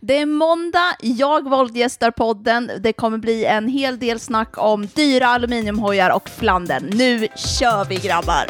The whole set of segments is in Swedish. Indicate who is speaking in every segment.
Speaker 1: Det är måndag, jag våldgästar podden. Det kommer bli en hel del snack om dyra aluminiumhojar och Flandern. Nu kör vi grabbar!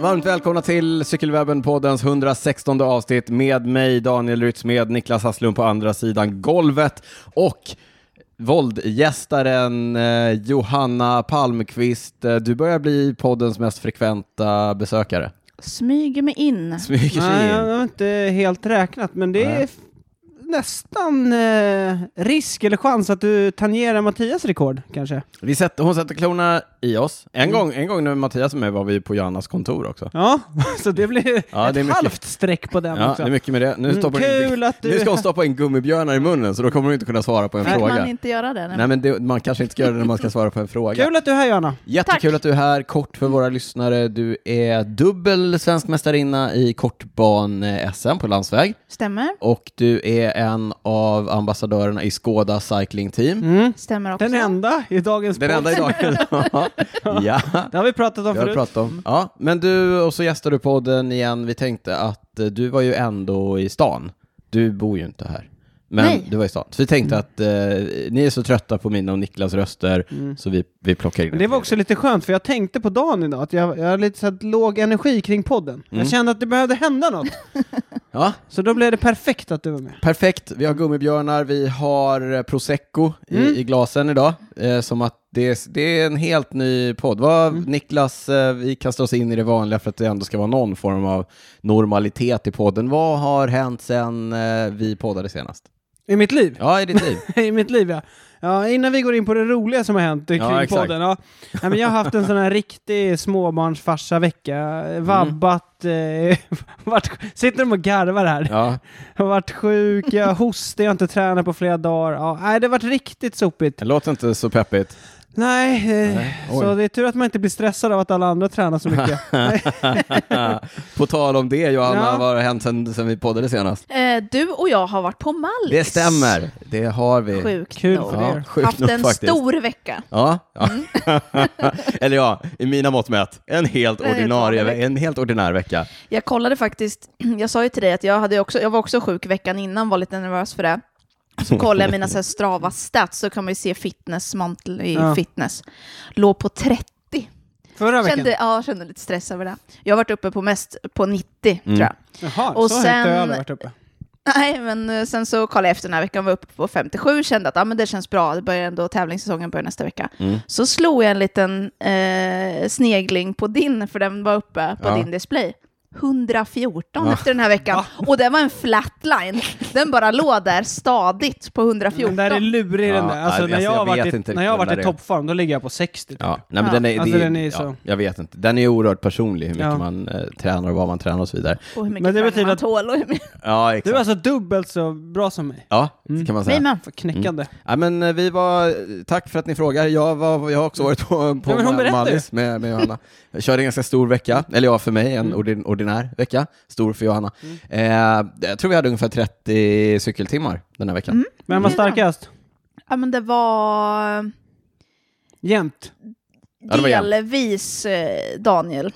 Speaker 2: Varmt välkomna till Cykelwebben-poddens 116 avsnitt med mig Daniel Rytz, med Niklas Hasslund på andra sidan golvet och våldgästaren eh, Johanna Palmqvist. Eh, Du börjar bli poddens mest frekventa besökare.
Speaker 1: Smyger mig in.
Speaker 2: Smyger sig
Speaker 3: Nej, jag
Speaker 2: in.
Speaker 3: har inte helt räknat, men det är
Speaker 2: Nej.
Speaker 3: f- nästan eh, risk eller chans att du tangerar Mattias rekord, kanske.
Speaker 2: Vi sätter, hon sätter klorna i oss. En, gång, en gång när Mattias var med var vi på Johannas kontor också.
Speaker 3: Mm. Ja, så det blir
Speaker 2: Ja,
Speaker 3: ett
Speaker 2: det är mycket.
Speaker 3: halvt streck på den
Speaker 2: Ja, det
Speaker 3: också.
Speaker 2: är mycket med det. Nu,
Speaker 3: Mm,
Speaker 2: stoppar hon
Speaker 3: kul
Speaker 2: in,
Speaker 3: att du-
Speaker 2: nu ska hon stoppa in gummibjörnar i munnen så då kommer hon inte kunna svara på en
Speaker 1: Fick
Speaker 2: fråga.
Speaker 1: man inte göra det?
Speaker 2: Nej, men det, man kanske inte ska göra det när man ska svara på en fråga.
Speaker 3: Kul att du är här, Johanna.
Speaker 2: Jättekul
Speaker 1: Tack.
Speaker 2: att du är här, kort för våra lyssnare. Du är dubbel svensk mästarinna i kortban-SM på landsväg
Speaker 1: Stämmer.
Speaker 2: och du är en av ambassadörerna i Skoda Cycling Team.
Speaker 3: Mm.
Speaker 1: Stämmer också.
Speaker 3: Den enda i dagens
Speaker 2: Den enda
Speaker 3: podd.
Speaker 2: idag. ja,
Speaker 3: Det har vi pratat om
Speaker 2: det har vi
Speaker 3: förut. Mm.
Speaker 2: pratat om. Ja, men du, och så gästar du podden igen. Vi tänkte att eh, du var ju ändå i stan. Du bor ju inte här. Men
Speaker 1: Nej.
Speaker 2: du var i stan. Så vi
Speaker 3: Mm.
Speaker 2: tänkte att eh, ni är så trötta på mina och Niklas röster så vi, vi plockar in
Speaker 3: Men Mm. det
Speaker 2: en
Speaker 3: var
Speaker 2: till.
Speaker 3: också lite skönt, för jag tänkte på dagen idag att jag, jag har lite så här låg energi kring podden.
Speaker 2: Mm.
Speaker 3: Jag kände att det behövde hända något,
Speaker 2: Ja,
Speaker 3: så då blev det perfekt att du var med.
Speaker 2: Perfekt, vi har gummibjörnar, vi har eh, prosecco i, i glasen idag. Eh, som att det, är- det är en helt ny podd. Vad, Niklas, eh, vi kastar oss in i det vanliga för att det ändå ska vara någon form av normalitet i podden. Vad har hänt sedan eh, vi poddade senast?
Speaker 3: I mitt liv.
Speaker 2: Ja, i ditt liv.
Speaker 3: i mitt liv ja. ja. Innan vi går in på det roliga som har hänt eh,
Speaker 2: Ja,
Speaker 3: kring
Speaker 2: exakt.
Speaker 3: podden. Ja. Nej, men jag har haft en sån här riktig småbarnsfarsa vecka.
Speaker 2: Mm.
Speaker 3: Vabbat, eh, varit, sitter de och garvar här?
Speaker 2: Ja,
Speaker 3: Jag har varit sjuk, jag har hostig, jag har inte tränat på flera dagar. Ja, nej, det har varit riktigt sopigt.
Speaker 2: det låter inte så peppigt.
Speaker 3: Nej, eh,
Speaker 2: Nej, oj.
Speaker 3: så det är tur att man inte blir stressad av att alla andra tränar så mycket. Nej.
Speaker 2: Eh, På tal om det, Johanna,
Speaker 3: Ja.
Speaker 2: vad har hänt sedan, sedan vi poddade senast?
Speaker 1: Eh, du och jag har varit på Mallis.
Speaker 2: Det stämmer, det har vi.
Speaker 1: Sjukt
Speaker 3: Kul
Speaker 1: nog.
Speaker 3: för er.
Speaker 2: Ja, sjukt
Speaker 1: Haft
Speaker 2: nog
Speaker 1: en
Speaker 2: faktiskt.
Speaker 1: stor vecka.
Speaker 2: Ja, ja.
Speaker 3: Mm.
Speaker 2: eller ja, i mina mått mätt, en
Speaker 1: En
Speaker 2: helt,
Speaker 1: helt
Speaker 2: ordinarie,
Speaker 1: vanlig vecka.
Speaker 2: en helt ordinär vecka.
Speaker 1: Jag kollade faktiskt, jag sa ju till dig att jag, hade ju också, jag var också sjuk veckan innan, var lite nervös för det.
Speaker 3: Mm.
Speaker 1: Så kollade jag mina så här strava stats, så kan man ju se fitness, monthly
Speaker 3: Ja.
Speaker 1: fitness. Låg på 30.
Speaker 3: Förra veckan.
Speaker 1: Kände, ja, kände lite stress över det. Jag har varit uppe på mest på 90, tror
Speaker 3: Mm.
Speaker 1: jag.
Speaker 3: Jaha,
Speaker 1: och
Speaker 3: så högt har
Speaker 1: sen-
Speaker 3: jag aldrig varit uppe.
Speaker 1: Nej, men eh, sen så kollade jag efter den här veckan, var uppe på 57, kände att ah, men det känns bra, det börjar ändå, tävlingssäsongen börjar nästa vecka.
Speaker 2: Mm.
Speaker 1: Så slog jag en liten eh, snegling på din, för den var uppe på
Speaker 2: Ja.
Speaker 1: din display. 114 efter den här veckan. Och det var en flatline. Den bara låg där stadigt på 114.
Speaker 3: Den där är lurig den
Speaker 2: Ja,
Speaker 3: där. Alltså,
Speaker 2: nej,
Speaker 3: när
Speaker 2: alltså,
Speaker 3: jag
Speaker 2: jag
Speaker 3: har
Speaker 2: vet
Speaker 3: varit,
Speaker 2: inte
Speaker 3: i- när jag har
Speaker 2: riktigt
Speaker 3: varit
Speaker 2: den
Speaker 3: i
Speaker 2: där är.
Speaker 3: toppform, då ligger jag på 60. typ.
Speaker 2: Ja, nej, men den är,
Speaker 3: Alltså,
Speaker 2: det,
Speaker 3: den är ju
Speaker 2: ja,
Speaker 3: så-
Speaker 2: Jag vet inte, den är ju oerhört personlig hur mycket
Speaker 3: Ja.
Speaker 2: man eh, tränar och vad man tränar och så vidare.
Speaker 1: Och hur mycket
Speaker 3: Men det
Speaker 1: träning
Speaker 3: betyder
Speaker 1: man
Speaker 3: att-
Speaker 1: tål och hur mycket...
Speaker 2: Ja,
Speaker 3: Du
Speaker 2: exakt.
Speaker 3: är alltså dubbelt så bra som mig.
Speaker 2: Ja, kan man säga.
Speaker 1: Nej, men-
Speaker 3: För knäckande.
Speaker 2: Ja, men eh, vi var, tack för att ni frågar. Jag, var, jag har också varit på, på
Speaker 3: Ja, men hon berättar
Speaker 2: Mallis med, med Johanna. Jag körde en ganska stor vecka, eller ja, för mig, en
Speaker 3: Mm.
Speaker 2: ordin, ordinär vecka. Stor för Johanna. Eh, jag tror vi hade ungefär 30 cykeltimmar den här veckan.
Speaker 3: Vem var
Speaker 1: Mm.
Speaker 3: starkast?
Speaker 1: Ja, men det var
Speaker 3: Jämt.
Speaker 2: det var jämnt.
Speaker 1: delvis eh, Daniel.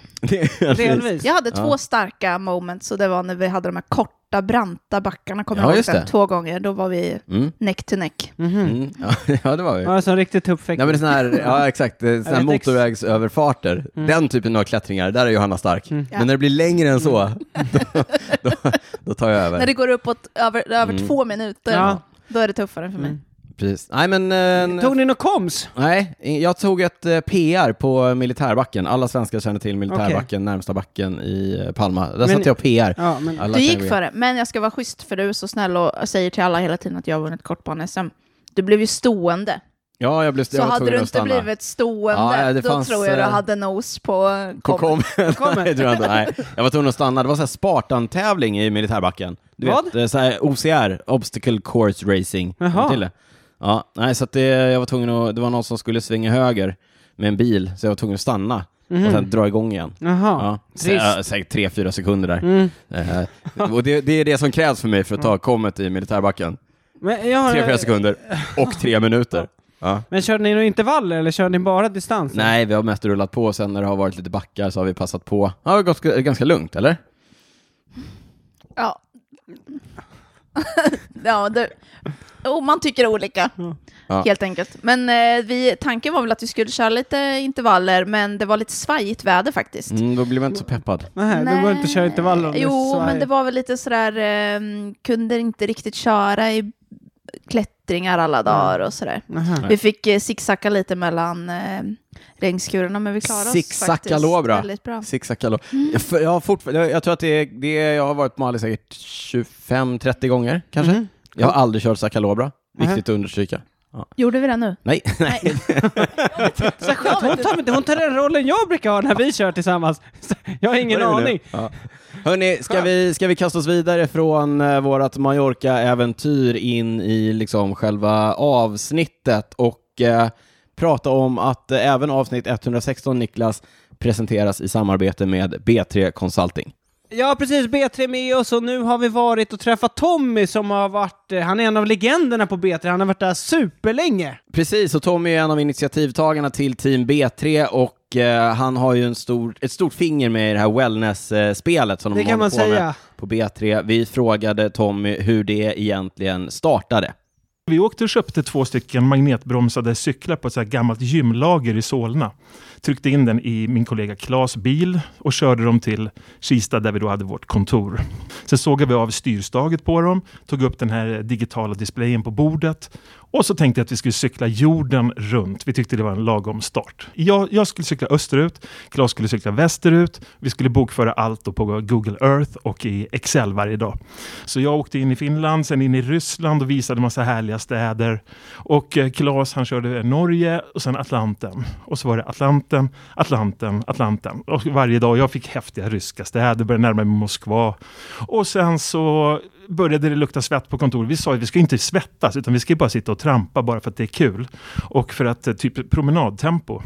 Speaker 3: Delvis.
Speaker 1: Jag hade
Speaker 2: Ja.
Speaker 1: två starka moments och det var när vi hade de här korta, branta backarna, kommer
Speaker 2: Ja,
Speaker 1: jag ihåg
Speaker 2: just
Speaker 1: sen,
Speaker 2: det.
Speaker 1: två gånger. Då var vi
Speaker 2: Mm.
Speaker 1: neck to neck.
Speaker 3: Mhm.
Speaker 2: Mm. Ja, ja, det var vi.
Speaker 3: Ja, alltså en riktig tuppfäkt.
Speaker 2: Nej, men det är sån här, ja exakt, det är sån här
Speaker 3: vet ex-
Speaker 2: motorvägsöverfarter.
Speaker 3: Mm.
Speaker 2: Den typen av klättringar, där är Johanna stark.
Speaker 1: Ja.
Speaker 2: Men när det blir längre än så,
Speaker 3: Mm.
Speaker 2: då, då, då tar jag över.
Speaker 1: När det går uppåt över, över
Speaker 2: Mm.
Speaker 1: två minuter,
Speaker 3: Ja.
Speaker 1: då är det tuffare för mig.
Speaker 3: Mm.
Speaker 2: Precis. Nej, men, eh,
Speaker 3: Tog ni något koms?
Speaker 2: nej, jag tog ett eh, PR på militärbacken. Alla svenskar känner till militärbacken,
Speaker 3: Okej.
Speaker 2: närmsta backen i eh, Palma. Där
Speaker 3: Men-
Speaker 2: satte jag PR.
Speaker 3: Ja, men...
Speaker 2: Alla
Speaker 1: Du
Speaker 2: kan
Speaker 1: gick
Speaker 2: ju-
Speaker 1: för det, men jag ska vara schysst för du är så snäll och säger till alla hela tiden att jag har vunnit kortbane-SM. Du blev ju stående.
Speaker 2: Ja, jag blev
Speaker 1: Så
Speaker 2: jag var
Speaker 1: hade
Speaker 2: tvungen
Speaker 1: du
Speaker 2: att
Speaker 1: inte
Speaker 2: stanna.
Speaker 1: blivit stående,
Speaker 2: Ja, det
Speaker 1: då
Speaker 2: fanns,
Speaker 1: tror jag du
Speaker 2: eh,
Speaker 1: hade nos på
Speaker 2: Kom, kom.
Speaker 3: Kommer.
Speaker 2: Nej, tror jag, inte. Nej, jag var tvungen att stanna. Det var så här Spartan-tävling i militärbacken. Du
Speaker 3: Vad?
Speaker 2: Vet, eh, så här OCR, Obstacle Course Racing.
Speaker 3: Jaha.
Speaker 2: Känner du Till det. Ja, nej, så att det, jag var tvungen att, det var någon som skulle svänga höger med en bil, så jag var tvungen att stanna och sen dra igång igen.
Speaker 3: Jaha.
Speaker 2: Ja, sä,
Speaker 3: Mhm. trist.
Speaker 2: äh, säkert tre, fyra sekunder där.
Speaker 3: Mm.
Speaker 2: Eh, och det, det är det som krävs för mig för att ta kommet i militärbacken.
Speaker 3: Men, jag har,
Speaker 2: Tre, fyra sekunder och tre minuter. Ja.
Speaker 3: men körde ni några intervaller eller körde ni bara distans?
Speaker 2: Nej, vi har mest rullat på och sen när det har varit lite backar så har vi passat på. Ja, det har gått ganska lugnt, eller?
Speaker 1: Ja. ja det, oh, man tycker olika,
Speaker 2: Ja.
Speaker 1: helt enkelt. Men eh, vi, tanken var väl att vi skulle köra lite intervaller, men det var lite svajigt väder faktiskt.
Speaker 2: Mm, då blir man inte så peppad.
Speaker 3: Nej, då går det inte att köra intervaller om det är
Speaker 1: Jo,
Speaker 3: svajigt.
Speaker 1: men det var väl lite sådär, eh, kunde inte riktigt köra i klättringar alla dagar och sådär.
Speaker 3: Jaha.
Speaker 1: Vi fick eh, zigzacka lite mellan eh, regnskurarna, men vi klarade oss faktiskt
Speaker 2: Zigzackalobra.
Speaker 1: väldigt bra.
Speaker 2: Zigzackalå.
Speaker 1: Mm.
Speaker 2: Jag, för- jag, har fortfar- jag, jag tror att det är, det är, jag har varit på Mali säkert 25-30 gånger kanske.
Speaker 1: Mm.
Speaker 3: Mhm.
Speaker 2: Jag har aldrig kört Zackalobra, viktigt
Speaker 3: Mhm.
Speaker 2: att understryka.
Speaker 1: Gjorde vi det nu?
Speaker 2: Nej,
Speaker 1: Nej.
Speaker 3: Så skönt, hon tar, inte- hon tar den rollen jag brukar ha när vi kör tillsammans. Så Jag har ingen
Speaker 2: Vad är det
Speaker 3: aning.
Speaker 2: nu? Ja. Hörni, ska vi, ska vi kasta oss vidare från eh, vårat Mallorca-äventyr in i liksom själva avsnittet och eh, prata om att eh, även avsnitt 116, Niklas, presenteras i samarbete med B3 Consulting.
Speaker 3: Ja, precis. B3 med oss och nu har vi varit och träffat Tommy som har varit, eh, han är en av legenderna på B3, han har varit där superlänge.
Speaker 2: Precis, och Tommy är en av initiativtagarna till Team B3 och eh, han har ju en stor, ett stort finger med i det här wellness-spelet som
Speaker 3: Det
Speaker 2: de
Speaker 3: kan man
Speaker 2: Mm, håller på
Speaker 3: säga.
Speaker 2: med på B3. Vi frågade Tommy hur det egentligen startade.
Speaker 4: Vi åkte och köpte två stycken magnetbromsade cyklar på ett så här gammalt gymlager i Solna. Tryckte in den i min kollega Klas bil och körde dem till Kista där vi då hade vårt kontor. Sen sågade vi av styrstaget på dem, tog upp den här digitala displayen på bordet och så tänkte jag att vi skulle cykla jorden runt. Vi tyckte det var en lagom start. Jag, jag skulle cykla österut, Klas skulle cykla västerut. Vi skulle bokföra allt då på Google Earth och i Excel varje dag. Så jag åkte in i Finland, sen in i Ryssland och visade massa härliga städer. Och eh, Claes han körde Norge och sen Atlanten. Och så var det Atlanten, Atlanten, Atlanten. Och varje dag jag fick häftiga ryska städer, började närma mig Moskva. Och sen så började det lukta svett på kontoret. Vi sa att vi ska inte svettas, utan vi ska bara sitta och trampa bara för att det är kul. Och för att eh, typ promenadtempo.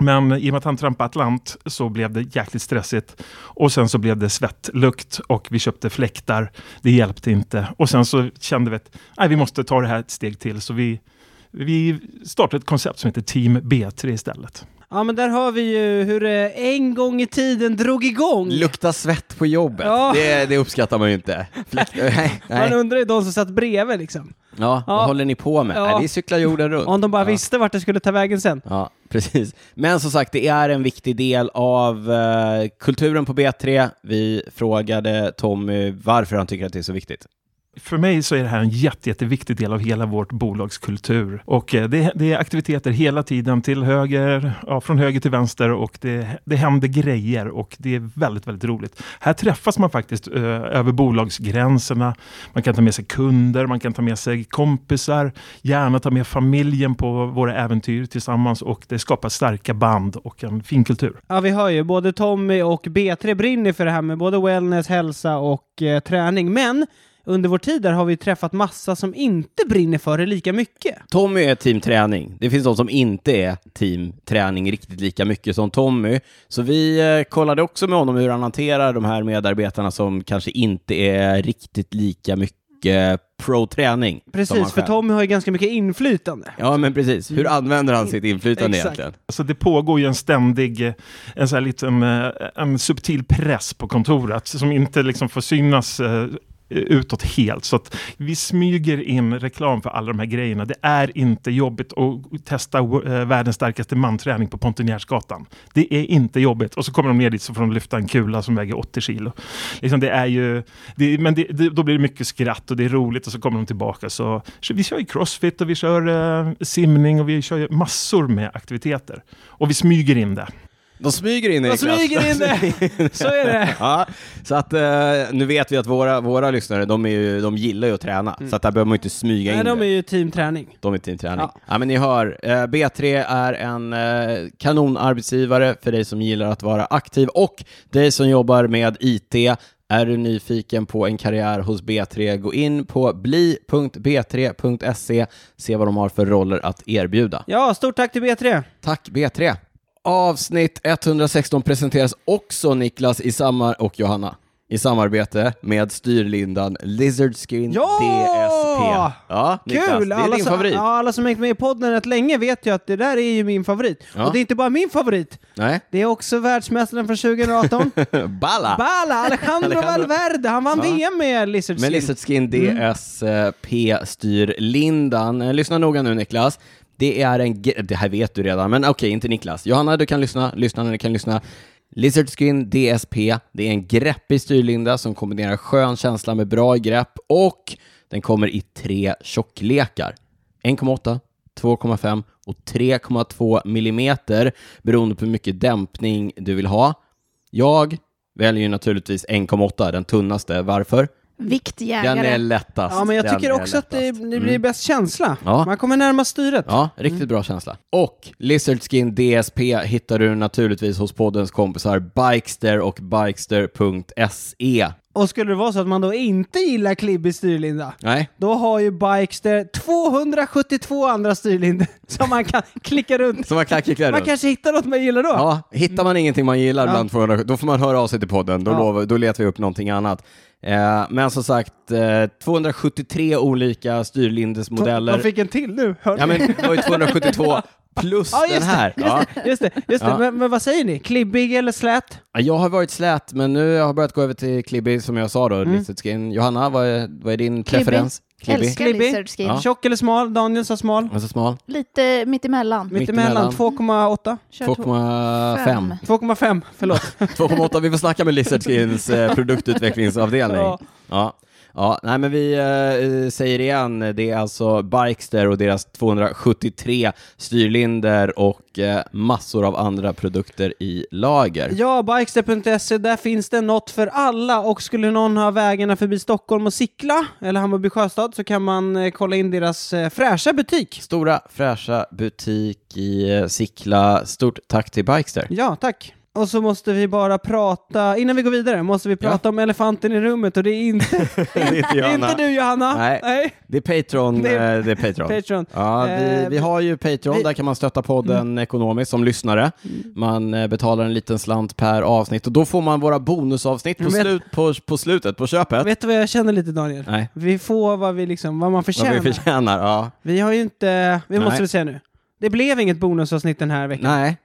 Speaker 4: Men i och med att han trampade Atlant så blev det jäkligt stressigt. Och sen så blev det svettlukt och vi köpte fläktar. Det hjälpte inte. Och sen så kände vi att nej, vi måste ta det här ett steg till. Så vi, vi startade ett koncept som heter Team B3 istället.
Speaker 3: Ja, men där har vi ju hur det en gång i tiden drog igång.
Speaker 2: Lukta svett på jobbet,
Speaker 3: Ja.
Speaker 2: det, det uppskattar man ju inte. Fläkt, nej,
Speaker 3: Man
Speaker 2: nej.
Speaker 3: undrar ju de som satt bredvid liksom.
Speaker 2: Ja, vad
Speaker 3: Ja.
Speaker 2: håller ni på med?
Speaker 3: Ja.
Speaker 2: Nej, vi cyklar jorden
Speaker 3: Om
Speaker 2: runt.
Speaker 3: de bara
Speaker 2: Ja.
Speaker 3: visste vart det skulle ta vägen sen.
Speaker 2: Ja, precis. Men som sagt, det är en viktig del av eh, kulturen på B3. Vi frågade Tommy varför han tycker att det är så viktigt.
Speaker 4: För mig så är det här en jätte, jätteviktig del av hela vårt bolagskultur. Och eh, det, det är aktiviteter hela tiden till höger, ja, från höger till vänster och det, det händer grejer och det är väldigt, väldigt roligt. Här träffas man faktiskt eh, över bolagsgränserna. Man kan ta med sig kunder, man kan ta med sig kompisar, gärna ta med familjen på våra äventyr tillsammans och det skapar starka band och en fin kultur.
Speaker 3: Ja, vi hör ju både Tommy och B3 brinner för det här med både wellness, hälsa och eh, träning. Men under vår tid där har vi träffat massa som inte brinner för det lika mycket.
Speaker 2: Tommy är team träning. Det finns de som inte är team träning riktigt lika mycket som Tommy. Så vi eh, kollade också med honom hur han hanterar de här medarbetarna som kanske inte är riktigt lika mycket pro-träning. som han
Speaker 3: Precis, för
Speaker 2: själv.
Speaker 3: Tommy har ju ganska mycket inflytande.
Speaker 2: Ja, men precis. Hur använder han sitt inflytande
Speaker 3: Exakt.
Speaker 2: egentligen?
Speaker 4: Så Alltså, det pågår ju en ständig, eh, en, så här liten, eh, en subtil press på kontoret som inte liksom får synas eh, utåt helt. Så att vi smyger in reklam för alla de här grejerna. Det är inte jobbigt att testa eh, världens starkaste manträning på Pontenjärsgatan. Det är inte jobbigt. Och så kommer de ner dit så får de lyfta en kula som väger 80 kilo. Liksom det är ju, det, men det, det, då blir det mycket skratt och det är roligt och så kommer de tillbaka. Så, så vi kör ju crossfit och vi kör eh, simning och vi kör ju massor med aktiviteter. Och vi smyger in det.
Speaker 2: De smyger in i
Speaker 3: De
Speaker 2: en klass.
Speaker 3: smyger in det! Så är det.
Speaker 2: Ja, så att eh, nu vet vi att våra, våra lyssnare, de, är ju, de gillar ju att träna, så att där behöver man ju inte smyga
Speaker 3: Mm. Nej,
Speaker 2: in
Speaker 3: de är
Speaker 2: det.
Speaker 3: ju teamträning.
Speaker 2: De är teamträning. Ja.
Speaker 3: Ja.
Speaker 2: men ni hör, eh, B3 är en eh, kanonarbetsgivare för dig som gillar att vara aktiv och dig som jobbar med IT. Är du nyfiken på en karriär hos B3, gå in på bli.b3.se, E. se vad de har för roller att erbjuda.
Speaker 3: Ja, stort tack till B3.
Speaker 2: Tack B3! Avsnitt 116 presenteras också Niklas i samar och Johanna i samarbete med styrlindan Lizard Skin
Speaker 3: Ja!
Speaker 2: DSP. Ja, Niklas,
Speaker 3: Kul!
Speaker 2: det är din
Speaker 3: som,
Speaker 2: favorit.
Speaker 3: Ja, alla som hängt med i podden rätt länge vet ju att det där är ju min favorit.
Speaker 2: Ja.
Speaker 3: Och det är inte bara min favorit,
Speaker 2: Nej,
Speaker 3: det är också världsmästaren från 2018.
Speaker 2: Balla!
Speaker 3: Bala, Alejandro
Speaker 2: Alejandro.
Speaker 3: Valverde, han vann VM med Lizard
Speaker 2: Med
Speaker 3: Skin.
Speaker 2: Lizard Skin eh, DSP-styrlindan. Eh, Lyssna noga nu Niklas. Det är en... ge- Det här vet du redan, men okej, inte Niklas. Johanna, du kan lyssna. Lyssnarna, ni kan lyssna. Lizard Skin DSP, det är en greppig styrlinda som kombinerar skön känsla med bra grepp och den kommer i tre tjocklekar. 1,8, 2,5 och 3,2 millimeter beroende på hur mycket dämpning du vill ha. Jag väljer ju naturligtvis 1,8, den tunnaste. Varför? Den
Speaker 1: Viktjägare.
Speaker 2: är lättast.
Speaker 3: Ja, men jag
Speaker 2: Den
Speaker 3: tycker
Speaker 2: är
Speaker 3: också att det,
Speaker 2: lättast.
Speaker 3: det blir bäst känsla.
Speaker 2: Mm. Ja.
Speaker 3: Man kommer närmast styret.
Speaker 2: Ja, riktigt bra känsla. Och Lizard Skin DSP hittar du naturligtvis hos poddens kompisar Bikester E. och Bikester.se.
Speaker 3: Och skulle det vara så att man då inte gillar klibbig styrlinda,
Speaker 2: Nej,
Speaker 3: då har ju Bikester 272 andra styrlindor som man kan klicka runt.
Speaker 2: så man kan kicka
Speaker 3: Man
Speaker 2: runt.
Speaker 3: kanske hittar något man gillar då.
Speaker 2: Ja, hittar man ingenting man gillar
Speaker 3: Ja.
Speaker 2: bland 200, då får man höra av sig till podden. Då,
Speaker 3: Ja.
Speaker 2: lovar, då letar vi upp någonting annat. Eh, men som sagt, eh, 273 olika
Speaker 3: De
Speaker 2: styrlindesmodeller.
Speaker 3: fick en till nu, hörde
Speaker 2: Ja, men det var ju 272 plus
Speaker 3: Ja, just
Speaker 2: den här.
Speaker 3: det.
Speaker 2: Ja.
Speaker 3: Just det, just det.
Speaker 2: Ja.
Speaker 3: Men, men vad säger ni? Klibbig eller slät?
Speaker 2: Ja, Jag har varit slät, men nu har jag börjat gå över till klibby som jag sa då, Lizard Skin. Johanna, vad är, vad är din
Speaker 1: Klibby.
Speaker 2: preferens? Klibby?
Speaker 1: Älskar
Speaker 3: Klibby.
Speaker 1: lizard skin.
Speaker 2: Ja.
Speaker 3: Tjock eller smal? Daniel sa smal.
Speaker 2: Alltså smal?
Speaker 1: Lite mittemellan.
Speaker 3: Mittemellan
Speaker 2: Mittemellan.
Speaker 3: 2,8.
Speaker 1: Kör två.
Speaker 2: 2,5.
Speaker 3: 2,5, förlåt.
Speaker 2: 2,8. Vi får snacka med Lizard Skins eh, produktutvecklingsavdelning.
Speaker 3: Ja.
Speaker 2: Ja. Ja. nej men vi eh, säger igen, det är alltså Bikester och deras 273 styrlinder och eh, massor av andra produkter i lager.
Speaker 3: Ja, bikestep.se, E, där finns det något för alla och skulle någon ha vägarna förbi Stockholm och Sickla eller Hammarby Sjöstad så kan man eh, kolla in deras eh, fräscha butik.
Speaker 2: Stora fräscha butik i eh, Sickla. Stort tack till Bikester.
Speaker 3: Ja, tack. Och så måste vi bara prata, innan vi går vidare, måste vi prata om elefanten i rummet och det är inte,
Speaker 2: det är inte
Speaker 3: det är
Speaker 2: Johanna.
Speaker 3: inte du Johanna.
Speaker 2: Nej. Det är Patreon.
Speaker 3: Det
Speaker 2: Det
Speaker 3: är-
Speaker 2: är, det är Patreon.
Speaker 3: Patreon.
Speaker 2: Ja, vi,
Speaker 3: Eh,
Speaker 2: vi har ju Patreon,
Speaker 3: vi- Mm.
Speaker 2: där kan man stötta podden ekonomiskt som lyssnare. Man eh, betalar en liten slant per avsnitt och då får man våra bonusavsnitt på,
Speaker 3: Men-
Speaker 2: slut, på, på slutet, på köpet.
Speaker 3: Vet du vad jag känner lite Daniel?
Speaker 2: Nej,
Speaker 3: Vi får vad, vi liksom, vad man
Speaker 2: vad
Speaker 3: förtjänar.
Speaker 2: vi förtjänar. Ja.
Speaker 3: Vi har ju inte, vi
Speaker 2: Nej.
Speaker 3: måste väl säga nu. Det blev inget bonusavsnitt den här veckan.
Speaker 2: Nej,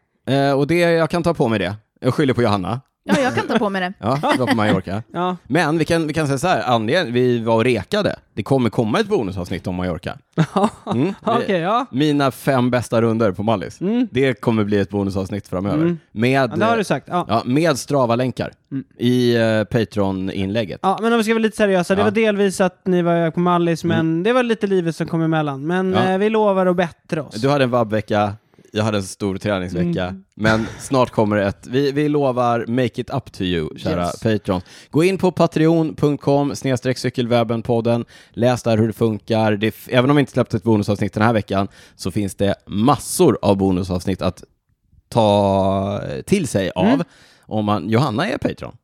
Speaker 2: eh, och det, jag kan ta på mig det. Jag skyller på Johanna.
Speaker 1: Ja, jag kan ta på mig det.
Speaker 2: Ja, det var på Mallorca.
Speaker 3: Ja,
Speaker 2: Men vi kan, vi kan säga så här, anledningen, vi var och rekade. Det kommer komma ett bonusavsnitt om Mallorca. Mm, vi-
Speaker 3: okej, ja.
Speaker 2: Mina fem bästa runder på Mallis. Det kommer bli ett bonusavsnitt framöver. Med,
Speaker 3: Mm. ja. Det har du Mm. sagt. Ja.
Speaker 2: Ja, med Strava-länkar i eh, Patreon-inlägget.
Speaker 3: Ja, men om vi ska vara lite seriösa, det
Speaker 2: Ja. Mm.
Speaker 3: var delvis att ni var iväg på Mallis, men det var lite livet som kom emellan. Men
Speaker 2: Ja.
Speaker 3: eh, vi lovar att bättra oss.
Speaker 2: Du hade en vabbvecka, jag hade en stor träningsvecka, men snart kommer det ett, vi, vi lovar make it up to you, kära
Speaker 3: Yes.
Speaker 2: Patreons. Gå in på patreon.com snedstreck cykelwebben-podden, läs där hur det funkar. Det, f- även om vi inte släppte ett bonusavsnitt den här veckan så finns det massor av bonusavsnitt att ta till sig av om man, Johanna är Patreon.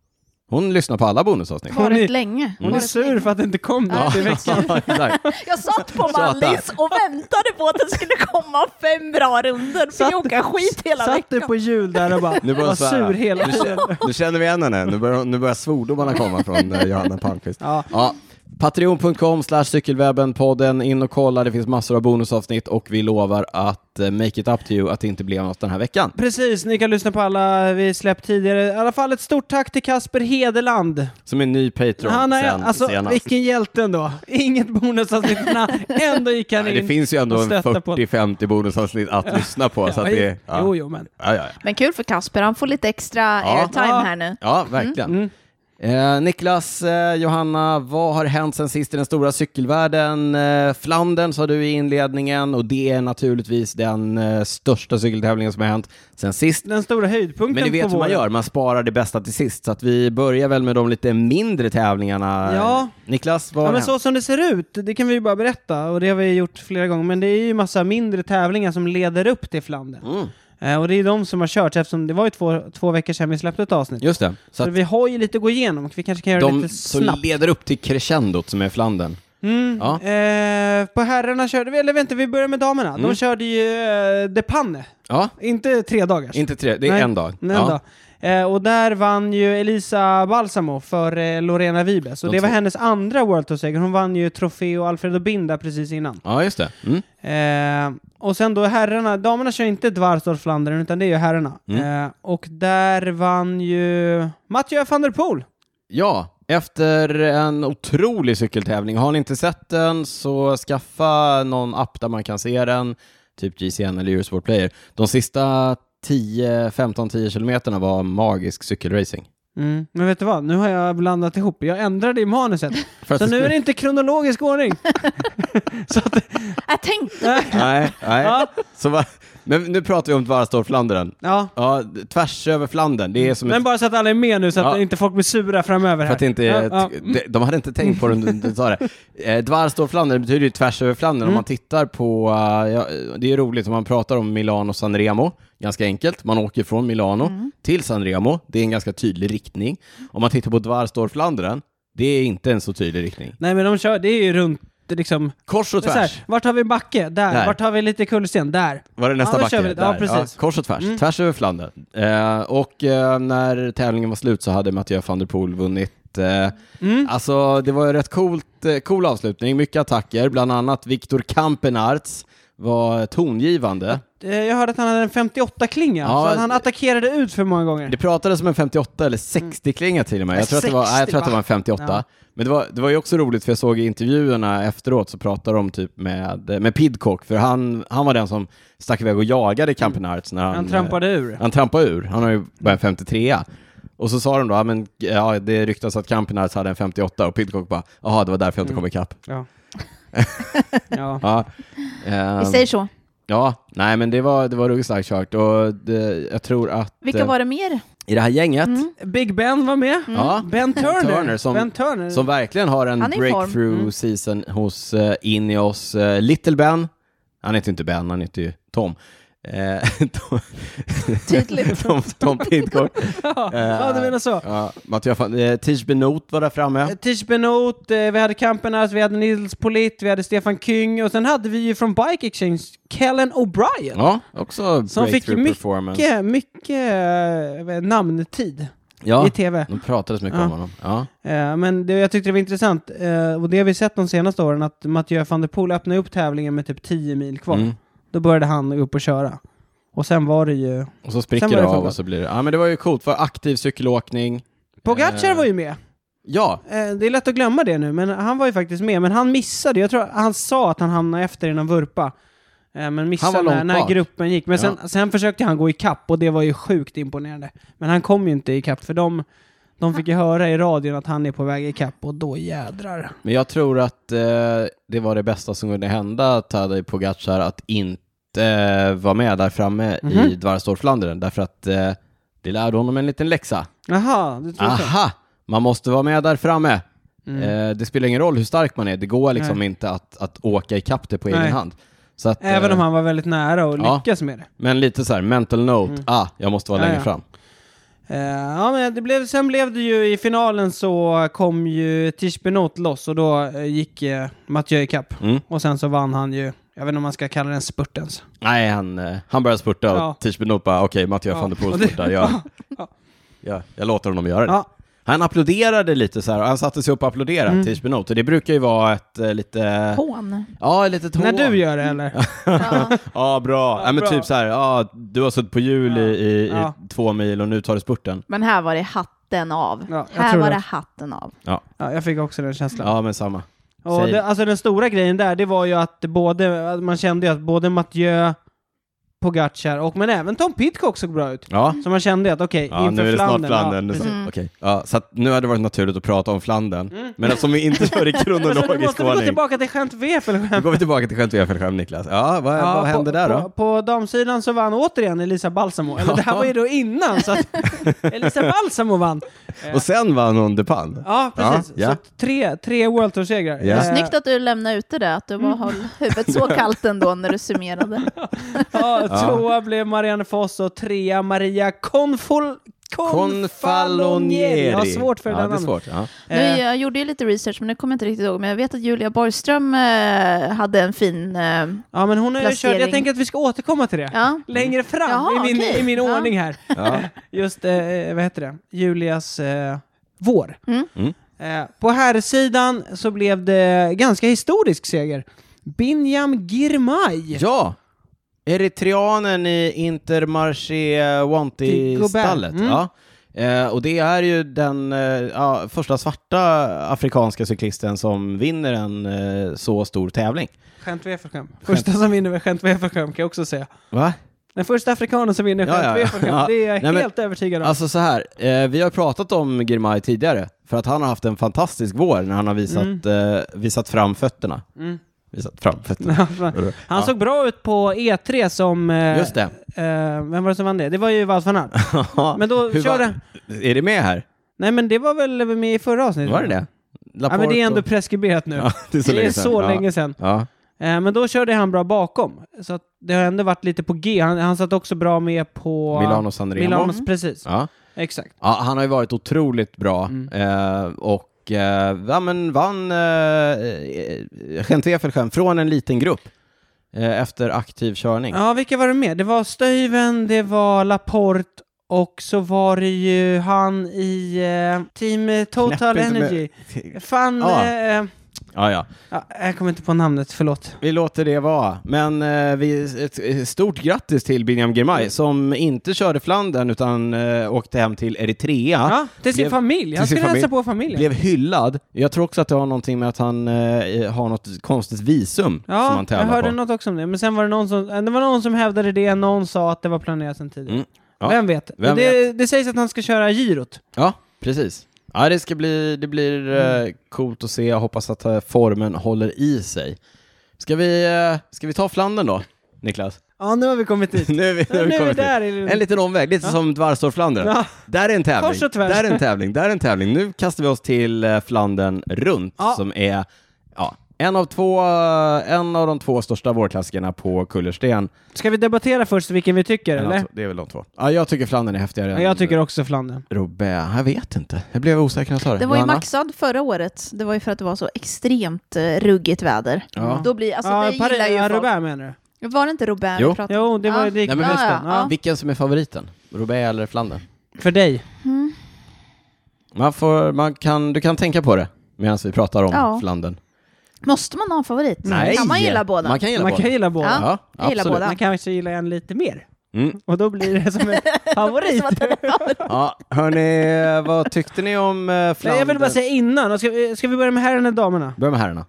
Speaker 2: Hon lyssnar på alla bonusavsnitt.
Speaker 3: Hon är-
Speaker 1: Varit länge.
Speaker 3: Hon är
Speaker 1: Varit
Speaker 3: sur
Speaker 1: länge.
Speaker 3: för att det inte kom
Speaker 2: Ja,
Speaker 3: något i veckan.
Speaker 2: exakt.
Speaker 1: Jag satt på
Speaker 2: Tjata.
Speaker 1: Mallis och väntade på att det skulle komma fem bra runder för
Speaker 3: Satt-
Speaker 1: Jocke skit hela
Speaker 3: Satt du
Speaker 1: veckan.
Speaker 3: på jul där och bara
Speaker 2: Nu börjar
Speaker 3: var
Speaker 2: hon svära.
Speaker 3: sur hela
Speaker 2: Nu
Speaker 3: tiden?
Speaker 2: Nu känner vi igen henne, nu börjar, nu börjar svordomarna komma från eh, Johanna Palmqvist.
Speaker 3: Ja.
Speaker 2: Patreon.com slash cykelwebben-podden, in och kolla, det finns massor av bonusavsnitt och vi lovar att eh, make it up to you att det inte blev något den här veckan.
Speaker 3: Precis, ni kan lyssna på alla vi släppt tidigare. I alla fall ett stort tack till Kasper Hedeland.
Speaker 2: Som en ny Patreon
Speaker 3: Han är,
Speaker 2: sen
Speaker 3: alltså,
Speaker 2: senast.
Speaker 3: vilken hjälte ändå. Inget bonusavsnitt, men han- ändå gick han
Speaker 2: Nej,
Speaker 3: in.
Speaker 2: det finns ju ändå
Speaker 3: och
Speaker 2: en
Speaker 3: stötta på-
Speaker 2: 40-50 bonusavsnitt att lyssna på. så att det, ja.
Speaker 3: Jo, jo, men.
Speaker 2: Ja, ja, ja.
Speaker 1: Men kul för Kasper, han får lite extra airtime
Speaker 3: Ja.
Speaker 1: här nu.
Speaker 2: Ja, verkligen.
Speaker 3: Mm.
Speaker 2: Eh, Niklas, eh, Johanna, vad har hänt sen sist i den stora cykelvärlden? Eh, Flandern sa du i inledningen och det är naturligtvis den eh, största cykeltävlingen som har hänt sen sist.
Speaker 3: Den stora höjdpunkten
Speaker 2: Men ni vet
Speaker 3: på
Speaker 2: hur man
Speaker 3: våren.
Speaker 2: gör, man sparar det bästa till sist. Så att vi börjar väl med de lite mindre tävlingarna.
Speaker 3: Ja.
Speaker 2: Niklas, vad
Speaker 3: Ja,
Speaker 2: har
Speaker 3: men
Speaker 2: hänt?
Speaker 3: så som det ser ut, det kan vi ju bara
Speaker 2: Mm.
Speaker 3: berätta och det har vi gjort flera gånger, men det är ju massa mindre tävlingar som leder upp till Flandern. Eh, och det är de som har kört eftersom det var ju två, två veckor sedan vi släppte ett avsnitt.
Speaker 2: Just det. Så
Speaker 3: Så
Speaker 2: att
Speaker 3: vi har ju lite att gå igenom, vi kanske kan göra det
Speaker 2: de
Speaker 3: lite
Speaker 2: som
Speaker 3: snabbt.
Speaker 2: leder upp till crescendot som är Flandern.
Speaker 3: Mm.
Speaker 2: Ja.
Speaker 3: Eh, på herrarna körde vi, eller vänta, vi börjar med damerna. De
Speaker 2: Mm.
Speaker 3: körde ju eh, De Panne,
Speaker 2: Ja,
Speaker 3: inte tre dagars.
Speaker 2: inte tre, det är
Speaker 3: Nej,
Speaker 2: en dag.
Speaker 3: Nej,
Speaker 2: ja.
Speaker 3: då. Eh, och där vann ju Elisa Balsamo för eh, Lorena Vibes. Och
Speaker 2: De
Speaker 3: det var
Speaker 2: två.
Speaker 3: hennes andra World Tour-seger. Hon vann ju Trofeo Alfredo Binda precis innan.
Speaker 2: ja, just det. Mm.
Speaker 3: Eh, och sen då herrarna, damerna kör inte Dvarstorp Flandern utan det är ju herrarna.
Speaker 2: Mm.
Speaker 3: Eh, och där vann ju Mathieu van der Poel.
Speaker 2: Ja, efter en otrolig cykeltävling. Har ni inte sett den så skaffa någon app där man kan se den, typ GCN eller Eurosport Player. De sista 10, 15-10 kilometerna var magisk cykelracing.
Speaker 3: Mm. Men vet du vad, nu har jag blandat ihop. Jag ändrade i manuset.
Speaker 2: För att
Speaker 3: Så
Speaker 2: det
Speaker 3: nu är det inte kronologisk ordning. Så att,
Speaker 1: Jag tänkte...
Speaker 2: skulle- Nej, nej.
Speaker 3: ja,
Speaker 2: Så va... Men nu pratar vi om Dvarstorp-Flandern.
Speaker 3: ja.
Speaker 2: Ja, d- tvärs över Flandern. Det är som ett...
Speaker 3: Men bara så att alla är med nu så att
Speaker 2: Ja.
Speaker 3: inte folk blir sura framöver
Speaker 2: För
Speaker 3: här.
Speaker 2: att det inte
Speaker 3: Ja,
Speaker 2: är
Speaker 3: ja.
Speaker 2: ett- de- De hade inte tänkt på det när du sa det. Eh, Dvarstorflandern betyder ju tvärs över Flandern.
Speaker 3: Mm.
Speaker 2: Om man tittar på, eh, ja, det är ju roligt om man pratar om Milano och Sanremo, ganska enkelt. Man åker från Milano
Speaker 3: Mm.
Speaker 2: till Sanremo, det är en ganska tydlig riktning. Om man tittar på Dvarstorflandern, det är inte en så tydlig riktning.
Speaker 3: Nej men de kör, det är ju runt liksom...
Speaker 2: Kors och
Speaker 3: Det är så
Speaker 2: tvärs
Speaker 3: här, vart har vi en backe? Där.
Speaker 2: Där.
Speaker 3: Vart har vi lite kullersten? Där.
Speaker 2: var det
Speaker 3: Ja,
Speaker 2: nästa
Speaker 3: då
Speaker 2: backe.
Speaker 3: kör vi det. Ja,
Speaker 2: där.
Speaker 3: precis. Mm.
Speaker 2: kors och tvärs, tvärs över Flandern. Eh, och eh, när tävlingen var slut så hade Mathieu van der Poel vunnit eh,
Speaker 3: Mm.
Speaker 2: Alltså det var ju rätt coolt, eh, cool avslutning, mycket attacker, bland annat Viktor Kampenarts var tongivande.
Speaker 3: Eh, Jag hörde att han hade en 58-klinga,
Speaker 2: Ja,
Speaker 3: så att han
Speaker 2: det-
Speaker 3: attackerade ut för många gånger.
Speaker 2: Det pratades om en 58 eller 60-klinga till och med. Jag tror, att det var, nej, jag tror att det var en 58.
Speaker 3: Ja.
Speaker 2: Men det var, det var ju också roligt för jag såg i intervjuerna efteråt så pratade de typ med, med Pidcock, för han, han var den som stack iväg och jagade Kampenarts när han,
Speaker 3: Han trampade ur.
Speaker 2: eh, Han trampade ur, han har ju bara en 53 och så sa de då, ja, men, ja, det ryktas att Kampenarts hade en 58 och Pidcock bara, jaha, det var därför jag inte kom
Speaker 1: Mm.
Speaker 2: ikapp.
Speaker 3: Ja. ja.
Speaker 2: Ja. Ehm,
Speaker 1: Vi säger så.
Speaker 2: Ja, nej men det var, det var ruggigt starkt kört och det, jag tror att
Speaker 1: Vilka
Speaker 2: eh,
Speaker 1: var Mm, det mer?
Speaker 2: i det här gänget
Speaker 3: Big Ben var med.
Speaker 2: Ja,
Speaker 3: Ben Turner.
Speaker 2: Turner som-
Speaker 3: ben Turner.
Speaker 2: som verkligen har en
Speaker 1: Han är i form. Mm.
Speaker 2: breakthrough season hos uh, Ineos eh, Little Ben, han heter inte Ben, han heter ju Tom. Eh, Tom,
Speaker 1: Tydligt.
Speaker 2: Tom, Tom Pidcock.
Speaker 3: ja.
Speaker 2: eh,
Speaker 3: ja, du menar så.
Speaker 2: Ja, Mattias van, eh, Tish Benot var där framme.
Speaker 3: Eh, Tish Benot, eh, vi hade Kampenars, vi hade Nils Polit, vi hade Stefan Kyng och sen hade vi ju från Bike Exchange Kellen O'Brien.
Speaker 2: Ja, också
Speaker 3: Som fick
Speaker 2: breakthrough
Speaker 3: mycket-
Speaker 2: performance.
Speaker 3: Mycket, mycket eh, namntid
Speaker 2: Ja,
Speaker 3: i tv.
Speaker 2: de pratades mycket
Speaker 3: Ja.
Speaker 2: om honom. Ja.
Speaker 3: Eh, Men det, jag tyckte det var intressant, eh, och det har vi sett de senaste åren, att Mathieu van der Poel öppnade upp tävlingen med typ 10 mil kvar.
Speaker 2: Mm.
Speaker 3: Då började han upp och köra. Och sen var det ju...
Speaker 2: Och så
Speaker 3: Sen
Speaker 2: spricker
Speaker 3: var
Speaker 2: det
Speaker 3: det
Speaker 2: av
Speaker 3: frågan.
Speaker 2: och så blir det... Ja, men det var ju coolt, för aktiv cykelåkning.
Speaker 3: Pogacar
Speaker 2: Eh.
Speaker 3: var ju med.
Speaker 2: Ja,
Speaker 3: Eh, Det är lätt att glömma det nu, men han var ju faktiskt med. Men han missade, jag tror han sa att han hamnade efter i någon vurpa. Eh, Men missade
Speaker 2: Han var
Speaker 3: när,
Speaker 2: långt
Speaker 3: när
Speaker 2: bak.
Speaker 3: gruppen gick. Men sen, sen försökte han gå i kapp och det var ju sjukt imponerande. Men han kom ju inte i kapp för de, de fick ju höra i radion att han är på väg i kapp och då jädrar.
Speaker 2: Men jag tror att eh, det var det bästa som kunde hända Tadej Pogacar att inte eh, vara med där framme i
Speaker 3: Mhm.
Speaker 2: Dvarstorflandern därför att eh, det lärde honom en liten läxa.
Speaker 3: Jaha, du tror så?
Speaker 2: Aha! Man måste vara med där framme.
Speaker 3: Mm.
Speaker 2: Eh, det spelar ingen roll hur stark man är, det går liksom
Speaker 3: Nej.
Speaker 2: inte att, att åka ikapp det på
Speaker 3: Nej.
Speaker 2: egen hand. Så att,
Speaker 3: Även
Speaker 2: eh,
Speaker 3: om han var väldigt nära och
Speaker 2: ja.
Speaker 3: lyckas med det.
Speaker 2: Men lite så här, mental note, ah, jag måste vara
Speaker 3: Mm. Ja,
Speaker 2: längre
Speaker 3: ja.
Speaker 2: fram.
Speaker 3: Eh, ja, men det blev, sen blev det ju i finalen så kom ju Tish Benot loss och då eh, gick eh, Mathieu i kapp.
Speaker 2: Mm.
Speaker 3: Och sen så vann han ju, jag vet inte om man ska kalla den spurt ens.
Speaker 2: Nej, han, eh, han började spurta och
Speaker 3: Ja.
Speaker 2: Tish Benot bara, okej, Mattias
Speaker 3: Ja.
Speaker 2: van der Poel
Speaker 3: Och det-
Speaker 2: spurtar, jag,
Speaker 3: Ja.
Speaker 2: jag, jag låter honom göra det.
Speaker 3: Ja,
Speaker 2: Han applåderade lite så här, och han satte sig upp och applåderade
Speaker 3: Mm.
Speaker 2: till Spinot, och det brukar ju vara ett eh, lite...
Speaker 1: Hån.
Speaker 2: Ja, lite tån.
Speaker 3: när du gör det eller?
Speaker 1: Ja.
Speaker 2: Ja, bra.
Speaker 3: Ja,
Speaker 2: Ja, men
Speaker 3: bra.
Speaker 2: typ så här, ja, du har suttit på hjul i, i,
Speaker 3: Ja.
Speaker 2: i två mil och nu tar du spurten.
Speaker 1: Men här var det hatten av.
Speaker 3: Ja, jag
Speaker 1: här
Speaker 3: tror
Speaker 1: var
Speaker 3: det.
Speaker 1: det hatten av.
Speaker 3: Ja, jag fick också den känslan.
Speaker 2: Ja, men samma.
Speaker 3: och
Speaker 2: säg.
Speaker 3: det, alltså den stora grejen där, det var ju att både, att man kände ju att både Mathieu, Pogacar och, men även Tom Pidcock såg bra ut.
Speaker 2: Ja,
Speaker 3: Så man kände att okej,
Speaker 2: ja
Speaker 3: inför
Speaker 2: nu är det snart
Speaker 3: Flandern.
Speaker 2: Flandern. Ja,
Speaker 3: Ja, precis.
Speaker 1: Mm.
Speaker 2: Okej. Ja, så att nu hade det varit naturligt att prata om Flandern, men eftersom vi inte kör i
Speaker 3: Så nu
Speaker 2: kronologisk
Speaker 3: Mm. Alltså, måste vi gå
Speaker 2: ordning.
Speaker 3: tillbaka till skämt VF eller
Speaker 2: Nu
Speaker 3: skämt
Speaker 2: går vi tillbaka till skämt och fallskärm, Niklas. Ja, vad, Eh, vad hände
Speaker 3: på,
Speaker 2: där
Speaker 3: På,
Speaker 2: då?
Speaker 3: på damsidan så vann återigen Elisa Balsamo. Eller det här
Speaker 2: Ja.
Speaker 3: var ju då innan, så att Elisa Balsamo vann.
Speaker 2: Och sen vann hon DePan.
Speaker 3: Ja, precis.
Speaker 2: Ja, ja.
Speaker 3: Så att tre, tre World Tour-segrar.
Speaker 2: Ja.
Speaker 3: Eh, Mm.
Speaker 1: Snyggt att du lämnade ute det, att du bara höll huvudet så kallt ändå när du summerade.
Speaker 3: Eh, Ja, Tvåa blev Marianne Foss och trea Maria Confol...
Speaker 2: Confalonieri.
Speaker 3: Jag har svårt för
Speaker 2: ja,
Speaker 3: den
Speaker 2: det är
Speaker 3: namnet. Eh,
Speaker 2: svårt. Ja.
Speaker 1: Nu, jag gjorde ju lite research, men det kommer jag inte riktigt ihåg. Men jag vet att Julia Borgström eh, hade en fin... Eh,
Speaker 3: Ja, men hon har ju kört, jag
Speaker 1: Placering.
Speaker 3: tänker att vi ska återkomma till det.
Speaker 1: ja.
Speaker 3: Längre fram
Speaker 1: Jaha,
Speaker 3: i min,
Speaker 1: okej.
Speaker 3: i min
Speaker 1: Ja.
Speaker 3: ordning här.
Speaker 2: Ja.
Speaker 3: Just, eh, vad heter det, Julias eh, vår.
Speaker 1: Mm.
Speaker 2: Mm.
Speaker 3: Eh, på här sidan så blev det ganska historisk seger. Binyam Girmay.
Speaker 2: ja, eritreanen i Intermarché Wanty-stallet.
Speaker 3: Mm.
Speaker 2: Ja. Eh, och det är ju den eh, ja, första svarta afrikanska cyklisten som vinner en eh, så stor tävling.
Speaker 3: Gent Wevergem. Första som vinner med Gent Wevergem kan jag också säga.
Speaker 2: Va?
Speaker 3: Den första afrikanen som vinner
Speaker 2: Ja,
Speaker 3: Gent
Speaker 2: ja, ja.
Speaker 3: Wevergem,
Speaker 2: Ja.
Speaker 3: det är jag
Speaker 2: Nej, men-
Speaker 3: helt övertygad om.
Speaker 2: Alltså så här, eh, vi har pratat om Girmay tidigare, för att han har haft en fantastisk vår när han har visat, eh, visat fram fötterna.
Speaker 3: Mm.
Speaker 2: Visat fram fötterna.
Speaker 3: Alltså, Han såg bra ut på E3 som... eh,
Speaker 2: Just det.
Speaker 3: eh, vem var det som vann det? Det var ju Wout van Aert. Men då
Speaker 2: Hur
Speaker 3: kör
Speaker 2: var-
Speaker 3: det.
Speaker 2: Är det med här?
Speaker 3: Nej men det var väl med i förra avsnittet?
Speaker 2: Var det det?
Speaker 3: Ja men det är ändå
Speaker 2: Laporte
Speaker 3: preskriberat nu.
Speaker 2: och- Ja, det är så länge sedan. ja.
Speaker 3: länge sedan.
Speaker 2: Ja.
Speaker 3: Eh, men då körde han bra bakom. Så att det har ändå varit lite på G. Han, han satt också bra med på...
Speaker 2: Milano Sanremo.
Speaker 3: Milanos, precis.
Speaker 2: Ja.
Speaker 3: Exakt.
Speaker 2: Ja, han har ju varit otroligt bra
Speaker 3: Mm.
Speaker 2: eh, och eh, ja, men vann eh, eh, Gent Wevelgem från en liten grupp eh, efter aktiv körning.
Speaker 3: Ja, vilka var det med? Det var Stuyven, det var Laporte och så var det ju han i eh, Team Total
Speaker 2: Knäpp inte med-
Speaker 3: Energy. Fan...
Speaker 2: Ja.
Speaker 3: Eh,
Speaker 2: Ja, ja.
Speaker 3: ja, jag kommer inte på namnet, förlåt.
Speaker 2: Vi låter det vara, men eh, vi, ett, ett stort grattis till Binyam
Speaker 3: Mm.
Speaker 2: Girmay som inte körde Flandern utan eh, åkte hem till Eritrea.
Speaker 3: Ja, till sin
Speaker 2: blev-
Speaker 3: familj. Han
Speaker 2: till sin
Speaker 3: skulle hälsa
Speaker 2: familj.
Speaker 3: på familjen.
Speaker 2: Blev hyllad. Jag tror också att det har någonting med att han eh, har något konstigt visum som
Speaker 3: Ja,
Speaker 2: han
Speaker 3: jag
Speaker 2: tävlar
Speaker 3: hörde
Speaker 2: på.
Speaker 3: något också om det. Men sen var det någon som, eh, det var någon som hävdade det, någon sa att det var planerat sedan tidigare.
Speaker 2: Mm. Ja.
Speaker 3: Vem vet?
Speaker 2: Vem
Speaker 3: det, det sägs att han ska köra girot.
Speaker 2: Ja, precis. Ja, det ska bli, det blir eh,
Speaker 3: Mm.
Speaker 2: coolt att se. Jag hoppas att eh, formen håller i sig. Ska vi, eh, ska vi ta Flandern då, Niklas?
Speaker 3: Ja, nu har vi kommit dit.
Speaker 2: nu är vi,
Speaker 3: Ja, nu är vi
Speaker 2: kommit dit.
Speaker 3: där. i-
Speaker 2: En liten omväg, lite som Dvarstor-Flandern.
Speaker 3: Ja.
Speaker 2: Där är en
Speaker 3: Kors
Speaker 2: tävling,
Speaker 3: och tvärs.
Speaker 2: där är en tävling, där är en tävling. Nu kastar vi oss till eh, Flandern runt,
Speaker 3: Ja.
Speaker 2: som är ja, en, av två, eh, en av de två största vårklassikerna på kullersten.
Speaker 3: Ska vi debattera först vilken vi tycker,
Speaker 2: En av
Speaker 3: eller?
Speaker 2: två- Det är väl de två. Ja, jag tycker Flandern är häftigare
Speaker 3: Ja, jag tycker också Flandern.
Speaker 2: Robert. Jag vet inte. Jag blev osäker när jag sa det.
Speaker 1: Det var ju
Speaker 2: Johanna?
Speaker 1: maxad förra året. Det var ju för att det var så extremt eh, ruggigt väder.
Speaker 2: Ja.
Speaker 1: Då blir, alltså, det
Speaker 3: ja, Paris,
Speaker 1: gillar ju
Speaker 3: ja,
Speaker 1: folk.
Speaker 3: Robert menar du?
Speaker 1: Var det inte Robert
Speaker 2: Jo.
Speaker 1: vi pratade om?
Speaker 3: Jo, det var
Speaker 1: Ja.
Speaker 3: ju det.
Speaker 2: Nej, men
Speaker 3: ja,
Speaker 1: hösten.
Speaker 3: ja.
Speaker 1: Ja.
Speaker 2: Vilken som är favoriten? Roubaix eller Flandern?
Speaker 3: För dig.
Speaker 2: Man får, man kan, du kan tänka på det medan vi pratar om
Speaker 1: Ja.
Speaker 2: Flandern.
Speaker 1: Måste man ha en favorit? Kan man gilla båda?
Speaker 2: Man kan gilla
Speaker 3: Man
Speaker 2: båda.
Speaker 3: kan gilla båda.
Speaker 1: Ja.
Speaker 2: Ja,
Speaker 1: Jag gillar
Speaker 2: absolut.
Speaker 1: båda.
Speaker 3: Man kanske gillar en lite mer.
Speaker 2: Mm.
Speaker 3: Och då blir det som en favorit.
Speaker 2: Ja, hörni, vad tyckte ni om eh, Flandern?
Speaker 3: Nej, jag vill bara säga innan, ska vi, ska vi börja med herrarna eller damerna?
Speaker 2: Börja med herrarna.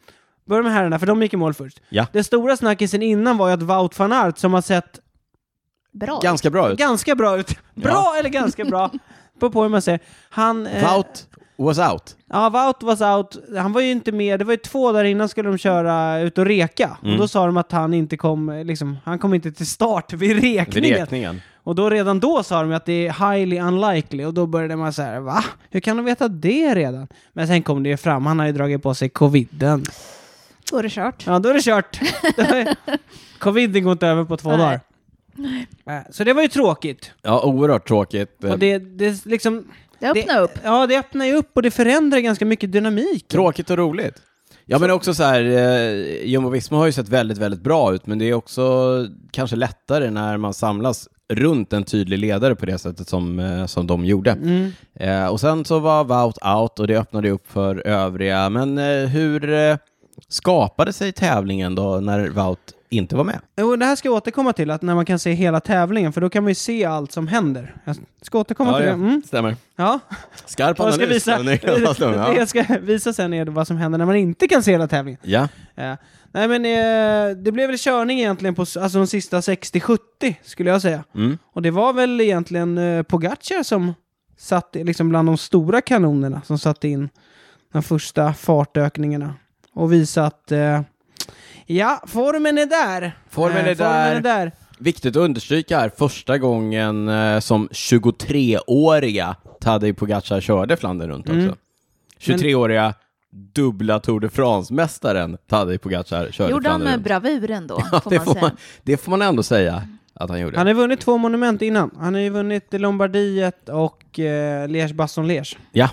Speaker 3: Börja med herrarna, för de gick i mål först.
Speaker 2: Ja.
Speaker 3: Det stora snackisen innan var ju att Wout van Aert, som har sett
Speaker 1: Bra.
Speaker 2: Ganska bra ut.
Speaker 3: ganska bra ut, bra eller ganska bra, på på hur man säger, han... eh,
Speaker 2: Wout was out.
Speaker 3: Ja, Wout was out. Han var ju inte med. Det var ju två dagar innan skulle de köra ut och reka.
Speaker 2: Mm.
Speaker 3: Och då sa de att han inte kom, eh, liksom, han kom inte till start vid
Speaker 2: Vid
Speaker 3: rekningen.
Speaker 2: rekningen.
Speaker 3: Och då redan då sa de ju att det är highly unlikely. Och då började man så här, va? Hur kan de veta det redan? Men sen kom det ju fram, han har ju dragit på sig coviden.
Speaker 1: Då är det kört.
Speaker 3: Ja, då är det kört. Då är- Coviden går inte över på två
Speaker 1: Nej.
Speaker 3: dagar. Nej, Så det var ju tråkigt.
Speaker 2: Ja, oerhört tråkigt.
Speaker 3: Och det, det liksom...
Speaker 1: Det öppnar upp.
Speaker 3: Ja, det öppnar ju upp och det förändrar ganska mycket dynamik.
Speaker 2: Tråkigt och roligt. Ja, men också så här, eh, Jumbo Visma har ju sett väldigt, väldigt bra ut, men det är också kanske lättare när man samlas runt en tydlig ledare på det sättet som, eh, som de gjorde.
Speaker 3: Mm.
Speaker 2: Eh, och sen så var Wout out och det öppnade ju upp för övriga, men eh, hur eh, skapade sig tävlingen då när Wout inte var med?
Speaker 3: Jo, det här ska jag återkomma till, att när man kan se hela tävlingen, för då kan man ju se allt som händer. Jag ska återkomma till det. Mm.
Speaker 2: stämmer.
Speaker 3: Ja.
Speaker 2: Skarp
Speaker 3: Jag ska
Speaker 2: analys.
Speaker 3: visa,
Speaker 2: av Niklas Hasslum,
Speaker 3: det
Speaker 2: ja.
Speaker 3: jag ska visa sen är vad som händer när man inte kan se hela tävlingen.
Speaker 2: ja,
Speaker 3: Ja. Nej men eh, det blev väl körning egentligen på s- alltså, de sista 60-70 skulle jag säga.
Speaker 2: Mm.
Speaker 3: Och det var väl egentligen eh, Pogacar som satt i- liksom bland de stora kanonerna som satte in de första fartökningarna och visat eh, ja, formen är där. Eh,
Speaker 2: Formen är
Speaker 3: Formen
Speaker 2: där.
Speaker 3: är där.
Speaker 2: Viktigt att understryka här, första gången eh, som 23-åriga Tadej Pogacar körde Flandern runt
Speaker 3: Mm.
Speaker 2: också. 23-åriga dubbla Tour de France-mästaren Tadej Pogacar körde
Speaker 1: Gjorde han
Speaker 2: Flandern
Speaker 1: med
Speaker 2: runt.
Speaker 1: bravur ändå, får
Speaker 2: det,
Speaker 1: man
Speaker 2: får man,
Speaker 1: säga.
Speaker 2: det får man ändå säga. att han gjorde.
Speaker 3: Han har vunnit två monument innan. Han har ju vunnit Lombardiet och eh, Liège Baston Liège.
Speaker 2: Ja.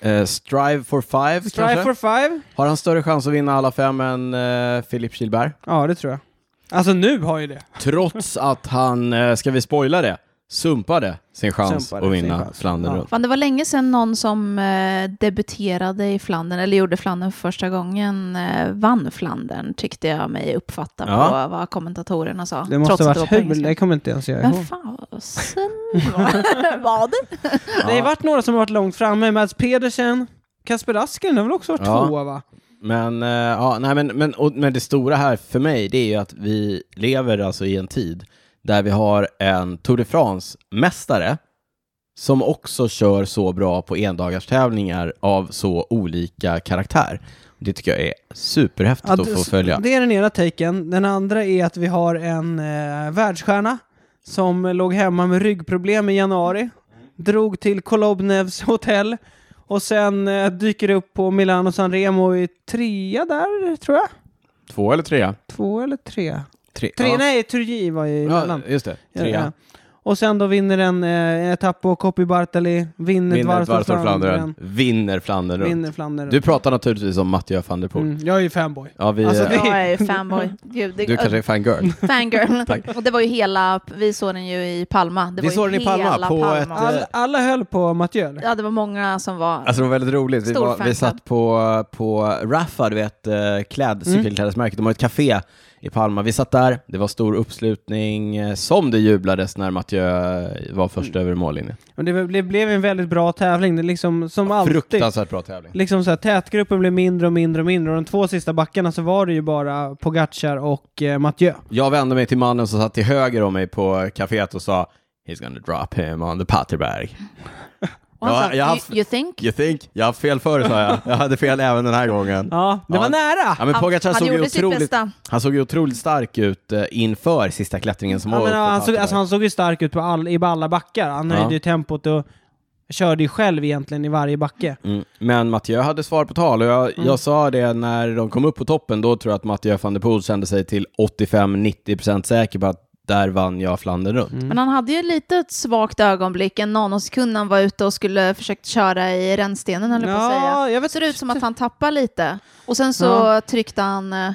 Speaker 2: Eh, Strive for five
Speaker 3: Strive
Speaker 2: kanske?
Speaker 3: for five?
Speaker 2: Har han större chans att vinna alla fem än eh, Filip Kihlberg?
Speaker 3: Ja, det tror jag. Alltså nu har ju det.
Speaker 2: Trots att han, eh, ska vi spoila det, sumpade sin chans
Speaker 3: Sumpade
Speaker 2: att
Speaker 3: sin
Speaker 2: vinna
Speaker 3: chans.
Speaker 2: Flandern
Speaker 3: Ja.
Speaker 2: runt.
Speaker 1: Fan, det var länge sedan någon som eh, debuterade i Flandern, eller gjorde Flandern för första gången, eh, vann Flandern, tyckte jag mig uppfatta
Speaker 2: Ja.
Speaker 1: på vad kommentatorerna sa.
Speaker 3: Det måste
Speaker 1: trots
Speaker 3: ha
Speaker 1: att det
Speaker 3: varit
Speaker 1: var på
Speaker 3: hur?
Speaker 1: engelska.
Speaker 3: Det kommer inte ens jag ihåg.
Speaker 1: Men fasen var det?
Speaker 3: Det har ju varit några som har varit långt framme. Mats Pedersen, Kasper Asken har väl också varit
Speaker 2: Ja.
Speaker 3: tvåa va?
Speaker 2: Men, eh, ja, nej, men, men, och, men det stora här för mig det är ju att vi lever alltså i en tid där vi har en Tour de France-mästare som också kör så bra på endagarstävlingar av så olika karaktär. Det tycker jag är superhäftigt
Speaker 3: Ja,
Speaker 2: att få
Speaker 3: det-
Speaker 2: följa.
Speaker 3: Det är den ena taken. Den andra är att vi har en eh, världsstjärna som låg hemma med ryggproblem i januari. Drog till Kolobnevs hotell och sen eh, dyker upp på Milano Sanremo i trea där, tror jag.
Speaker 2: Två eller trea?
Speaker 3: Två eller tre?
Speaker 2: Tre,
Speaker 3: Tre,
Speaker 2: ja.
Speaker 3: nej, Turgi var
Speaker 2: Ja,
Speaker 3: ju emellan.
Speaker 2: just det.
Speaker 3: Ja,
Speaker 2: Trea.
Speaker 3: ja. Och sen då vinner en, eh, en etapp på Coppi Bartali, vinner
Speaker 2: Vinner ett
Speaker 3: Dvarstorp
Speaker 2: varvstorp Flandern. Vinner Flandern runt.
Speaker 3: vinner Flandern.
Speaker 2: Du pratar naturligtvis om Mattias van der Poel.
Speaker 3: mm, jag är ju fanboy.
Speaker 2: Ja, vi,
Speaker 3: Alltså,
Speaker 2: eh,
Speaker 3: det-
Speaker 1: Jag är fanboy. Gud, det,
Speaker 2: Du kanske är fangirl.
Speaker 1: Fangirl.
Speaker 2: Tack.
Speaker 1: Och det var ju hela, vi såg den ju i Palma. Det
Speaker 2: Vi
Speaker 1: var ju
Speaker 2: såg den i Palma,
Speaker 1: hela
Speaker 2: på
Speaker 1: Palma.
Speaker 2: ett, eh,
Speaker 3: All, alla höll på Mathieu, eller?
Speaker 1: Ja, det var många som var...
Speaker 2: Alltså det var väldigt roligt. Vi,
Speaker 1: Stor
Speaker 2: var, vi
Speaker 1: fanclub.
Speaker 2: satt på, på Raffa, du vet, eh, kläd, cykelklädesmärket. De har ett café i Palma. Vi satt där, det var stor uppslutning, eh, som det jublades när Mathieu eh, var först
Speaker 3: Mm.
Speaker 2: över mållinjen.
Speaker 3: Men det, det blev en väldigt bra tävling, det liksom, som alltid.
Speaker 2: Fruktansvärt bra tävling.
Speaker 3: Liksom så här, tätgruppen blev mindre och mindre och mindre och de två sista backarna så var det ju bara Pogacar och eh, Mathieu.
Speaker 2: Jag vände mig till mannen som satt till höger om mig på caféet och sa He's gonna drop him on the Patterberg.
Speaker 1: och han
Speaker 2: ja,
Speaker 1: sa,
Speaker 2: jag har
Speaker 1: "You-
Speaker 2: haft-
Speaker 1: you think?
Speaker 2: You think? Jag har haft fel förr, sa jag. Jag hade fel även den här gången.
Speaker 3: Ja, det
Speaker 2: Ja.
Speaker 3: var nära!
Speaker 2: Ja, men
Speaker 1: Han-
Speaker 2: Pogacar
Speaker 1: han
Speaker 2: såg ju
Speaker 1: gjorde sitt
Speaker 2: otroligt,
Speaker 1: bästa.
Speaker 2: han såg ju otroligt stark ut eh, inför sista klättringen som
Speaker 3: Ja,
Speaker 2: var
Speaker 3: men,
Speaker 2: upp
Speaker 3: ja,
Speaker 2: på
Speaker 3: han, såg,
Speaker 2: Patterberg.
Speaker 3: alltså, han såg ju stark ut på all, i alla backar. Han
Speaker 2: Ja.
Speaker 3: höjde ju tempot och körde ju själv egentligen i varje backe.
Speaker 2: Mm. Men Mathieu hade svar på tal och jag,
Speaker 3: Mm.
Speaker 2: jag sa det när de kom upp på toppen, då tror jag att Mathieu van der Poel kände sig till 85-90% säker på att där vann jag Flandern runt.
Speaker 3: Mm.
Speaker 1: Men han hade ju lite ett svagt ögonblick, en nanosekund när han var ute och skulle försökt köra i rännstenen höll jag på att
Speaker 3: Ja,
Speaker 1: säga.
Speaker 3: jag vet-
Speaker 1: det ser ut som att han tappar lite. Och sen så
Speaker 3: Ja. Mm.
Speaker 1: tryckte han eh,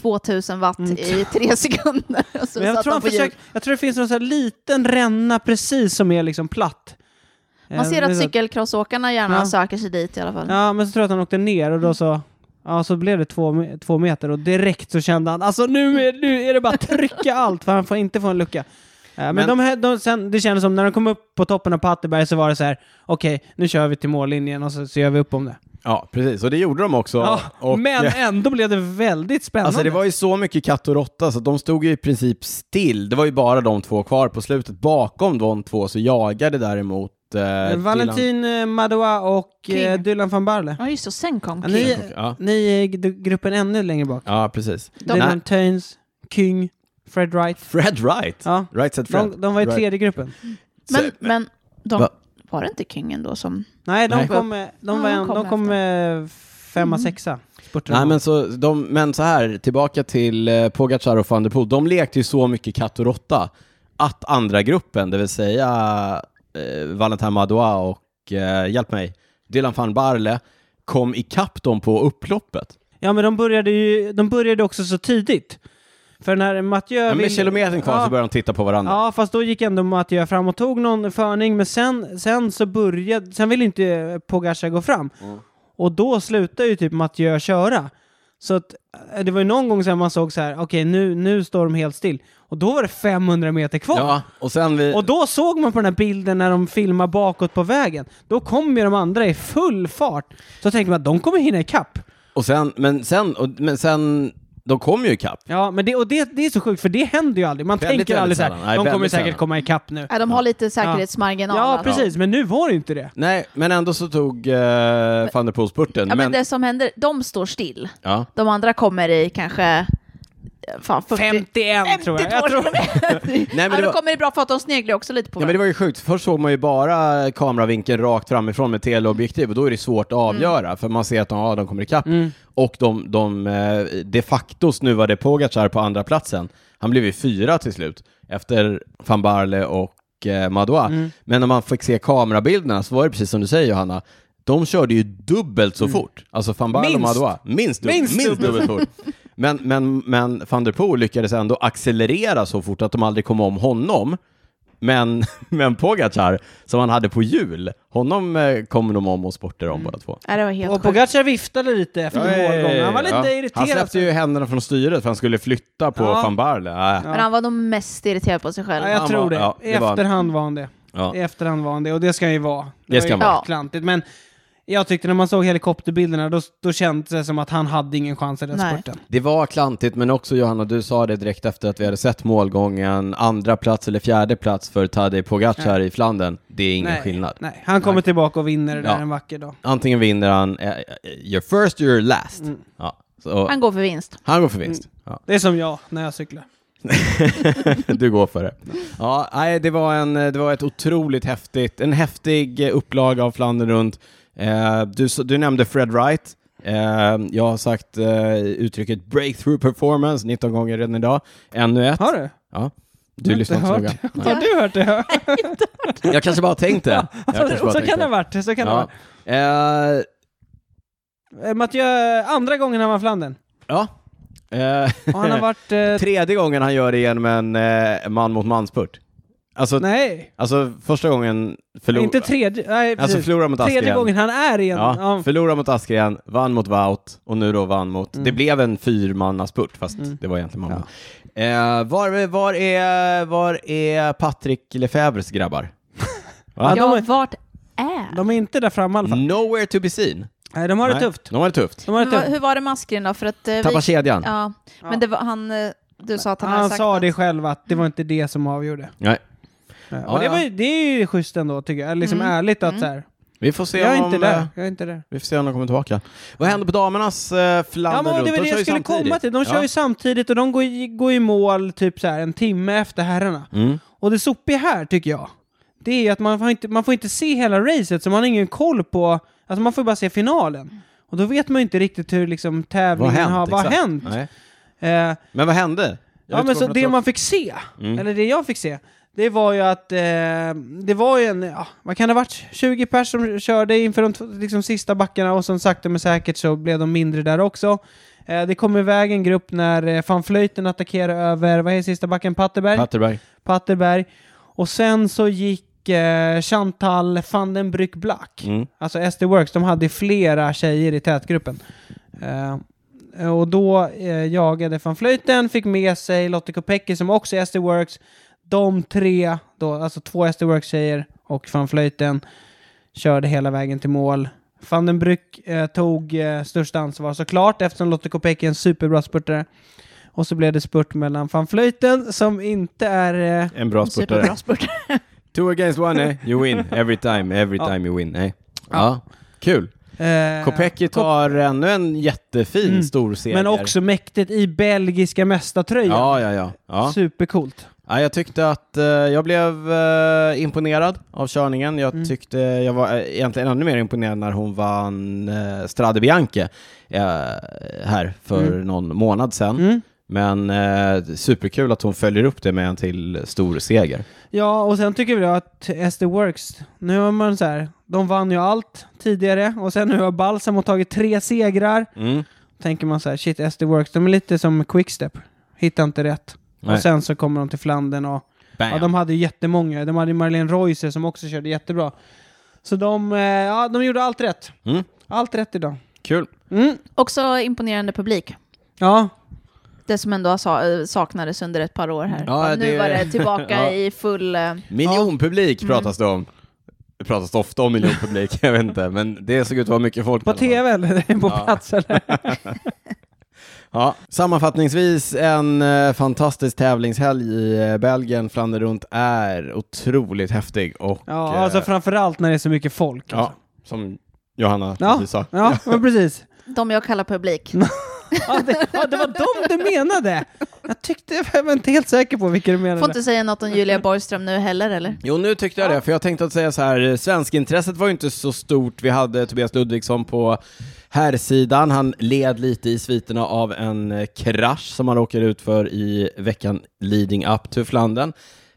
Speaker 1: 2000 watt i tre sekunder. Och så
Speaker 3: Men jag,
Speaker 1: satt
Speaker 3: tror han
Speaker 1: på hjul.
Speaker 3: försöker, jag tror det finns någon sån här liten ränna precis som är liksom platt.
Speaker 1: Man
Speaker 3: Eh,
Speaker 1: ser
Speaker 3: det är
Speaker 1: att
Speaker 3: så-
Speaker 1: cykelcrossåkarna gärna
Speaker 3: Ja.
Speaker 1: söker sig dit i alla fall.
Speaker 3: Ja, men så tror jag att han åkte ner och
Speaker 2: Mm.
Speaker 3: då så... Ja, så blev det två, me- två meter och direkt så kände han alltså nu är, nu är det bara att trycka allt för han får inte få en lucka. Eh, Men,
Speaker 2: Men-
Speaker 3: De här, de, sen, det kändes som när de kom upp på toppen av Patterberg så var det så här okej, nu kör vi till mållinjen och så, så gör vi upp om det.
Speaker 2: Ja, precis. Och det gjorde de också.
Speaker 3: Ja,
Speaker 2: och, eh,
Speaker 3: men ändå blev det väldigt spännande.
Speaker 2: Alltså det var ju så mycket katt och råtta så att de stod ju i princip still. Det var ju bara de två kvar på slutet. Bakom de två så jagade däremot eh, Dylan-
Speaker 3: Valentin eh, Madoua och eh,
Speaker 1: King.
Speaker 3: Dylan van Barle.
Speaker 1: Ja, just det. Och sen kom
Speaker 3: Ja,
Speaker 1: King.
Speaker 3: ni,
Speaker 2: Ja.
Speaker 3: ni är i gru- gruppen ännu längre bak.
Speaker 2: Ja, precis. Nej,
Speaker 3: Dylan Töns, King, Fred Wright.
Speaker 2: Fred Wright.
Speaker 3: Ja,
Speaker 2: Right said Fred.
Speaker 3: de, de var i
Speaker 2: Right.
Speaker 3: tredje gruppen.
Speaker 1: Men, men de,
Speaker 2: Va?
Speaker 1: var det inte King ändå som...
Speaker 3: Nej, de
Speaker 2: Nej.
Speaker 3: kom, eh, de var
Speaker 1: Ja, de Mm.
Speaker 3: en,
Speaker 1: kom
Speaker 3: de kom eh, femma, sexa. spurtade
Speaker 2: Nej,
Speaker 3: de.
Speaker 2: men, så, de, men så här, tillbaka till eh, Pogacar och van der Poel. De lekte ju så mycket katt och råtta att andra gruppen, det vill säga eh, Valentin Madoua och, eh, hjälp mig, Dylan van Barle, kom ikapp dem på upploppet.
Speaker 3: Ja, men de började ju de började också så tidigt. För när Mathieu...
Speaker 2: Men
Speaker 3: ville-
Speaker 2: med kilometern kvar
Speaker 3: ja,
Speaker 2: så började de titta på varandra.
Speaker 3: Ja, fast då gick ändå Mathieu fram och tog någon förning, men sen, sen så började... Sen ville inte eh, Pogacar gå fram.
Speaker 2: Mm.
Speaker 3: Och då slutade ju typ Mathieu köra. Så att eh, det var ju någon gång sen man såg så här, okej nu, nu står de helt still. Och då var det 500 meter kvar.
Speaker 2: Ja, och sen vi...
Speaker 3: Och då såg man på den här bilden när de filmar bakåt på vägen. Då kom ju de andra i full fart. Så tänkte man att de kommer hinna ikapp.
Speaker 2: Och sen, men sen, och, men sen, de kom ju ikapp.
Speaker 3: Ja, men det, och det, det är så sjukt för det händer ju aldrig. Man
Speaker 2: Väldigt,
Speaker 3: tänker aldrig
Speaker 2: väldigt
Speaker 3: så här,
Speaker 2: sällan. Nej,
Speaker 3: de kommer
Speaker 2: väldigt
Speaker 3: säkert
Speaker 2: sällan.
Speaker 3: komma ikapp nu.
Speaker 1: Nej, de har lite säkerhetsmarginal.
Speaker 3: Ja,
Speaker 1: alltså.
Speaker 3: precis. Men nu var det ju inte det.
Speaker 2: Nej, men ändå så tog eh, van der Poel spurten.
Speaker 1: Ja, men
Speaker 2: men,
Speaker 1: det som händer, de står still.
Speaker 2: ja.
Speaker 1: De andra kommer i kanske... eh, Fan, 40,
Speaker 3: 51 tror jag. jag tror,
Speaker 1: Nej,
Speaker 2: men
Speaker 1: men
Speaker 2: det
Speaker 1: ja,
Speaker 2: var-
Speaker 1: De kommer det bra för att de sneglar också lite på
Speaker 2: Ja, men det var ju sjukt. Först såg man ju bara kameravinkeln rakt framifrån med teleobjektiv och då är det svårt att avgöra för man ser att de, ja, de kommer ikapp. Och de, de eh, de facto snuvade Pogacar på andra platsen. Han blev ju fyra till slut, efter van Barle och eh, Madoua. Men när man fick se kamerabilderna så var det precis som du säger Johanna, de körde ju dubbelt så fort. Alltså van Barle och
Speaker 3: Minst.
Speaker 2: Madoua, minst, dub-
Speaker 3: Minst
Speaker 2: minst, dubbelt så fort. Men, men, men van der Poel lyckades ändå accelerera så fort att de aldrig kom om honom. Men, men Pogacar, som han hade på jul, honom eh, kommer de om och sportar
Speaker 3: Mm.
Speaker 2: om båda två.
Speaker 1: Nej, det var helt
Speaker 3: Och
Speaker 1: sjukt.
Speaker 3: Pogacar viftade lite efter målgången. Han var lite
Speaker 2: Ja. Han
Speaker 3: irriterad.
Speaker 2: släppte ju händerna från styret för han skulle flytta på
Speaker 3: Ja.
Speaker 2: van Barle. Äh.
Speaker 3: Ja.
Speaker 1: Men han var nog mest irriterad på sig själv.
Speaker 3: Ja, jag
Speaker 2: Han
Speaker 3: tror
Speaker 2: var-
Speaker 3: det.
Speaker 2: ja,
Speaker 3: I
Speaker 2: det var han.
Speaker 3: efterhand var han det.
Speaker 2: Ja.
Speaker 3: I efterhand var han det, och det ska han ju vara.
Speaker 2: Det
Speaker 3: var
Speaker 2: ska
Speaker 3: ju
Speaker 2: han vara.
Speaker 1: Ja.
Speaker 3: klantigt, men jag tyckte när man såg helikopterbilderna, då, då kändes det som att han hade ingen chans i den
Speaker 1: Nej.
Speaker 3: spurten.
Speaker 2: Det var klantigt, men också Johanna, du sa det direkt efter att vi hade sett målgången, andra plats eller fjärde plats för Tadej Pogacar i Flandern. Det är ingen
Speaker 3: Nej.
Speaker 2: skillnad.
Speaker 3: Nej, han kommer tillbaka och vinner det där
Speaker 2: Ja.
Speaker 3: en vacker dag.
Speaker 2: Antingen vinner han, eh, eh, you're first, you're last.
Speaker 3: Mm.
Speaker 2: Ja. Så,
Speaker 1: Han
Speaker 2: han...
Speaker 1: går för vinst.
Speaker 2: går för vinst. Ja.
Speaker 3: Det är som jag när jag cyklar.
Speaker 2: Du går för det. Ja, nej, det, var en, det var ett otroligt häftigt, en häftig eh, upplaga av Flandern runt. Eh, du, s- du nämnde Fred Wright. Eh, jag har sagt eh, uttrycket breakthrough performance 19 gånger redan idag. Ännu ett.
Speaker 3: Har du?
Speaker 2: Ja. Du
Speaker 3: Jag har
Speaker 2: lyssnar inte
Speaker 3: inte
Speaker 2: så noga. Nej.
Speaker 3: Har du hört det?
Speaker 2: Jag kanske bara har tänkt det. Jag kanske bara
Speaker 3: så
Speaker 2: tänkt
Speaker 3: kan det ha varit. Så kan det ha
Speaker 2: Ja. Eh,
Speaker 3: varit. Eh, Mathieu, andra gången han var i Flandern.
Speaker 2: ja. Eh,
Speaker 3: Och han har varit... Eh,
Speaker 2: tredje gången han gör det genom en eh, man mot manspurt. Alltså,
Speaker 3: nej,
Speaker 2: alltså första gången förlorade...
Speaker 3: inte tredje. Nej,
Speaker 2: Alltså
Speaker 3: precis.
Speaker 2: förlorade mot
Speaker 3: Tredje
Speaker 2: Askren.
Speaker 3: gången han är igen.
Speaker 2: Ja,
Speaker 3: Ja.
Speaker 2: Förlorade mot Askren, vann mot Wout och nu då vann mot...
Speaker 3: Mm.
Speaker 2: Det blev en fyrmannaspurt fast det var egentligen man. Eh, var, var, är, var är Patrick Lefebvres grabbar?
Speaker 1: Ja,
Speaker 2: Va?
Speaker 3: de är-
Speaker 1: vart är...
Speaker 3: De är inte där framme i alla fall.
Speaker 2: Nowhere to be seen.
Speaker 3: Nej, de har det
Speaker 2: Mm. Nej,
Speaker 3: tufft.
Speaker 2: De har det tufft.
Speaker 3: De har det
Speaker 1: Men vad-
Speaker 3: tufft.
Speaker 1: hur var det med Askren då? För att, eh,
Speaker 2: Tappar
Speaker 1: vi...
Speaker 2: kedjan.
Speaker 1: ja.
Speaker 3: Ja.
Speaker 1: Men det var han... eh, Du sa att han, hade
Speaker 3: Han
Speaker 1: sagt
Speaker 3: sa
Speaker 1: att-
Speaker 3: det själv att det var inte det som avgjorde.
Speaker 2: Nej.
Speaker 3: Ja,
Speaker 2: Ja,
Speaker 3: och det, var,
Speaker 2: ja.
Speaker 3: ju- det är ju schysst ändå tycker jag, Eller liksom
Speaker 1: Mm.
Speaker 3: ärligt att så här,
Speaker 2: Vi får se
Speaker 3: jag är
Speaker 2: om...
Speaker 3: inte
Speaker 2: eh,
Speaker 3: där, jag är inte där.
Speaker 2: Vi får se om de kommer tillbaka. Vad händer på damernas eh,
Speaker 3: Ja
Speaker 2: Flandern
Speaker 3: men
Speaker 2: runt?
Speaker 3: det var
Speaker 2: De kör
Speaker 3: det jag
Speaker 2: ju
Speaker 3: skulle
Speaker 2: samtidigt.
Speaker 3: komma till, de kör
Speaker 2: ja.
Speaker 3: ju samtidigt och de går i, går i mål typ så här en timme efter herrarna.
Speaker 2: Mm.
Speaker 3: Och det sopiga här tycker jag, det är ju att man får, inte, man får inte se hela racet så man har ingen koll på, alltså man får bara se finalen. Och då vet man ju inte riktigt hur liksom
Speaker 2: Vad
Speaker 3: tävlingen
Speaker 2: har hänt?
Speaker 3: har, vad har
Speaker 2: exakt?
Speaker 3: hänt?
Speaker 2: Nej.
Speaker 3: Eh,
Speaker 2: Men vad hände? Jag
Speaker 3: Ja,
Speaker 2: vet
Speaker 3: men
Speaker 2: inte
Speaker 3: så
Speaker 2: varför
Speaker 3: det
Speaker 2: jag
Speaker 3: man fick se,
Speaker 2: Mm.
Speaker 3: eller det jag fick se, det var ju att eh, det var ju en, ja, vad kan det ha varit, 20 pers som körde inför de t- liksom, sista backarna och som sakta men säkert så blev de mindre där också. Eh, det kom iväg en grupp när eh, van Vleuten attackerade över, vad är sista backen, Patterberg?
Speaker 2: tar- Patterberg.
Speaker 3: Patterberg. Och sen så gick eh, Chantal van den Brück Black,
Speaker 2: Mm.
Speaker 3: alltså SD Works, de hade flera tjejer i tätgruppen. Eh, och då eh, jagade van Vleuten, fick med sig Lotte Kopecky som också är SD Works. De tre, då, alltså två SD Works-tjejer och van Vleuten körde hela vägen till mål. Van den Brück eh, tog eh, största ansvar såklart eftersom Lotte Kopecky är en superbra spurtare. Och så blev det spurt mellan van Vleuten som inte är... Eh,
Speaker 2: En bra
Speaker 1: Superbra
Speaker 2: spurtare.
Speaker 1: spurt.
Speaker 2: Two against one, eh? You win every time, every
Speaker 3: Ja.
Speaker 2: time you win. Eh? Ja. Kul.
Speaker 3: eh, Mm.
Speaker 2: Kopecky tar ännu en jättefin stor seger.
Speaker 3: Men också mäktigt i belgiska mästartröjan.
Speaker 2: Ja, ja, ja. ja.
Speaker 3: Supercoolt.
Speaker 2: ja jag tyckte att eh, jag blev eh, imponerad av körningen. Jag
Speaker 3: Mm.
Speaker 2: tyckte jag var eh, egentligen ännu mer imponerad när hon vann eh, Strade Bianche eh, här för någon månad sedan.
Speaker 3: Mm.
Speaker 2: Men eh, superkul att hon följer upp det med en till stor seger.
Speaker 3: Ja, och sen tycker vi att SD Works, nu har man så här, de vann ju allt tidigare och sen nu har Balsamo tagit tre segrar.
Speaker 2: Mm.
Speaker 3: Tänker man så här, shit SD Works, de är lite som Quickstep, hittar inte rätt.
Speaker 2: Nej.
Speaker 3: Och sen så kommer de till Flandern och
Speaker 2: Bam.
Speaker 3: ja, de hade ju jättemånga, de hade ju Marlene Reuser som också körde jättebra. Så de, eh, ja, de gjorde allt rätt.
Speaker 2: Mm.
Speaker 3: Allt rätt idag.
Speaker 2: Kul.
Speaker 3: Mm.
Speaker 1: Också imponerande publik.
Speaker 3: Ja,
Speaker 1: Det som ändå sa, eh, saknades under ett par år här.
Speaker 2: Ja,
Speaker 1: Och nu
Speaker 2: det-
Speaker 1: var det tillbaka
Speaker 2: Ja.
Speaker 1: i full... eh,
Speaker 2: Miljonpublik pratas det om. Det pratas ofta om miljonpublik, jag vet inte, men det såg ut att vara mycket folk. i
Speaker 3: på
Speaker 2: alla fall.
Speaker 3: tv eller på
Speaker 2: Ja.
Speaker 3: plats eller?
Speaker 2: Ja. Sammanfattningsvis, en eh, fantastisk tävlingshelg i eh, Belgien. Flandern runt är otroligt häftig och...
Speaker 3: Ja,
Speaker 2: eh,
Speaker 3: alltså framförallt när det är så mycket folk.
Speaker 2: ja,
Speaker 3: Alltså.
Speaker 2: som Johanna
Speaker 3: Ja.
Speaker 2: precis sa.
Speaker 3: Ja, men precis.
Speaker 1: De jag kallar publik.
Speaker 3: Ja, det, ja, det var dem du menade! Jag tyckte, jag var inte helt säker på vilka du
Speaker 1: Får
Speaker 3: menade.
Speaker 1: inte säga något om Julia Borgström nu heller eller?
Speaker 2: Jo, nu tyckte jag det, för jag tänkte att säga så här, eh, svenskintresset var ju inte så stort. Vi hade Tobias Ludvigsson på herrsidan. Han led lite i sviterna av en eh, krasch som han råkade ut för i veckan leading up to Flandern.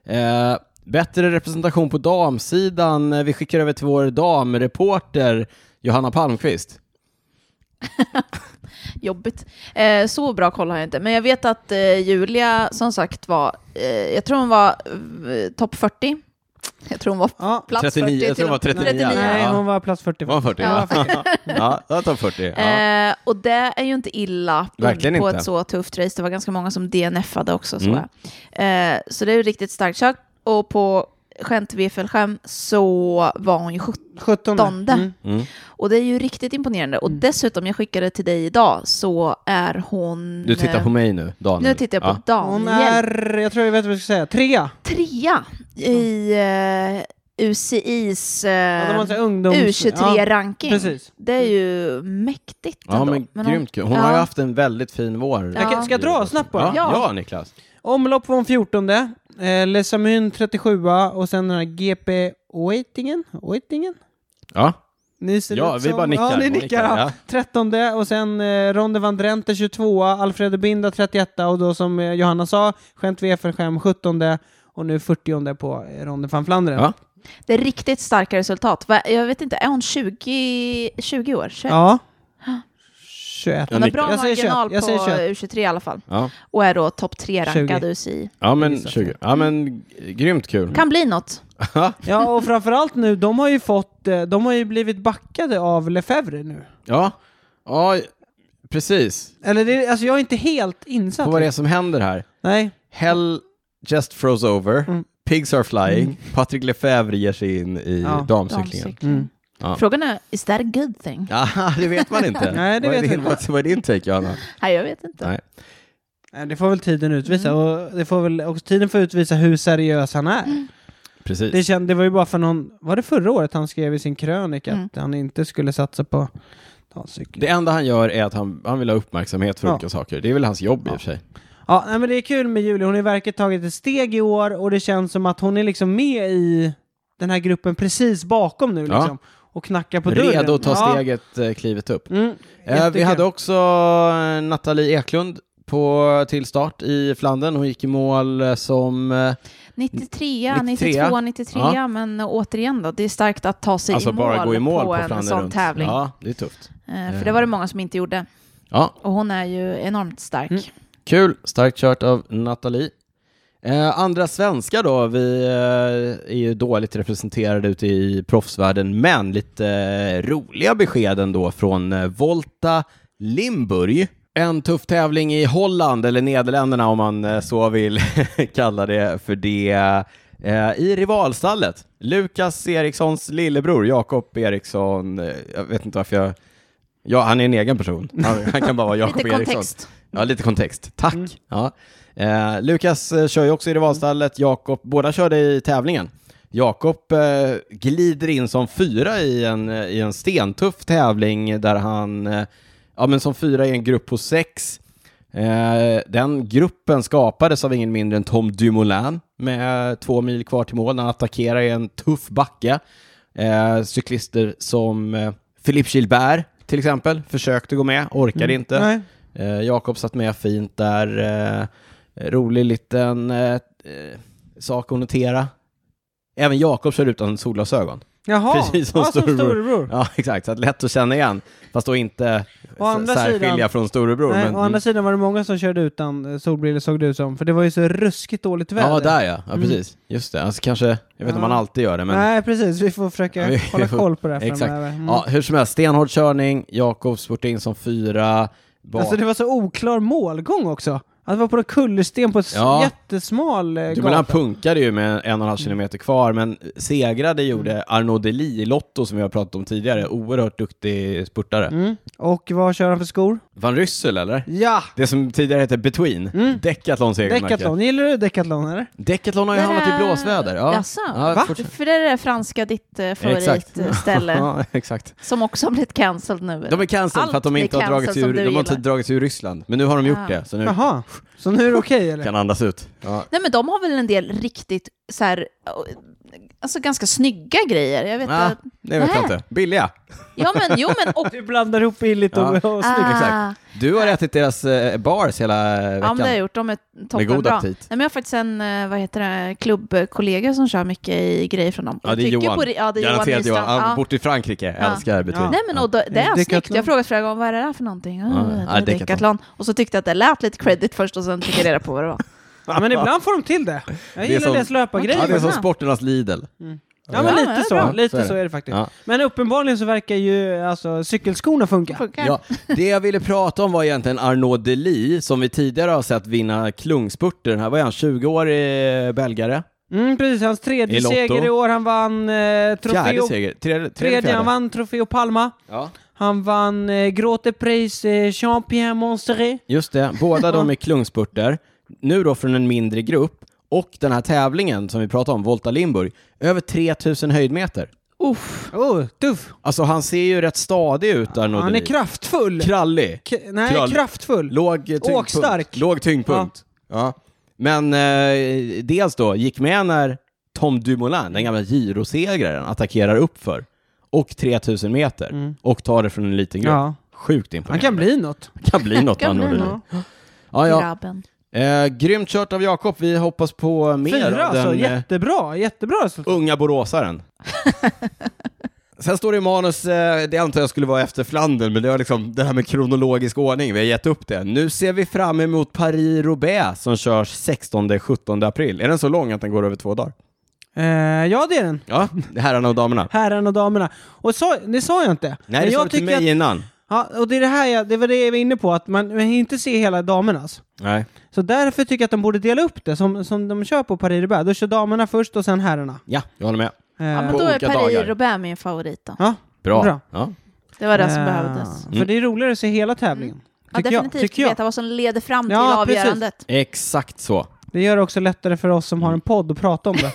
Speaker 2: Eh, bättre representation på damsidan. Eh, Vi skickar över till vår damreporter Johanna Palmqvist.
Speaker 1: Jobbigt. Eh, så bra koll har jag inte. Men jag vet att eh, Julia, som sagt var, eh, jag tror hon var eh, topp 40. Jag tror hon var
Speaker 3: Ja.
Speaker 1: plats
Speaker 2: 39,
Speaker 1: 40.
Speaker 2: jag tror hon var
Speaker 1: till och med.
Speaker 2: 39.
Speaker 3: Nej,
Speaker 2: Ja.
Speaker 3: hon var plats 40.
Speaker 2: Var hon 40?
Speaker 1: Ja,
Speaker 2: Ja, ja jag tar 40. Ja.
Speaker 1: Eh, och det är ju inte illa på,
Speaker 2: Verkligen
Speaker 1: på
Speaker 2: inte.
Speaker 1: ett så tufft race. Det var ganska många som DNFade också. Så,
Speaker 2: Mm.
Speaker 1: eh, så det är ju riktigt starkt kört. Och på Gent Wefelskärm så var hon ju 17.
Speaker 3: 17.
Speaker 1: Donde.
Speaker 3: Mm.
Speaker 2: Mm.
Speaker 1: Och det är ju riktigt imponerande. Och dessutom, jag skickade till dig idag, så är hon...
Speaker 2: Du tittar på mig nu, Daniel.
Speaker 1: eh, Nu tittar jag på
Speaker 3: Hon
Speaker 1: Daniel.
Speaker 3: är, jag tror jag vet vad jag ska säga, trea.
Speaker 1: trea i eh, UCIs
Speaker 3: Ja,
Speaker 1: eh,
Speaker 3: de har en sån här ungdoms... Ja,
Speaker 1: U23-ranking.
Speaker 3: precis.
Speaker 1: det är ju mäktigt
Speaker 2: Ja,
Speaker 1: ändå.
Speaker 2: men,
Speaker 1: hon-
Speaker 2: grymt kul. Hon har ju haft en väldigt fin vår.
Speaker 1: Jag kan-
Speaker 3: ska jag dra snabbt bara?
Speaker 2: Ja,
Speaker 1: Ja.
Speaker 2: ja Niklas.
Speaker 3: Omlopp var hon 14. Eh, Les Amun 37 och sen den här GP Oettingen. Oettingen?
Speaker 2: Ja.
Speaker 3: Ni ser
Speaker 2: Ja,
Speaker 3: ut
Speaker 2: vi
Speaker 3: som-
Speaker 2: bara nickar.
Speaker 3: Ja, ni
Speaker 2: Hon
Speaker 3: nickar.
Speaker 2: nickar,
Speaker 3: Ja.
Speaker 2: ja.
Speaker 3: 13 och sen eh, Ronde van Drenthe 22 Alfredo Binda 31 och då som eh, Johanna sa, Gent Wefersheim 17 och nu 40 på eh, Ronde van Flandern.
Speaker 2: Ja.
Speaker 1: Det är riktigt starka resultat. Va- Jag vet inte, är hon 20, 20 år? 21?
Speaker 3: Ja. 21.
Speaker 1: Hon har bra
Speaker 3: Jag säger 21.
Speaker 1: marginal
Speaker 3: Jag säger
Speaker 1: på
Speaker 3: 21.
Speaker 1: U23 i alla fall.
Speaker 2: Ja.
Speaker 1: Och är då topp 3-rankad
Speaker 3: 20.
Speaker 1: UCI.
Speaker 2: Ja men 20. Ja men grymt kul.
Speaker 1: Kan bli något.
Speaker 3: Ja, och framförallt nu, de har ju fått, eh, de har ju blivit backade av Lefebvre nu.
Speaker 2: Ja. Ja, precis.
Speaker 3: Eller det, alltså jag är inte helt insatt.
Speaker 2: På vad det är som händer här.
Speaker 3: Nej.
Speaker 2: Hell just froze over.
Speaker 3: Mm.
Speaker 2: Pigs are flying. Patrik Lefebvre ger sig in i
Speaker 3: Ja.
Speaker 2: damcyklingen.
Speaker 1: Mm.
Speaker 2: Ja.
Speaker 1: Frågan är, is that a good thing?
Speaker 2: Ja, det vet man inte.
Speaker 3: Nej, det
Speaker 2: vad, är
Speaker 3: vet
Speaker 2: din,
Speaker 3: man
Speaker 2: vad, vad är din take, Johanna?
Speaker 1: Nej, jag vet inte.
Speaker 2: Nej.
Speaker 3: Nej, Det får väl tiden utvisa och det får väl också tiden får utvisa hur seriös han är.
Speaker 2: Precis.
Speaker 3: Det, känd, det var ju bara för någon, var det förra året han skrev i sin krönika
Speaker 1: Mm.
Speaker 3: att han inte skulle satsa på damcykel?
Speaker 2: Det enda han gör är att han, han vill ha uppmärksamhet för
Speaker 3: Ja.
Speaker 2: olika saker. Det är väl hans jobb i och för sig.
Speaker 3: Ja, nej, men det är kul med Julie, hon har ju verkligen tagit ett steg i år och det känns som att hon är liksom med i den här gruppen precis bakom nu
Speaker 2: Ja.
Speaker 3: liksom. Och knackar på dörren.
Speaker 2: Redo att ta
Speaker 3: Ja.
Speaker 2: steget, eh, klivet upp.
Speaker 3: Mm,
Speaker 2: Eh, vi
Speaker 3: jättekul.
Speaker 2: hade också eh, Nathalie Eklund på, till start i Flandern. Hon gick i mål eh, som eh,
Speaker 1: 93,
Speaker 2: 93.
Speaker 1: 92, 93,
Speaker 2: Ja.
Speaker 1: men återigen då, det är starkt att ta sig
Speaker 2: alltså
Speaker 1: i, mål
Speaker 2: bara gå i mål på,
Speaker 1: en
Speaker 2: Flandern
Speaker 1: sån
Speaker 2: runt.
Speaker 1: tävling.
Speaker 2: Ja, det är tufft.
Speaker 1: Eh, För det var det många som inte gjorde.
Speaker 2: Ja,
Speaker 1: Och hon är ju enormt stark.
Speaker 3: Mm.
Speaker 2: kul. Starkt kört av Nathalie. Eh, andra svenskar då, vi eh, är ju dåligt representerade ute i proffsvärlden, men lite eh, roliga besked ändå från eh, Volta Limburg. En tuff tävling i Holland, eller Nederländerna om man eh, så vill kalla det för det. Eh, I rivalstallet, Lukas Erikssons lillebror, Jakob Eriksson, eh, jag vet inte varför jag... Ja, han är en egen person. Han, han kan bara vara Jakob
Speaker 1: Lite
Speaker 2: Eriksson.
Speaker 1: kontext. Mm.
Speaker 2: Ja, lite kontext. Tack. Ja. Eh, Lukas eh, kör ju också i rivalstallet. Jakob, båda körde i tävlingen. Jakob eh, glider in som fyra i en, eh, i en stentuff tävling där han, eh, ja men som fyra i en grupp på sex. Eh, den gruppen skapades av ingen mindre än Tom Dumoulin med eh, två mil kvar till mål. Han attackerar i en tuff backe. Eh, cyklister som eh, Philippe Gilbert till exempel försökte gå med, orkade inte.
Speaker 3: Mm, Nej.
Speaker 2: Eh, Jakob satt med fint där. Eh, rolig liten eh, eh, sak att notera. Även Jakob kör utan solglasögon.
Speaker 3: Jaha,
Speaker 2: Precis som
Speaker 3: ja, som
Speaker 2: storebror.
Speaker 3: storebror.
Speaker 2: Ja, exakt. Så att lätt att känna igen. Fast då inte
Speaker 3: Mm. Å andra
Speaker 2: s- särskilja
Speaker 3: sidan-
Speaker 2: från storebror.
Speaker 3: Nej,
Speaker 2: men,
Speaker 3: å andra sidan var det många som körde utan eh, solbrillor såg det ut som, för det var ju så ruskigt dåligt väder.
Speaker 2: ja, där ja. ja precis. Just det. Alltså, kanske, jag vet inte om
Speaker 3: Mm. Ja.
Speaker 2: man alltid gör det, men
Speaker 3: Nej, precis. Vi får försöka
Speaker 2: Ja, vi-
Speaker 3: hålla
Speaker 2: vi får-
Speaker 3: koll på det här
Speaker 2: Exakt.
Speaker 3: framöver. Mm.
Speaker 2: ja, hur som helst. Stenhård körning. Jakob spurtade in som fyra. Bak.
Speaker 3: Alltså det var så oklar målgång också. Att det var på en kullersten på en s-
Speaker 2: Ja.
Speaker 3: jättesmal eh,
Speaker 2: Du menar,
Speaker 3: gata.
Speaker 2: han punkade ju med en och en
Speaker 3: Mm.
Speaker 2: halv kilometer kvar, men segrade gjorde Arnaud Deli i Lotto som vi har pratat om tidigare. Oerhört duktig spurtare.
Speaker 3: Mm. Och Mm. vad kör han för skor?
Speaker 2: Van Ryssel eller?
Speaker 3: Ja!
Speaker 2: Det som tidigare hette Between.
Speaker 3: Mm.
Speaker 2: Decathlons egenmärke.
Speaker 3: Decathlon. Gillar du Decathlon eller?
Speaker 2: Decathlon har ju
Speaker 1: Där
Speaker 2: hamnat
Speaker 1: är-
Speaker 2: i blåsväder. Ja.
Speaker 1: Jaså?
Speaker 2: Ja,
Speaker 3: Va?
Speaker 2: fortsätt.
Speaker 1: För det är det franska ditt eh, favoritställe,
Speaker 2: Ja, exakt.
Speaker 1: som också har blivit cancelled nu.
Speaker 2: De är cancelled
Speaker 1: Allt
Speaker 2: för att de
Speaker 1: blir
Speaker 2: inte har
Speaker 1: cancelled
Speaker 2: dragits
Speaker 1: som
Speaker 2: ur,
Speaker 1: du
Speaker 2: de har inte
Speaker 1: gillar.
Speaker 2: dragits ur Ryssland. Men nu har de gjort
Speaker 1: Ah.
Speaker 2: det, så nu
Speaker 3: Jaha, så nu är det okej eller?
Speaker 2: kan andas ut. Ja.
Speaker 1: Nej men de har väl en del riktigt så här, eh, alltså ganska snygga grejer. Jag vet
Speaker 2: Ah,
Speaker 1: att,
Speaker 2: det vet jag
Speaker 1: Nej.
Speaker 2: inte. Billiga.
Speaker 1: ja men jo men och...
Speaker 3: Du blandar ihop billigt
Speaker 2: Ja.
Speaker 3: och, och
Speaker 1: Ah.
Speaker 3: snyggt.
Speaker 2: exakt. Du har ätit deras eh, bars hela eh,
Speaker 1: Ja, men
Speaker 2: veckan.
Speaker 1: det har jag gjort. De är toppenbra.
Speaker 2: god aptit.
Speaker 1: Nej, men jag har faktiskt en eh, vad heter det, klubbkollega som kör mycket i grejer från dem.
Speaker 2: Ja, det är
Speaker 1: Jag tycker
Speaker 2: Johan.
Speaker 1: På, ja, det är Johan
Speaker 2: Garanterat Johan.
Speaker 1: Nystrand.
Speaker 2: Han
Speaker 1: Ja.
Speaker 2: bort i Frankrike.
Speaker 1: Ja.
Speaker 2: Älskar Between.
Speaker 3: Ja. Eh,
Speaker 1: Nej, men och då, det är
Speaker 3: Decathlon.
Speaker 1: snyggt. Jag frågade flera gånger vad är det där för någonting. Ja,
Speaker 2: Ja,
Speaker 1: det
Speaker 2: ja,
Speaker 1: är
Speaker 2: Decathlon.
Speaker 1: Decathlon. Och så tyckte jag att det lät lite credit först och sen fick jag reda på vad det var.
Speaker 3: Ja, men ibland får de till det. Jag
Speaker 2: Det är
Speaker 3: gillar
Speaker 2: som-
Speaker 3: deras löpargrejer.
Speaker 2: Ja, det är som
Speaker 1: Ja.
Speaker 2: sporternas Lidl.
Speaker 3: Ja, men
Speaker 1: Ja,
Speaker 3: lite
Speaker 1: men
Speaker 3: så.
Speaker 1: det är bra.
Speaker 3: Lite
Speaker 2: Så är det.
Speaker 3: så är det faktiskt.
Speaker 2: Ja.
Speaker 3: Men uppenbarligen så verkar ju alltså, cykelskorna funka.
Speaker 1: Funkar.
Speaker 2: Ja, det jag ville prata om var egentligen Arnaud Deli som vi tidigare har sett vinna klungspurter. Den här var ju han 20-årig belgare.
Speaker 3: Mm, precis, hans tredje
Speaker 2: I Lotto.
Speaker 3: seger i år. Han vann eh,
Speaker 2: Fjärde
Speaker 3: Trofeo...
Speaker 2: seger. Tredje, tredje,
Speaker 3: Tredje, han
Speaker 2: fjärde.
Speaker 3: vann Trofeo Palma.
Speaker 2: Ja.
Speaker 3: Han vann eh, Grote Prix eh, Jean-Pierre Monsteré.
Speaker 2: Just det, båda de är klungspurter. Nu då från en mindre grupp. Och den här tävlingen som vi pratade om, Volta Limburg, över 3000 höjdmeter.
Speaker 1: Uff.
Speaker 3: Oh, tuff.
Speaker 2: Alltså han ser ju rätt stadig ut Arnaud
Speaker 3: Han är
Speaker 2: Deli.
Speaker 3: kraftfull.
Speaker 2: Krallig.
Speaker 3: K- nej,
Speaker 2: Krall.
Speaker 3: kraftfull.
Speaker 2: Låg eh, tyngdpunkt.
Speaker 3: Åkstark.
Speaker 2: Låg tyngdpunkt. Ja. Men eh, dels då, gick med när Tom Dumoulin, den gamla girosegraren, attackerar uppför. Och 3000 meter.
Speaker 3: Mm.
Speaker 2: Och tar det från en liten grupp.
Speaker 3: Ja,
Speaker 2: Sjukt
Speaker 3: han
Speaker 2: imponerande.
Speaker 3: kan bli något.
Speaker 2: Han kan bli något
Speaker 1: Kan
Speaker 2: han
Speaker 1: bli
Speaker 2: gjorde nu.
Speaker 1: något.
Speaker 2: Ja, ja.
Speaker 1: Grabben.
Speaker 2: Eh, grymt kört av Jakob. Vi hoppas på mer
Speaker 3: Fyra
Speaker 2: av
Speaker 3: alltså,
Speaker 2: den eh,
Speaker 3: jättebra. Jättebra resultat.
Speaker 2: unga boråsaren. Sen står det i manus, eh, det antar jag skulle vara efter Flandern, men det var liksom det här med kronologisk ordning, vi har gett upp det. Nu ser vi fram emot Paris-Roubaix som körs 16-17 april. Är den så lång att den går över två dagar?
Speaker 3: Eh, ja, det är den.
Speaker 2: Ja, herrarna och damerna.
Speaker 3: Herrarna och damerna. Och så, det sa jag inte.
Speaker 2: Nej, det
Speaker 3: Men
Speaker 2: sa
Speaker 3: jag
Speaker 2: du till mig
Speaker 3: tycker att,
Speaker 2: innan.
Speaker 3: ja, och det, är det, här jag, det var det jag var inne på, att man, man hinner inte se hela damernas.
Speaker 2: Nej.
Speaker 3: Så därför tycker jag att de borde dela upp det, som, som de kör på Paris-Roubaix. Då kör damerna först och sen herrarna.
Speaker 2: Ja, jag håller med.
Speaker 3: Eh,
Speaker 1: Ja, men
Speaker 2: På
Speaker 1: då är
Speaker 2: olika dagar.
Speaker 1: Paris-Roubaix min favorit då.
Speaker 3: ja,
Speaker 2: Bra.
Speaker 3: Bra.
Speaker 2: Ja.
Speaker 1: Det var det som
Speaker 3: eh,
Speaker 1: behövdes. Mm.
Speaker 2: Mm.
Speaker 3: För det är roligare att se hela tävlingen.
Speaker 1: Ja,
Speaker 3: Tycker jag.
Speaker 1: definitivt
Speaker 3: Tycker jag.
Speaker 1: veta vad som leder fram till
Speaker 3: Ja, precis.
Speaker 1: avgörandet.
Speaker 2: Exakt så.
Speaker 3: Det gör det också lättare för oss som
Speaker 2: Mm.
Speaker 3: har en podd att prata om det.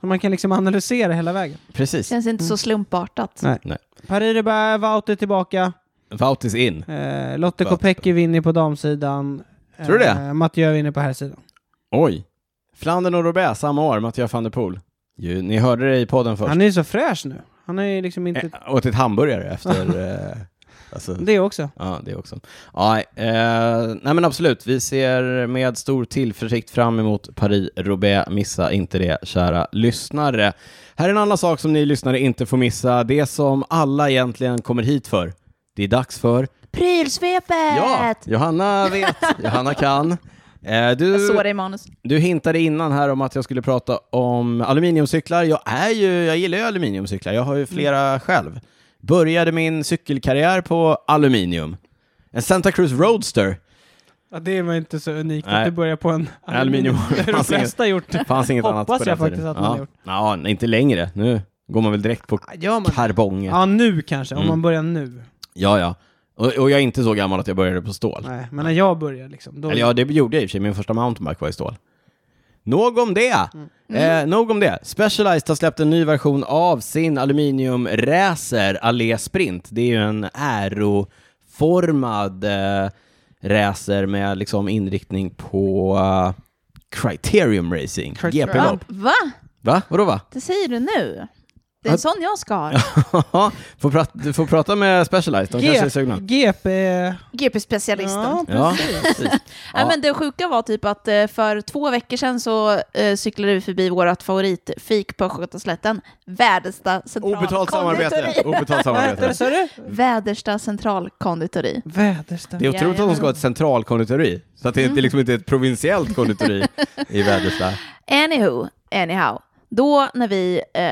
Speaker 3: Så man kan liksom analysera hela vägen.
Speaker 2: Precis.
Speaker 1: Känns inte så slumpartat.
Speaker 3: Mm. Nej.
Speaker 2: Nej.
Speaker 3: Paris-Roubaix, Wouter tillbaka.
Speaker 2: Vautis in.
Speaker 3: Eh,
Speaker 2: Wouter.
Speaker 3: Lotte Kopecky vinner på damsidan.
Speaker 2: Tror du det?
Speaker 3: Eh, Mathieu vinner på herrsidan.
Speaker 2: Oj. Flandern och Roubaix samma år, Mattias van der Poel. Ju, ni hörde det i podden först.
Speaker 3: Han är ju så fräsch nu. Han är ju liksom
Speaker 1: Typ.
Speaker 3: inte...
Speaker 2: Ä- Eh, åt ett hamburgare efter... eh, alltså,
Speaker 3: Det också.
Speaker 2: ja, det också. Ja, eh, nej men absolut, vi ser med stor tillförsikt fram emot Paris-Roubaix. Missa inte det, kära lyssnare. Här är en annan sak som ni lyssnare inte får missa. Det som alla egentligen kommer hit för. Det är dags för...
Speaker 1: Prylsvepet!
Speaker 2: Ja, Johanna vet, Johanna kan. Eh, du...
Speaker 1: Jag såg det i manus.
Speaker 2: Du hintade innan här om att jag skulle prata om aluminiumcyklar. Jag, är ju, jag gillar ju aluminiumcyklar, jag har ju flera
Speaker 3: Mm.
Speaker 2: själv. Började min cykelkarriär på aluminium. En Santa Cruz Roadster.
Speaker 3: Ja, det var inte så unikt
Speaker 2: Nej.
Speaker 3: att du börjar på en
Speaker 2: Aluminium.
Speaker 3: Det har de flesta gjort.
Speaker 2: Fanns inget annat på
Speaker 3: Hoppas
Speaker 2: den
Speaker 3: jag
Speaker 2: tiden.
Speaker 3: faktiskt att man
Speaker 2: ja.
Speaker 3: har gjort.
Speaker 2: Ja, nej, inte längre. Nu går man väl direkt på
Speaker 3: Gör man?
Speaker 2: karbongen.
Speaker 3: Ja, nu kanske. Om
Speaker 2: Mm.
Speaker 3: man börjar nu.
Speaker 2: Ja, ja. Och, och jag är inte så gammal att jag började på stål.
Speaker 3: Nej, men när jag börjar liksom. Då...
Speaker 2: Eller ja, det gjorde jag i och för sig. Min första mountainbike var i stål. Nog om det! Eh, nog om det. Specialized har släppt en ny version av sin aluminiumracer Allé Sprint. Det är ju en aeroformad eh, racer med liksom inriktning på eh, criterium racing,
Speaker 3: Criterium.
Speaker 1: Va?
Speaker 2: GP-lopp.
Speaker 1: va?
Speaker 2: Va? Vadå va?
Speaker 1: Det säger du nu? Det är en sån jag ska ha.
Speaker 2: får pra- du får prata med Specialized, de kanske är sugna.
Speaker 3: GP...
Speaker 1: GP-specialisten.
Speaker 3: Ja,
Speaker 2: Ja, precis.
Speaker 1: Nej, men det sjuka var typ att eh, för två veckor sedan så eh, cyklade vi förbi vårt favoritfik på Östgötaslätten, Vädersta
Speaker 2: Obetalt
Speaker 1: centralkonditori.
Speaker 2: samarbete. Obetalt
Speaker 3: Vad hette
Speaker 2: samarbete.
Speaker 3: det, sa du?
Speaker 1: Vädersta centralkonditori.
Speaker 3: Väderstad.
Speaker 2: Det är otroligt att de ska ha ett centralkonditori, så att det inte- liksom inte är ett provinsiellt konditori i Väderstad.
Speaker 1: Anywho, anyhow. Då när vi eh,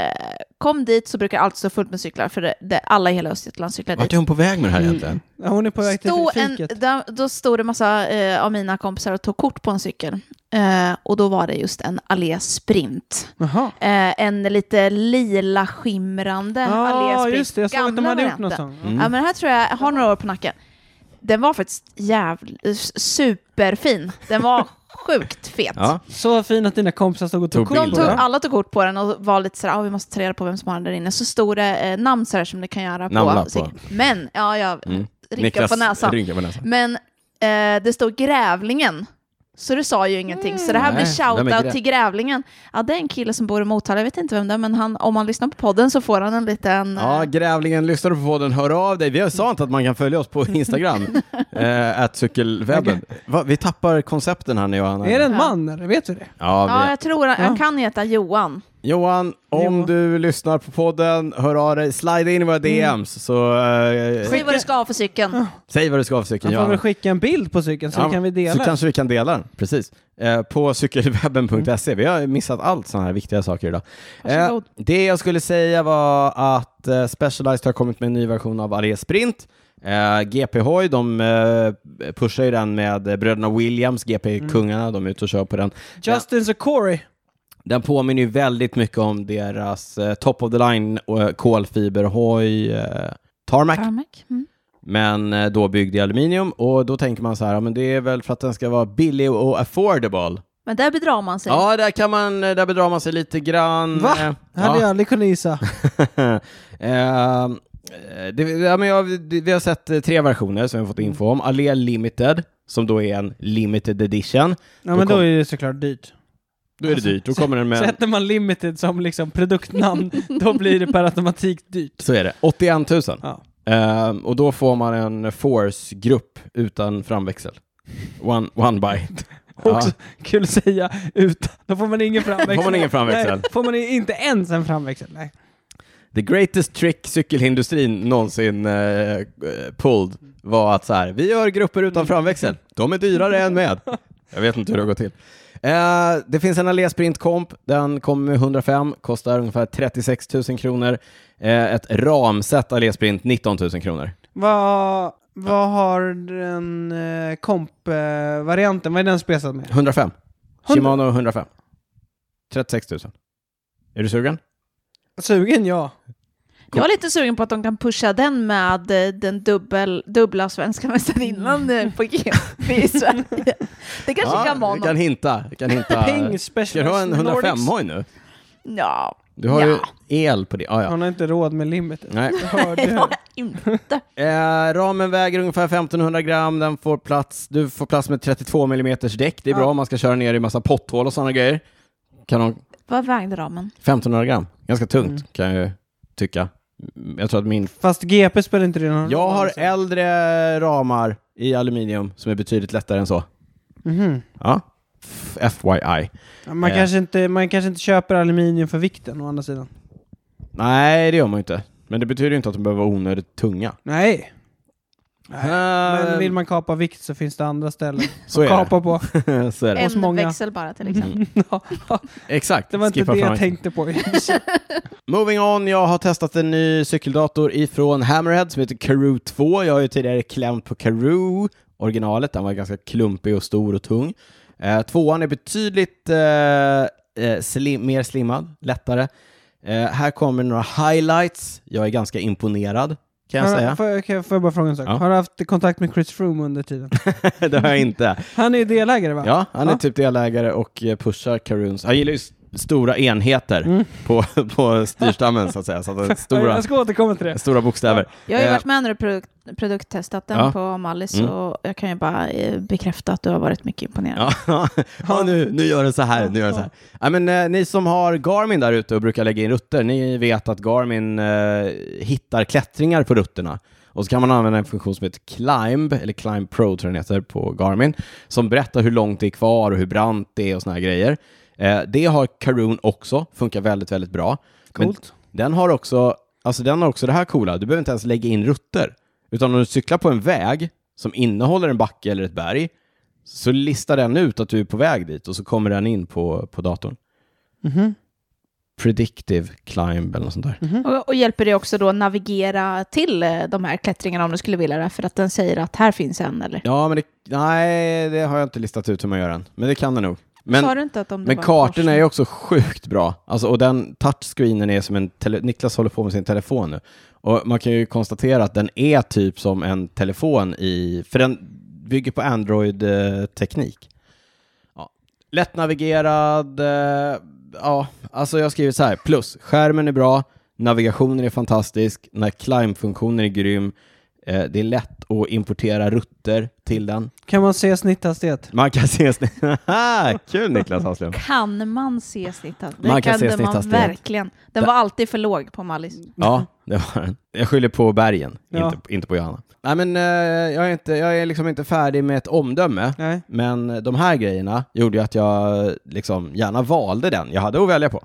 Speaker 1: kom dit så brukar allt stå fullt med cyklar, för det, det, alla i hela Östergötland cyklar dit.
Speaker 2: Vart är hon på väg med det här egentligen?
Speaker 3: Ja, hon är på väg till
Speaker 1: Stod en,
Speaker 3: fiket.
Speaker 1: där, då stod det massa eh, av mina kompisar och tog kort på en cykel. Eh, och då var det just en Allé Sprint.
Speaker 3: Jaha.
Speaker 1: Eh, en lite lila skimrande
Speaker 3: Ja,
Speaker 1: Allé Sprint.
Speaker 3: Ah, just det. Jag såg att de
Speaker 1: Gamla
Speaker 3: hade gjort någon
Speaker 1: varianten.
Speaker 3: sån.
Speaker 1: Ja, men den här tror jag har några år på nacken. Den var faktiskt jävligt superfin. Den var sjukt fet.
Speaker 2: Ja.
Speaker 3: Så fin att dina kompisar stod och tog
Speaker 2: Tog
Speaker 3: kort
Speaker 1: De
Speaker 3: på
Speaker 1: tog,
Speaker 3: den.
Speaker 1: alla tog kort på den och var lite sådär, ah, vi måste ta reda på vem som har den där inne. Så stod det eh, namn sådär som det kan göra
Speaker 2: Namnlapp
Speaker 1: på.
Speaker 2: på.
Speaker 1: sig. Men, ja, jag
Speaker 2: Mm.
Speaker 1: rynkar på näsan.
Speaker 2: rynkar på näsan.
Speaker 1: Men eh, det stod Grävlingen. Så det sa ju ingenting. Så det här blir
Speaker 2: Nej, vem är Grä-
Speaker 1: shoutout till Grävlingen. Ja, det är en kille som bor i Motala, jag vet inte vem det är, men han, om han lyssnar på podden så får han en liten...
Speaker 2: Ja,
Speaker 1: eh,
Speaker 2: Grävlingen, lyssnar du på podden, hör av dig. Vi har sa inte att man kan följa oss på Instagram, eh, att cykelwebben. Va, vi tappar koncepten här nu, Johanna.
Speaker 3: Är det en man eller? Vet du det?
Speaker 2: Ja,
Speaker 1: ja
Speaker 2: vi...
Speaker 1: jag tror han, han
Speaker 3: Ja.
Speaker 1: kan heta Johan.
Speaker 2: Johan, Mm. om
Speaker 3: Johan.
Speaker 2: du lyssnar på podden, hör av dig, slide in i våra DMs, så eh,
Speaker 1: Säg vad du ska ha för cykeln.
Speaker 2: säg vad du ska ha för
Speaker 3: Han
Speaker 2: cykeln,
Speaker 3: får väl
Speaker 2: Johanna.
Speaker 3: skicka en bild på cykeln så
Speaker 2: Ja,
Speaker 3: kan vi
Speaker 2: Så
Speaker 3: dela.
Speaker 2: kanske vi kan dela den, precis. Eh, på cykelwebben.se. Vi har missat allt sådana här viktiga saker idag. Eh,
Speaker 1: Varsågod.
Speaker 2: det jag skulle säga var att eh, Specialized har kommit med en ny version av Aré Sprint. Eh, GP Hoj, de eh, pushar ju den med eh, bröderna Williams,
Speaker 3: Mm.
Speaker 2: GP-kungarna, de är ute och kör på den.
Speaker 3: Justin Zakori.
Speaker 2: Den påminner ju väldigt mycket om deras eh, top of the line eh, kolfiberhoj eh, Tarmac,
Speaker 1: Tarmac. Mm.
Speaker 2: men eh, då byggd i aluminium. Och då tänker man så här, ja, men det är väl för att den ska vara billig och affordable.
Speaker 3: Typ.
Speaker 1: Men där bedrar man sig.
Speaker 2: Ja, där kan man, eh, där bedrar man sig lite grann.
Speaker 3: Va?
Speaker 2: Eh,
Speaker 3: Det hade
Speaker 2: ja.
Speaker 3: jag aldrig kunnat gissa.
Speaker 2: Eh, det, ja, men jag, det, vi har sett eh, tre versioner som vi har fått info om. Allé Limited, som då är en limited edition.
Speaker 3: Ja men
Speaker 2: kom-
Speaker 3: då är det såklart dyrt.
Speaker 2: Då är det dyrt, då kommer den med...
Speaker 3: Sätter man limited som liksom produktnamn, då blir det per automatik dyrt.
Speaker 2: Så är det, 81 000.
Speaker 3: Ja.
Speaker 2: Eh, och då får man en force-grupp utan framväxel. One, one bite.
Speaker 3: Och Också kul att säga utan. Då får man ingen framväxel.
Speaker 2: Får man ingen framväxel.
Speaker 3: Nej, får man inte ens en framväxel. Nej.
Speaker 2: The greatest trick cykelindustrin någonsin eh, pulled var att så här, vi gör grupper utan framväxel. De är dyrare än med. Jag vet inte hur det har gått till. Eh, det finns en Allé Sprint Comp. Den kommer med 105, kostar ungefär 36 000 kronor. Eh, ett ramset Allé Sprint 19 000 kronor.
Speaker 3: Vad, vad har den eh, komp-varianten, vad är den spesad med?
Speaker 2: 105.
Speaker 3: 100.
Speaker 2: Shimano 105. 36 000. Är du sugen?
Speaker 3: Sugen ja.
Speaker 1: Jag var lite sugen på att de kan pusha den med eh, den dubbel, dubbla svenska mästarinnan eh, på GP i Sverige. Det kanske kan vara
Speaker 2: vi kan
Speaker 1: någon.
Speaker 2: hinta. Vi kan hinta.
Speaker 3: Ping
Speaker 2: Ska du ha Eh, en
Speaker 3: Specialized Nordics.
Speaker 2: 105-hoj nu?
Speaker 1: Ja,
Speaker 2: Du har
Speaker 1: Ja.
Speaker 2: ju el på det. Ah, ja.
Speaker 3: Han har inte råd med limited.
Speaker 2: Nej.
Speaker 3: Jag hörde
Speaker 1: det
Speaker 3: det.
Speaker 1: har jag inte.
Speaker 2: Eh, ramen väger ungefär 1500 gram, den får plats, du får plats med 32 mm däck, det är bra om man ska köra ner i massa potthål och sådana grejer. Kan de,
Speaker 1: Vad vägde ramen?
Speaker 2: 1500 gram, ganska tungt
Speaker 3: Mm.
Speaker 2: kan jag ju tycka. Mm, Jag tror att min...
Speaker 3: Fast GP spelar inte det någon
Speaker 2: Jag
Speaker 3: roll,
Speaker 2: har
Speaker 3: alltså.
Speaker 2: äldre ramar i aluminium som är betydligt lättare än så.
Speaker 3: Mhm.
Speaker 2: Ja, F- FYI.
Speaker 3: Ja, Man,
Speaker 2: Eh.
Speaker 3: kanske inte, man kanske inte köper aluminium för vikten å andra sidan.
Speaker 2: Nej, det gör man ju inte. Men det betyder ju inte att de behöver vara onödigt tunga.
Speaker 3: Nej.
Speaker 2: Eh,
Speaker 3: Men vill man kapa vikt så finns det andra ställen
Speaker 2: så,
Speaker 3: att
Speaker 2: är
Speaker 3: kapa på.
Speaker 2: det. så är det.
Speaker 3: Hos
Speaker 1: En
Speaker 3: många.
Speaker 1: växel bara till exempel.
Speaker 3: Ja,
Speaker 2: Exakt.
Speaker 3: Eh, det var inte
Speaker 2: Skippa
Speaker 3: det jag
Speaker 2: framväxeln.
Speaker 3: tänkte på.
Speaker 2: Moving on, jag har testat en ny cykeldator ifrån Hammerhead som heter Karoo 2. Jag har ju tidigare klämt på Karoo, originalet. Den var ganska klumpig och stor och tung. Eh, tvåan är betydligt eh, eh, slim, mer slimmad, lättare. Eh, här kommer några highlights. Jag är ganska imponerad, kan jag
Speaker 3: Har-
Speaker 2: säga.
Speaker 3: Får, jag- kan jag- får jag bara fråga en sak?
Speaker 2: Ja.
Speaker 3: Har du haft kontakt med Chris Froome under tiden?
Speaker 2: det har jag inte.
Speaker 3: Han är ju delägare va?
Speaker 2: Ja, han är
Speaker 3: Ja.
Speaker 2: typ delägare och eh, pushar Karoons. Han gillar ju s- stora enheter på, på styrstammen, så att säga. Så att det är stora,
Speaker 3: Mm. Jag ska återkomma till det.
Speaker 2: stora bokstäver.
Speaker 1: Jag har ju
Speaker 2: Eh,
Speaker 1: varit med när du produkt, produkttestat den
Speaker 2: Ja.
Speaker 1: på Mallis
Speaker 2: Mm.
Speaker 1: och jag kan ju bara eh, bekräfta att du har varit mycket imponerad.
Speaker 2: Ja, ja nu, nu gör den så här. Nu gör den så här. Ja, men, eh, ni som har Garmin där ute och brukar lägga in rutter, ni vet att Garmin eh, hittar klättringar på rutterna. Och så kan man använda en funktion som heter Climb, eller Climb Pro tror den heter på Garmin, som berättar hur långt det är kvar och hur brant det är och såna här grejer. Eh, det har Karoon också, funkar väldigt, väldigt bra. Men
Speaker 3: Coolt.
Speaker 2: den har också, alltså den har också det här coola, du behöver inte ens lägga in rutter. Utan om du cyklar på en väg som innehåller en backe eller ett berg, så listar den ut att du är på väg dit och så kommer den in på, på datorn.
Speaker 3: Mhm.
Speaker 2: Predictive climb eller något sånt där.
Speaker 1: Och, och hjälper dig också då navigera till eh, de här klättringarna om du skulle vilja det, för att den säger att här finns en eller?
Speaker 2: Ja, men det, nej, det har jag inte listat ut hur man gör än. Men det kan den nog. Men,
Speaker 1: Sa du inte att om det
Speaker 2: men
Speaker 1: var en
Speaker 2: kartorna är
Speaker 1: korsning?
Speaker 2: ju också sjukt bra. Alltså, och den touchscreenen är som en... Tele- Niklas håller på med sin telefon nu. Och man kan ju konstatera att den är typ som en telefon i... För den bygger på Android-teknik. Ja. Lättnavigerad... Eh, ja, alltså jag har skrivit så här. Plus, skärmen är bra, navigationen är fantastisk, den här climb-funktionen är grym. Eh, det är lätt att importera rutter till den.
Speaker 3: Kan man se snitthastighet?
Speaker 2: Man kan se snitt... Haha, Kul Niklas Hasslum!
Speaker 1: Kan man se snitthastighet? Det
Speaker 2: Man kan
Speaker 1: kan
Speaker 2: se
Speaker 1: det man
Speaker 2: snitthastighet.
Speaker 1: verkligen. Den var alltid för låg på Mallis.
Speaker 2: Ja, det var den. Jag skyller på bergen,
Speaker 3: Ja.
Speaker 2: inte, inte på Johanna. Nej, men eh, jag, är inte, jag är liksom inte färdig med ett omdöme,
Speaker 3: Nej.
Speaker 2: men de här grejerna gjorde ju att jag liksom gärna valde den jag hade att välja på.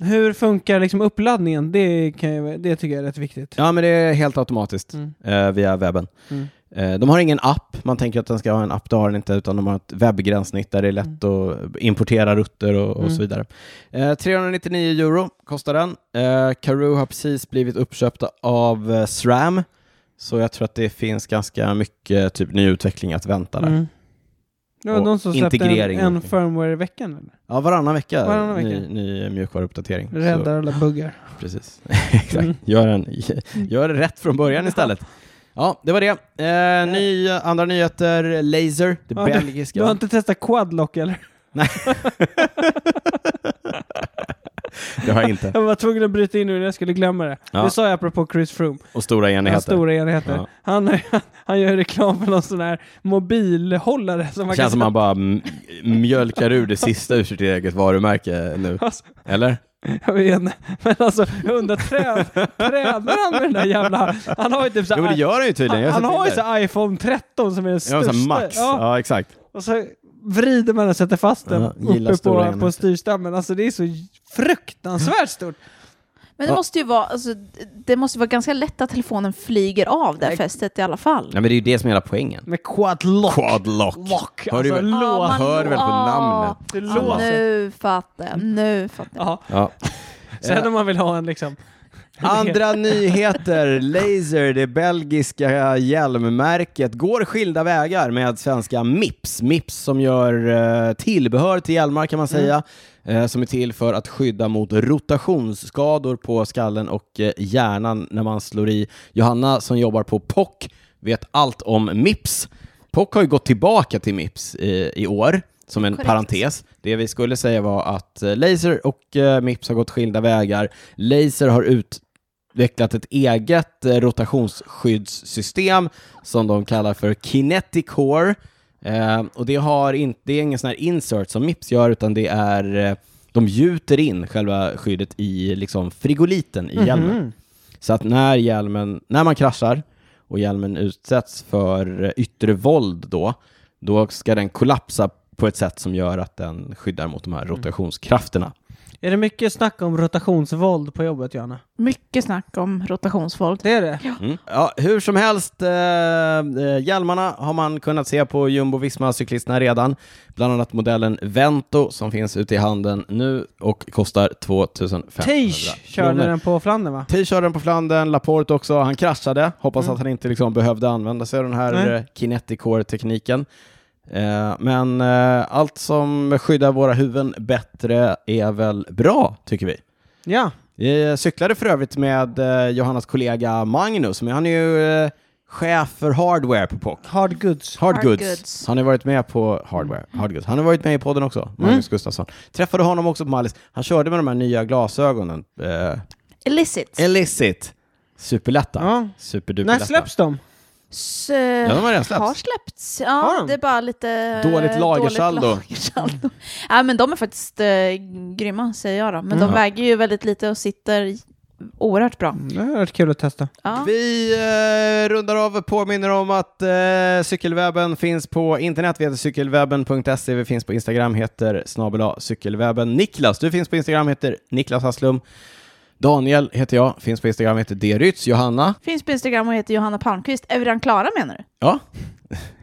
Speaker 3: Hur funkar liksom uppladdningen? Det, kan jag, det tycker jag är rätt viktigt.
Speaker 2: Ja, men det är helt automatiskt
Speaker 3: Mm.
Speaker 2: eh, via webben.
Speaker 3: Mm.
Speaker 2: Eh, de har ingen app, man tänker att den ska ha en app, det har den inte, utan de har ett webbgränssnitt där det är lätt
Speaker 3: Mm.
Speaker 2: att importera rutter och, och så vidare. Eh, 399 euro kostar den. Eh, Karoo har precis blivit uppköpta av eh, SRAM, så jag tror att det finns ganska mycket typ, nyutveckling att vänta där.
Speaker 3: Mm. Det var
Speaker 2: Och
Speaker 3: de som släppte
Speaker 2: integrering.
Speaker 3: en, en firmware i veckan. Eller?
Speaker 2: Ja, varannan vecka,
Speaker 3: Varannan vecka.
Speaker 2: Ny, ny mjukvaruuppdatering. Så-
Speaker 3: Räddar alla buggar.
Speaker 2: Precis. Exakt.
Speaker 3: Mm.
Speaker 2: Gör, en, gör det rätt från början istället. Ja, det var det. Eh, ny, andra nyheter, Laser, det
Speaker 3: Ja,
Speaker 2: belgiska.
Speaker 3: Du har inte testat quadlock eller?
Speaker 2: Det har jag inte.
Speaker 3: Jag var tvungen att bryta in nu när jag skulle glömma det.
Speaker 2: Ja.
Speaker 3: Det sa jag apropå Chris Froome.
Speaker 2: Och stora
Speaker 3: Hans
Speaker 2: enheter.
Speaker 3: stora enheter.
Speaker 2: Ja.
Speaker 3: Han, han gör reklam för någon sån här mobilhållare. Som man
Speaker 2: Det känns som
Speaker 3: kan
Speaker 2: man bara m- mjölkar ur det sista ur sitt eget varumärke nu.
Speaker 3: Alltså,
Speaker 2: Eller?
Speaker 3: jag vet inte. Men alltså, jag undrar, trä- tränar han med den där jävla... Han har ju typ så
Speaker 2: Jo, men det
Speaker 3: här,
Speaker 2: gör han ju tydligen.
Speaker 3: han,
Speaker 2: Jag
Speaker 3: han
Speaker 2: sett
Speaker 3: har ju
Speaker 2: bilder.
Speaker 3: så här iPhone 13 som är den
Speaker 2: Ja, men
Speaker 3: största.
Speaker 2: så här max. Ja,
Speaker 3: Ja,
Speaker 2: exakt.
Speaker 3: Och så vrider man och sätter fast den
Speaker 2: Ja, gillar
Speaker 3: uppe
Speaker 2: stora
Speaker 3: på,
Speaker 2: enheter.
Speaker 3: på styrstammen. Alltså det är så fruktansvärt stort.
Speaker 1: Men det
Speaker 2: Ja.
Speaker 1: måste ju vara, alltså, det måste vara ganska lätt att telefonen flyger av det här
Speaker 3: Nej.
Speaker 1: fästet i alla fall.
Speaker 2: Ja, men det är ju det som är hela poängen.
Speaker 3: Med quadlock.
Speaker 2: Quadlock.
Speaker 3: Lock.
Speaker 2: Hör du
Speaker 3: Alltså,
Speaker 2: väl?
Speaker 3: lås.
Speaker 1: man-
Speaker 2: hör väl på
Speaker 1: ah,
Speaker 2: namnet. Alltså.
Speaker 3: Det
Speaker 1: ah,
Speaker 3: låser.
Speaker 1: nu fattar jag, nu fattar jag.
Speaker 3: Ja.
Speaker 2: Ja. Eh.
Speaker 3: Sen om man vill ha en liksom...
Speaker 2: Andra nyheter. Laser, det belgiska hjälmmärket, går skilda vägar med svenska Mips. Mips som gör eh, tillbehör till hjälmar kan man säga, eh, som är till för att skydda mot rotationsskador på skallen och eh, hjärnan när man slår i. Johanna som jobbar på POC vet allt om Mips. POC har ju gått tillbaka till Mips eh, i, i år, som en
Speaker 1: Korrekt.
Speaker 2: parentes. Det vi skulle säga var att eh, Laser och eh, Mips har gått skilda vägar. Laser har ut utvecklat ett eget eh, rotationsskyddssystem som de kallar för Kinetic Core. Eh, och det, har in, det är ingen sån här insert som Mips gör, utan det är eh, de gjuter in själva skyddet i liksom, frigoliten i hjälmen. Så att när, hjälmen, när man kraschar och hjälmen utsätts för eh, yttre våld då, då ska den kollapsa på ett sätt som gör att den skyddar mot de här
Speaker 3: Mm.
Speaker 2: rotationskrafterna.
Speaker 3: Är det mycket snack om rotationsvåld på jobbet, Johanna?
Speaker 1: Mycket snack om rotationsvåld.
Speaker 3: Det är det?
Speaker 2: Mm. Ja, hur som helst, eh, eh, hjälmarna har man kunnat se på Jumbo Visma-cyklisterna redan. Bland annat modellen Vento som finns ute i handeln nu och kostar 2500
Speaker 3: Tage körde
Speaker 2: kronor.
Speaker 3: den på Flandern va?
Speaker 2: Tej körde den på Flandern, Laporte också. Han kraschade. Hoppas
Speaker 1: Mm.
Speaker 2: att han inte liksom behövde använda sig av den här
Speaker 3: Nej.
Speaker 2: eh, kinetic core-tekniken. Eh, men eh, allt som skyddar våra huvuden bättre är väl bra, tycker vi.
Speaker 3: Ja.
Speaker 2: Vi cyklade för övrigt med eh, Johannas kollega Magnus, men han är ju eh, chef för hardware på POC.
Speaker 3: Hard goods.
Speaker 2: Hard
Speaker 1: Hard
Speaker 2: goods.
Speaker 1: Goods. Mm.
Speaker 2: Han har varit med på hardware. Hard goods. Han har varit med i podden också, Magnus Gustafsson. Träffade honom också på Mallis. Han körde med de här nya glasögonen. Eh,
Speaker 1: Illicit.
Speaker 2: Elicit. Superlätta.
Speaker 3: Ja. När
Speaker 2: Superduperlätta.
Speaker 3: släpps eh, de?
Speaker 1: S- eh,
Speaker 2: Ja, de har redan
Speaker 1: har
Speaker 2: släppts.
Speaker 1: släppts. Ja,
Speaker 3: Har de?
Speaker 1: det är bara lite... eh,
Speaker 2: Dåligt lagersaldo.
Speaker 1: dåligt lagersaldo. ja, men de är faktiskt eh, grymma, säger jag då. Men
Speaker 2: Mm.
Speaker 1: de väger ju väldigt lite och sitter oerhört bra.
Speaker 3: Det har varit kul att testa.
Speaker 1: Ja.
Speaker 2: Vi eh, rundar av och påminner om att eh, cykelwebben finns på internet. Vi heter cykelwebben.se. Vi finns på Instagram, heter snabel A, cykelwebben. Niklas, du finns på Instagram, heter Niklas Hasslum. Daniel heter jag, finns på Instagram, heter Derytz. Johanna,
Speaker 1: Finns på Instagram och heter Johanna Palmqvist. Är vi redan klara menar du?
Speaker 2: ja,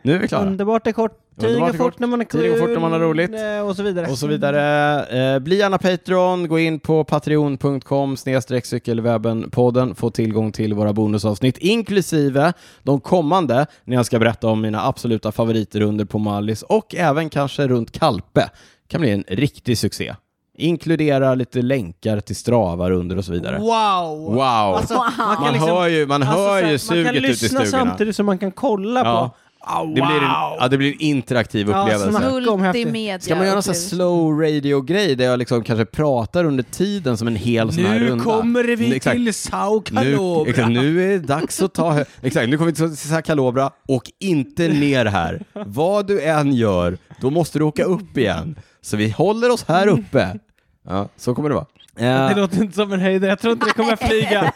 Speaker 2: nu är vi klara.
Speaker 3: Underbart är kort. Tiden
Speaker 2: Underbart
Speaker 3: går
Speaker 2: är kort.
Speaker 3: fort när man är kul.
Speaker 2: Tiden går fort när man har roligt.
Speaker 3: eh, Och så vidare.
Speaker 2: Och så vidare. Eh, bli gärna Patreon, gå in på patreon.com snedstreck cykelwebben-podden, få tillgång till våra bonusavsnitt, inklusive de kommande, när jag ska berätta om mina absoluta favoriter under på Mallis och även kanske runt Kalpe. kan bli en riktig succé. Inkludera lite länkar till stravar under och så vidare.
Speaker 3: Wow! Alltså,
Speaker 2: Wow.
Speaker 3: man
Speaker 2: Man hör ju, man
Speaker 3: alltså,
Speaker 2: hör
Speaker 3: så här,
Speaker 2: ju
Speaker 3: Man
Speaker 2: suget
Speaker 3: kan
Speaker 2: ute i
Speaker 3: lyssna
Speaker 2: stugorna.
Speaker 3: samtidigt som man kan kolla
Speaker 2: Ja.
Speaker 3: på. Ah, wow!
Speaker 2: Det blir en, ja, det blir en interaktiv
Speaker 3: Ja,
Speaker 2: upplevelse.
Speaker 3: snabbt. Snacka om häftigt.
Speaker 1: Multimedia.
Speaker 2: Ska man göra någon sån här
Speaker 1: upplevelse.
Speaker 2: slow radio-grej där jag liksom kanske pratar under tiden som en hel sån här
Speaker 3: nu
Speaker 2: runda? Mm,
Speaker 3: kommer vi
Speaker 2: Exakt.
Speaker 3: till
Speaker 2: nu,
Speaker 3: Saukalobra.
Speaker 2: exakt, nu är det dags att ta... hö- Exakt, nu kommer vi till Sissa Kalobra. Åk inte ner här. Vad du än gör, då måste du åka upp igen. Så vi håller oss här uppe. Ja, så kommer det vara. Eh,
Speaker 3: Det låter inte som en höjdare. Jag tror inte det kommer flyga.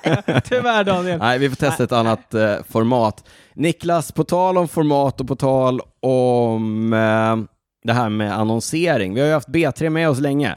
Speaker 3: Tyvärr Daniel.
Speaker 2: Nej, vi får testa ett annat eh, format. Niklas, på tal om format och på tal om eh, det här med annonsering. Vi har ju haft B3 med oss länge.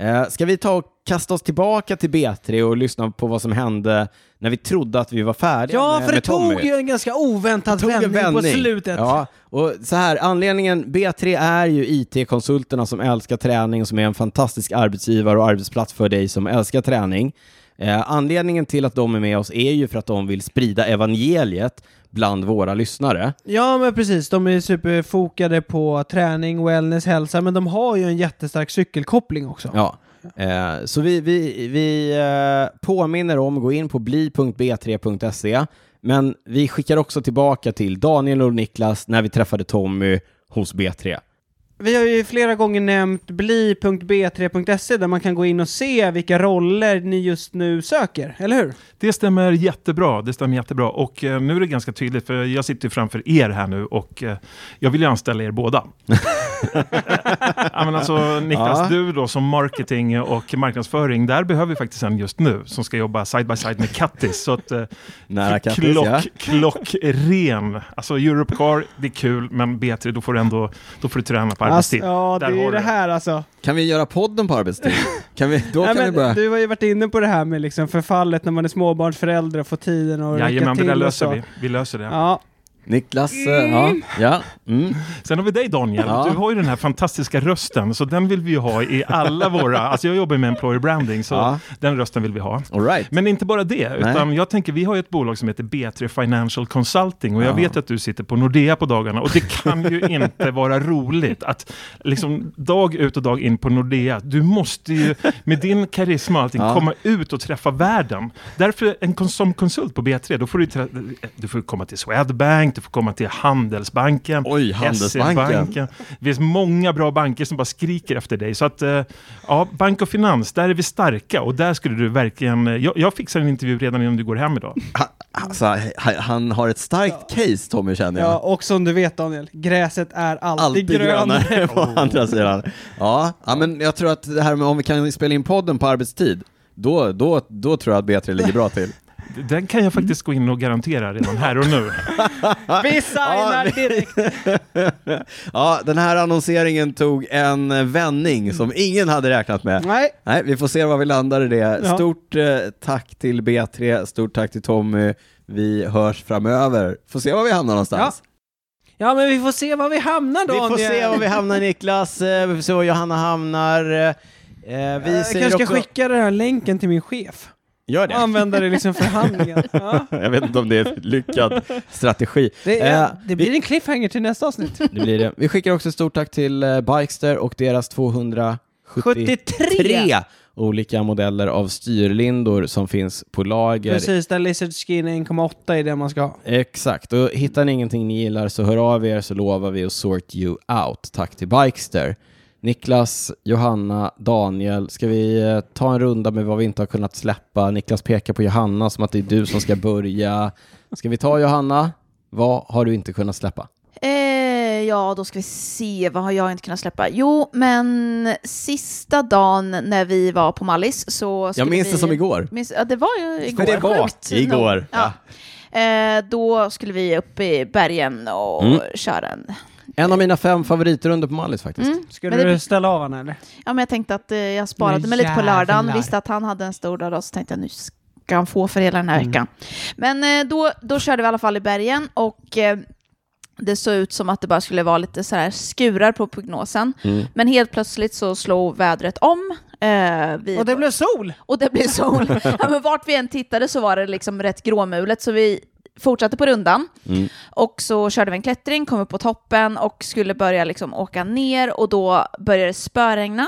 Speaker 2: Eh, ska vi ta och kasta oss tillbaka till B3 och lyssna på vad som hände när vi trodde att vi var färdiga
Speaker 3: Ja,
Speaker 2: med,
Speaker 3: för det
Speaker 2: med Tommy?
Speaker 3: tog ju en ganska oväntad
Speaker 2: tog
Speaker 3: vändning,
Speaker 2: en vändning
Speaker 3: på slutet.
Speaker 2: Ja, och så här, anledningen, B3 är ju IT-konsulterna som älskar träning och som är en fantastisk arbetsgivare och arbetsplats för dig som älskar träning. Eh, anledningen till att de är med oss är ju för att de vill sprida evangeliet bland våra lyssnare.
Speaker 3: Ja, men precis. De är superfokade på träning, wellness, hälsa, men de har ju en jättestark cykelkoppling också.
Speaker 2: Ja. Eh, så vi, vi, vi eh, påminner om, gå in på bli.b3.se, E, men vi skickar också tillbaka till Daniel och Niklas när vi träffade Tommy hos B3.
Speaker 3: Vi har ju flera gånger nämnt bli.b3.se där man kan gå in och se vilka roller ni just nu söker, eller hur?
Speaker 4: Det stämmer jättebra. Det stämmer jättebra. Och eh, nu är det ganska tydligt, för jag sitter ju framför er här nu och eh, jag vill ju anställa er båda. ja, men alltså, Niklas,
Speaker 2: Ja.
Speaker 4: du då som marketing och marknadsföring, där behöver vi faktiskt en just nu som ska jobba side by side med Kattis. Så att, eh,
Speaker 2: Nära Kattis,
Speaker 4: klock,
Speaker 2: ja.
Speaker 4: klockren. Alltså Europe Car, det är kul, men B3, då får du ändå då får du träna på
Speaker 3: Alltså,
Speaker 4: arbetstid.
Speaker 3: ja, det
Speaker 4: Där
Speaker 3: är
Speaker 4: har
Speaker 3: det
Speaker 4: du.
Speaker 3: här alltså.
Speaker 2: Kan vi göra podden på arbetstid? Kan vi, då
Speaker 3: Nej,
Speaker 2: kan vi
Speaker 3: men,
Speaker 2: börja.
Speaker 3: Du har ju varit inne på det här med liksom förfallet när man är småbarnsförälder och får tiden att räcka
Speaker 4: Jajamän, det
Speaker 3: till
Speaker 4: där
Speaker 3: och
Speaker 4: löser
Speaker 3: så.
Speaker 4: vi. Vi löser det.
Speaker 3: Ja,
Speaker 2: Niklas, eh, ja. ja mm.
Speaker 4: Sen har vi dig Daniel,
Speaker 2: Ja.
Speaker 4: du har ju den här fantastiska rösten, så den vill vi ju ha i alla våra... Alltså jag jobbar med employer branding, så
Speaker 2: Ja.
Speaker 4: den rösten vill vi ha.
Speaker 2: All right.
Speaker 4: Men inte bara det, utan jag tänker, vi har ju ett bolag som heter B3 Financial Consulting och jag
Speaker 2: Ja.
Speaker 4: vet att du sitter på Nordea på dagarna och det kan ju inte vara roligt att liksom dag ut och dag in på Nordea, du måste ju med din karisma och allting
Speaker 2: Ja.
Speaker 4: komma ut och träffa världen. Därför en kons- som konsult på B3, då får du, trä- du får komma till Swedbank, du får komma till Handelsbanken,
Speaker 2: Oj, Handelsbanken.
Speaker 4: SE-banken. Det finns många bra banker som bara skriker efter dig. Så att, eh, ja, bank och finans, där är vi starka och där skulle du verkligen... eh, Jag, jag fixar en intervju redan innan du går hem idag.
Speaker 2: Han, alltså, han- han har ett starkt case Tommy känner jag.
Speaker 3: ja, och som du vet Daniel, gräset är alltid,
Speaker 2: Alltid
Speaker 3: grönare. Oh.
Speaker 2: grönare på andra sidan. Ja, ja, men jag tror att det här med om vi kan spela in podden på arbetstid, då, då, då tror jag att Beatrice ligger bra till.
Speaker 4: Den kan jag faktiskt gå in och garantera redan här och nu.
Speaker 3: Vi
Speaker 2: Ja,
Speaker 3: signar direkt!
Speaker 2: Ja, den här annonseringen tog en vändning som ingen hade räknat med.
Speaker 3: Nej,
Speaker 2: Nej, vi får se var vi landar i det.
Speaker 3: Ja.
Speaker 2: Stort eh, tack till B3, stort tack till Tommy. Vi hörs framöver. Får se var vi hamnar någonstans.
Speaker 3: ja men vi får se var vi hamnar
Speaker 2: Vi
Speaker 3: Daniel.
Speaker 2: får se var vi hamnar Niklas, eh, vi får se var Johanna hamnar. Eh, Vi
Speaker 3: Jag
Speaker 2: säger
Speaker 3: kanske
Speaker 2: också...
Speaker 3: ska skicka den här länken till min chef.
Speaker 2: Gör
Speaker 3: Och använda det liksom för handlingen. Ja.
Speaker 2: Jag vet inte om det är en lyckad strategi.
Speaker 3: Det, är,
Speaker 2: Eh,
Speaker 3: det blir en cliffhanger till nästa avsnitt.
Speaker 2: vi, det blir det. Vi skickar också stort tack till eh, Bikester och deras 273
Speaker 3: 73!
Speaker 2: olika modeller av styrlindor som finns på lager
Speaker 3: Precis, där Lizard Skin 1,8 är det man ska ha.
Speaker 2: Exakt, och hittar ni ingenting ni gillar så hör av er så lovar vi att sort you out. Tack till Bikester. Niklas, Johanna, Daniel, ska vi eh, ta en runda med vad vi inte har kunnat släppa? Niklas pekar på Johanna som att det är du som ska börja. Ska vi ta Johanna? Vad har du inte kunnat släppa?
Speaker 1: Eh, ja, då ska vi se. Vad har jag inte kunnat släppa? Jo, men sista dagen när vi var på Mallis så... skulle vi...
Speaker 2: igår.
Speaker 1: Minns, ja, det var ju igår.
Speaker 2: För det var
Speaker 1: Sjukt
Speaker 2: igår,
Speaker 1: nog. Ja. Eh, då skulle vi upp i bergen och
Speaker 2: Mm.
Speaker 1: köra en...
Speaker 2: En av mina fem favoritrundor på Mallis faktiskt.
Speaker 1: Mm.
Speaker 3: Skulle
Speaker 1: Men det-
Speaker 3: du ställa av henne eller?
Speaker 1: Ja, men jag tänkte att eh, jag sparade
Speaker 3: Men
Speaker 1: mig lite på lördagen,
Speaker 3: jävlar.
Speaker 1: visste att han hade en stor dag då, så tänkte jag nu ska han få för hela den här veckan. Men eh, då, då körde vi i alla fall i bergen och eh, det såg ut som att det bara skulle vara lite så här skurar på prognosen. Men helt plötsligt så slog vädret om. Eh, vi
Speaker 3: Och det blev sol!
Speaker 1: och det blev sol. ja, men vart vi än tittade så var det liksom rätt gråmulet, så vi fortsatte på rundan
Speaker 2: Mm.
Speaker 1: och så körde vi en klättring, kom upp på toppen och skulle börja liksom åka ner och då började det spöregna.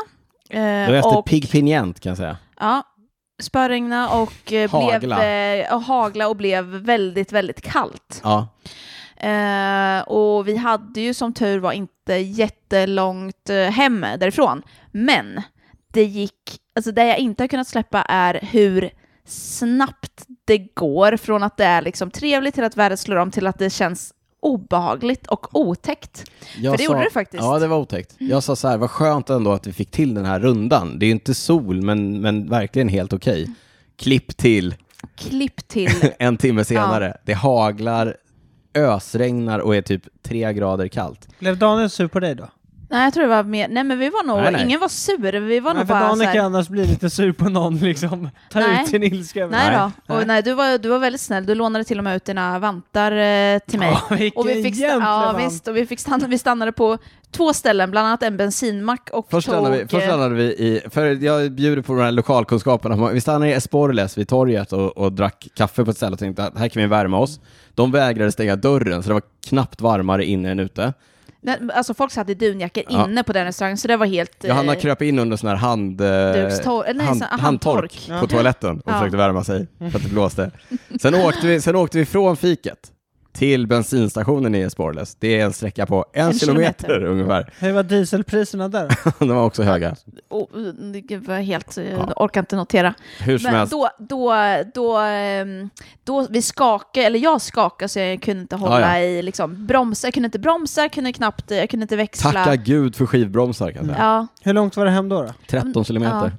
Speaker 1: Eh,
Speaker 2: Det var efter
Speaker 1: och-
Speaker 2: Pigg Pinjent kan jag säga.
Speaker 1: Ja, spöregna och eh,
Speaker 2: Hagla.
Speaker 1: Blev, eh, och hagla och blev väldigt, väldigt kallt.
Speaker 2: Ja.
Speaker 1: Eh, och vi hade ju som tur var inte jättelångt eh, hem därifrån. Men det gick, alltså det jag inte har kunnat släppa är hur snabbt det går från att det är liksom trevligt till att världen slår om till att det känns obehagligt och otäckt.
Speaker 2: Jag
Speaker 1: För det gjorde det faktiskt. Mm.
Speaker 2: Ja, det var otäckt. Jag sa så här, vad skönt ändå att vi fick till den här rundan. Det är ju inte sol, men, men verkligen helt okej.
Speaker 1: Mm.
Speaker 2: Klipp till
Speaker 1: Klipp till
Speaker 2: en timme senare. Det haglar, ösregnar och är typ tre grader kallt.
Speaker 3: Blev Daniel sur på dig då?
Speaker 1: Nej, jag tror det var mer... Nej, men vi var nog...
Speaker 2: Nej, nej.
Speaker 1: Ingen var sur. Vi var
Speaker 3: Nej,
Speaker 1: nog
Speaker 3: för
Speaker 1: bara så
Speaker 3: Daniel
Speaker 1: här...
Speaker 3: kan annars bli lite sur på någon liksom. Ta
Speaker 1: Nej.
Speaker 3: ut sin ilska över
Speaker 1: Nej,
Speaker 2: Nej.
Speaker 1: då. Och, nej, du, var, du var väldigt snäll. Du lånade till och med ut dina vantar eh, till mig.
Speaker 3: Ja, vilken
Speaker 1: och vi fick, sta- ja,
Speaker 3: gentleman.
Speaker 1: visst, och vi, fick stanna, vi stannade på två ställen, bland annat en bensinmack och
Speaker 2: Först
Speaker 1: tog...
Speaker 2: stannade, vi, först
Speaker 1: eh,
Speaker 2: stannade vi i, för jag bjuder på de här lokalkunskaperna, vi stannade i Esporles vid torget och, och drack kaffe på ett ställe och tänkte att här kan vi värma oss. De vägrade stänga dörren så det var knappt varmare inne än ute.
Speaker 1: nej, alltså folk satt i dunjackor
Speaker 2: Ja.
Speaker 1: inne på den restaurangen, så det var helt... eh,
Speaker 2: Johanna kröp in under sån här hand, eh,
Speaker 1: Dukstor- eller nej,
Speaker 2: hand,
Speaker 1: sån- handtork.
Speaker 2: handtork på toaletten och
Speaker 1: Ja.
Speaker 2: försökte värma sig för att det blåste. Sen åkte vi, sen åkte vi från fiket till bensinstationen i Esporles. Det är en sträcka på en,
Speaker 1: En
Speaker 2: kilometer,
Speaker 1: kilometer.
Speaker 2: ungefär.
Speaker 3: Hur var dieselpriserna där?
Speaker 2: De var också höga.
Speaker 1: oh, det var helt... eh, Orkar inte notera.
Speaker 2: Hur som
Speaker 1: Men
Speaker 2: helst.
Speaker 1: då, då, då, ehm, då, vi skakade, eller jag skakade så jag kunde inte hålla
Speaker 2: Ja, ja.
Speaker 1: i liksom bromsa, jag kunde inte bromsa, jag kunde knappt, eh, jag kunde inte växla.
Speaker 2: Tacka gud för skivbromsar kan jag säga.
Speaker 1: Ja,
Speaker 3: Hur långt var det hem då? då?
Speaker 2: 13 kilometer.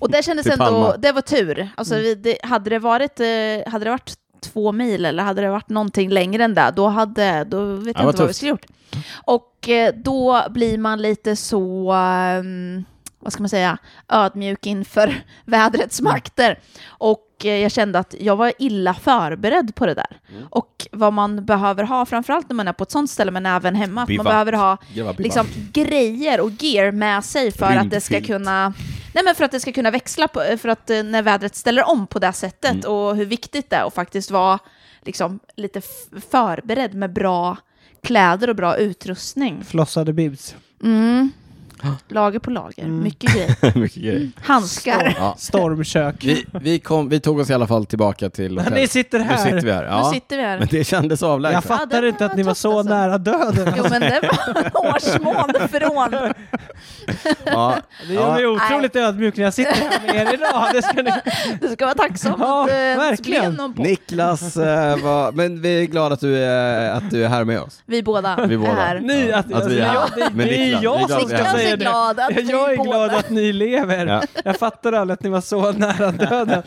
Speaker 1: och det kändes
Speaker 2: Till Palma. Mm.
Speaker 1: ändå, det var tur. Alltså, vi, det, hade, det varit, eh, hade det varit två mil eller hade det varit någonting längre än det, då, hade, då vet jag
Speaker 2: var
Speaker 1: inte vad vi
Speaker 2: tufft.
Speaker 1: skulle gjort. Och eh, då blir man lite så, ehm, vad ska man säga, ödmjuk inför vädrets
Speaker 2: Mm.
Speaker 1: makter. Och eh, jag kände att jag var illa förberedd på det där.
Speaker 2: Mm.
Speaker 1: Och vad man behöver ha, framförallt när man är på ett sånt ställe, men även hemma, att man
Speaker 2: Bivack.
Speaker 1: behöver ha
Speaker 2: Jävla bivack.
Speaker 1: liksom, grejer och gear med sig för att det ska
Speaker 2: Rymdfilt.
Speaker 1: kunna Nej men för att det ska kunna växla, på, för att eh, när vädret ställer om på det sättet
Speaker 3: Mm.
Speaker 1: och hur viktigt det är att faktiskt vara liksom, lite f- förberedd med bra kläder och bra utrustning.
Speaker 3: Flossade bibs.
Speaker 1: Mm. Lager på lager,
Speaker 3: Mm.
Speaker 1: mycket grejer.
Speaker 2: Mycket
Speaker 1: Mm.
Speaker 2: grejer.
Speaker 1: Handskar.
Speaker 2: Ja.
Speaker 3: Stormkök.
Speaker 2: Vi, vi, kom, vi tog oss i alla fall tillbaka till
Speaker 3: Men ni
Speaker 2: hotellet.
Speaker 3: sitter
Speaker 2: Nu
Speaker 3: här.
Speaker 2: sitter vi här.
Speaker 1: Nu
Speaker 2: Ja.
Speaker 1: sitter vi här.
Speaker 2: Men det kändes avlägset.
Speaker 3: Jag fattar
Speaker 1: Ja, det
Speaker 3: inte att
Speaker 1: var
Speaker 3: ni var
Speaker 1: tufft
Speaker 3: så
Speaker 1: alltså.
Speaker 3: nära döden.
Speaker 1: Jo men det var en årsmån från.
Speaker 2: Ja.
Speaker 3: Det gör mig
Speaker 2: Ja.
Speaker 3: otroligt ödmjuk när jag sitter här med er idag. Det ska ni...
Speaker 1: Du ska vara tacksam
Speaker 3: Ja,
Speaker 1: att eh, det
Speaker 3: verkligen.
Speaker 1: blev någon på.
Speaker 2: Niklas, eh, var, men vi är glada att du är, att du är här med oss.
Speaker 1: Vi båda
Speaker 2: Vi båda.
Speaker 1: är här.
Speaker 3: Ni, att, alltså,
Speaker 2: Att vi är
Speaker 3: jag,
Speaker 2: här.
Speaker 3: det,
Speaker 2: Men
Speaker 3: det är
Speaker 2: Niklas,
Speaker 3: jag
Speaker 2: Niklas
Speaker 3: som
Speaker 2: är
Speaker 3: ska
Speaker 2: här.
Speaker 1: Jag
Speaker 3: säga
Speaker 1: är
Speaker 3: det.
Speaker 1: glad att
Speaker 3: Jag
Speaker 1: vi
Speaker 3: är glad
Speaker 1: båda...
Speaker 3: att ni lever.
Speaker 2: Ja.
Speaker 3: Jag fattar aldrig att ni var så nära döden.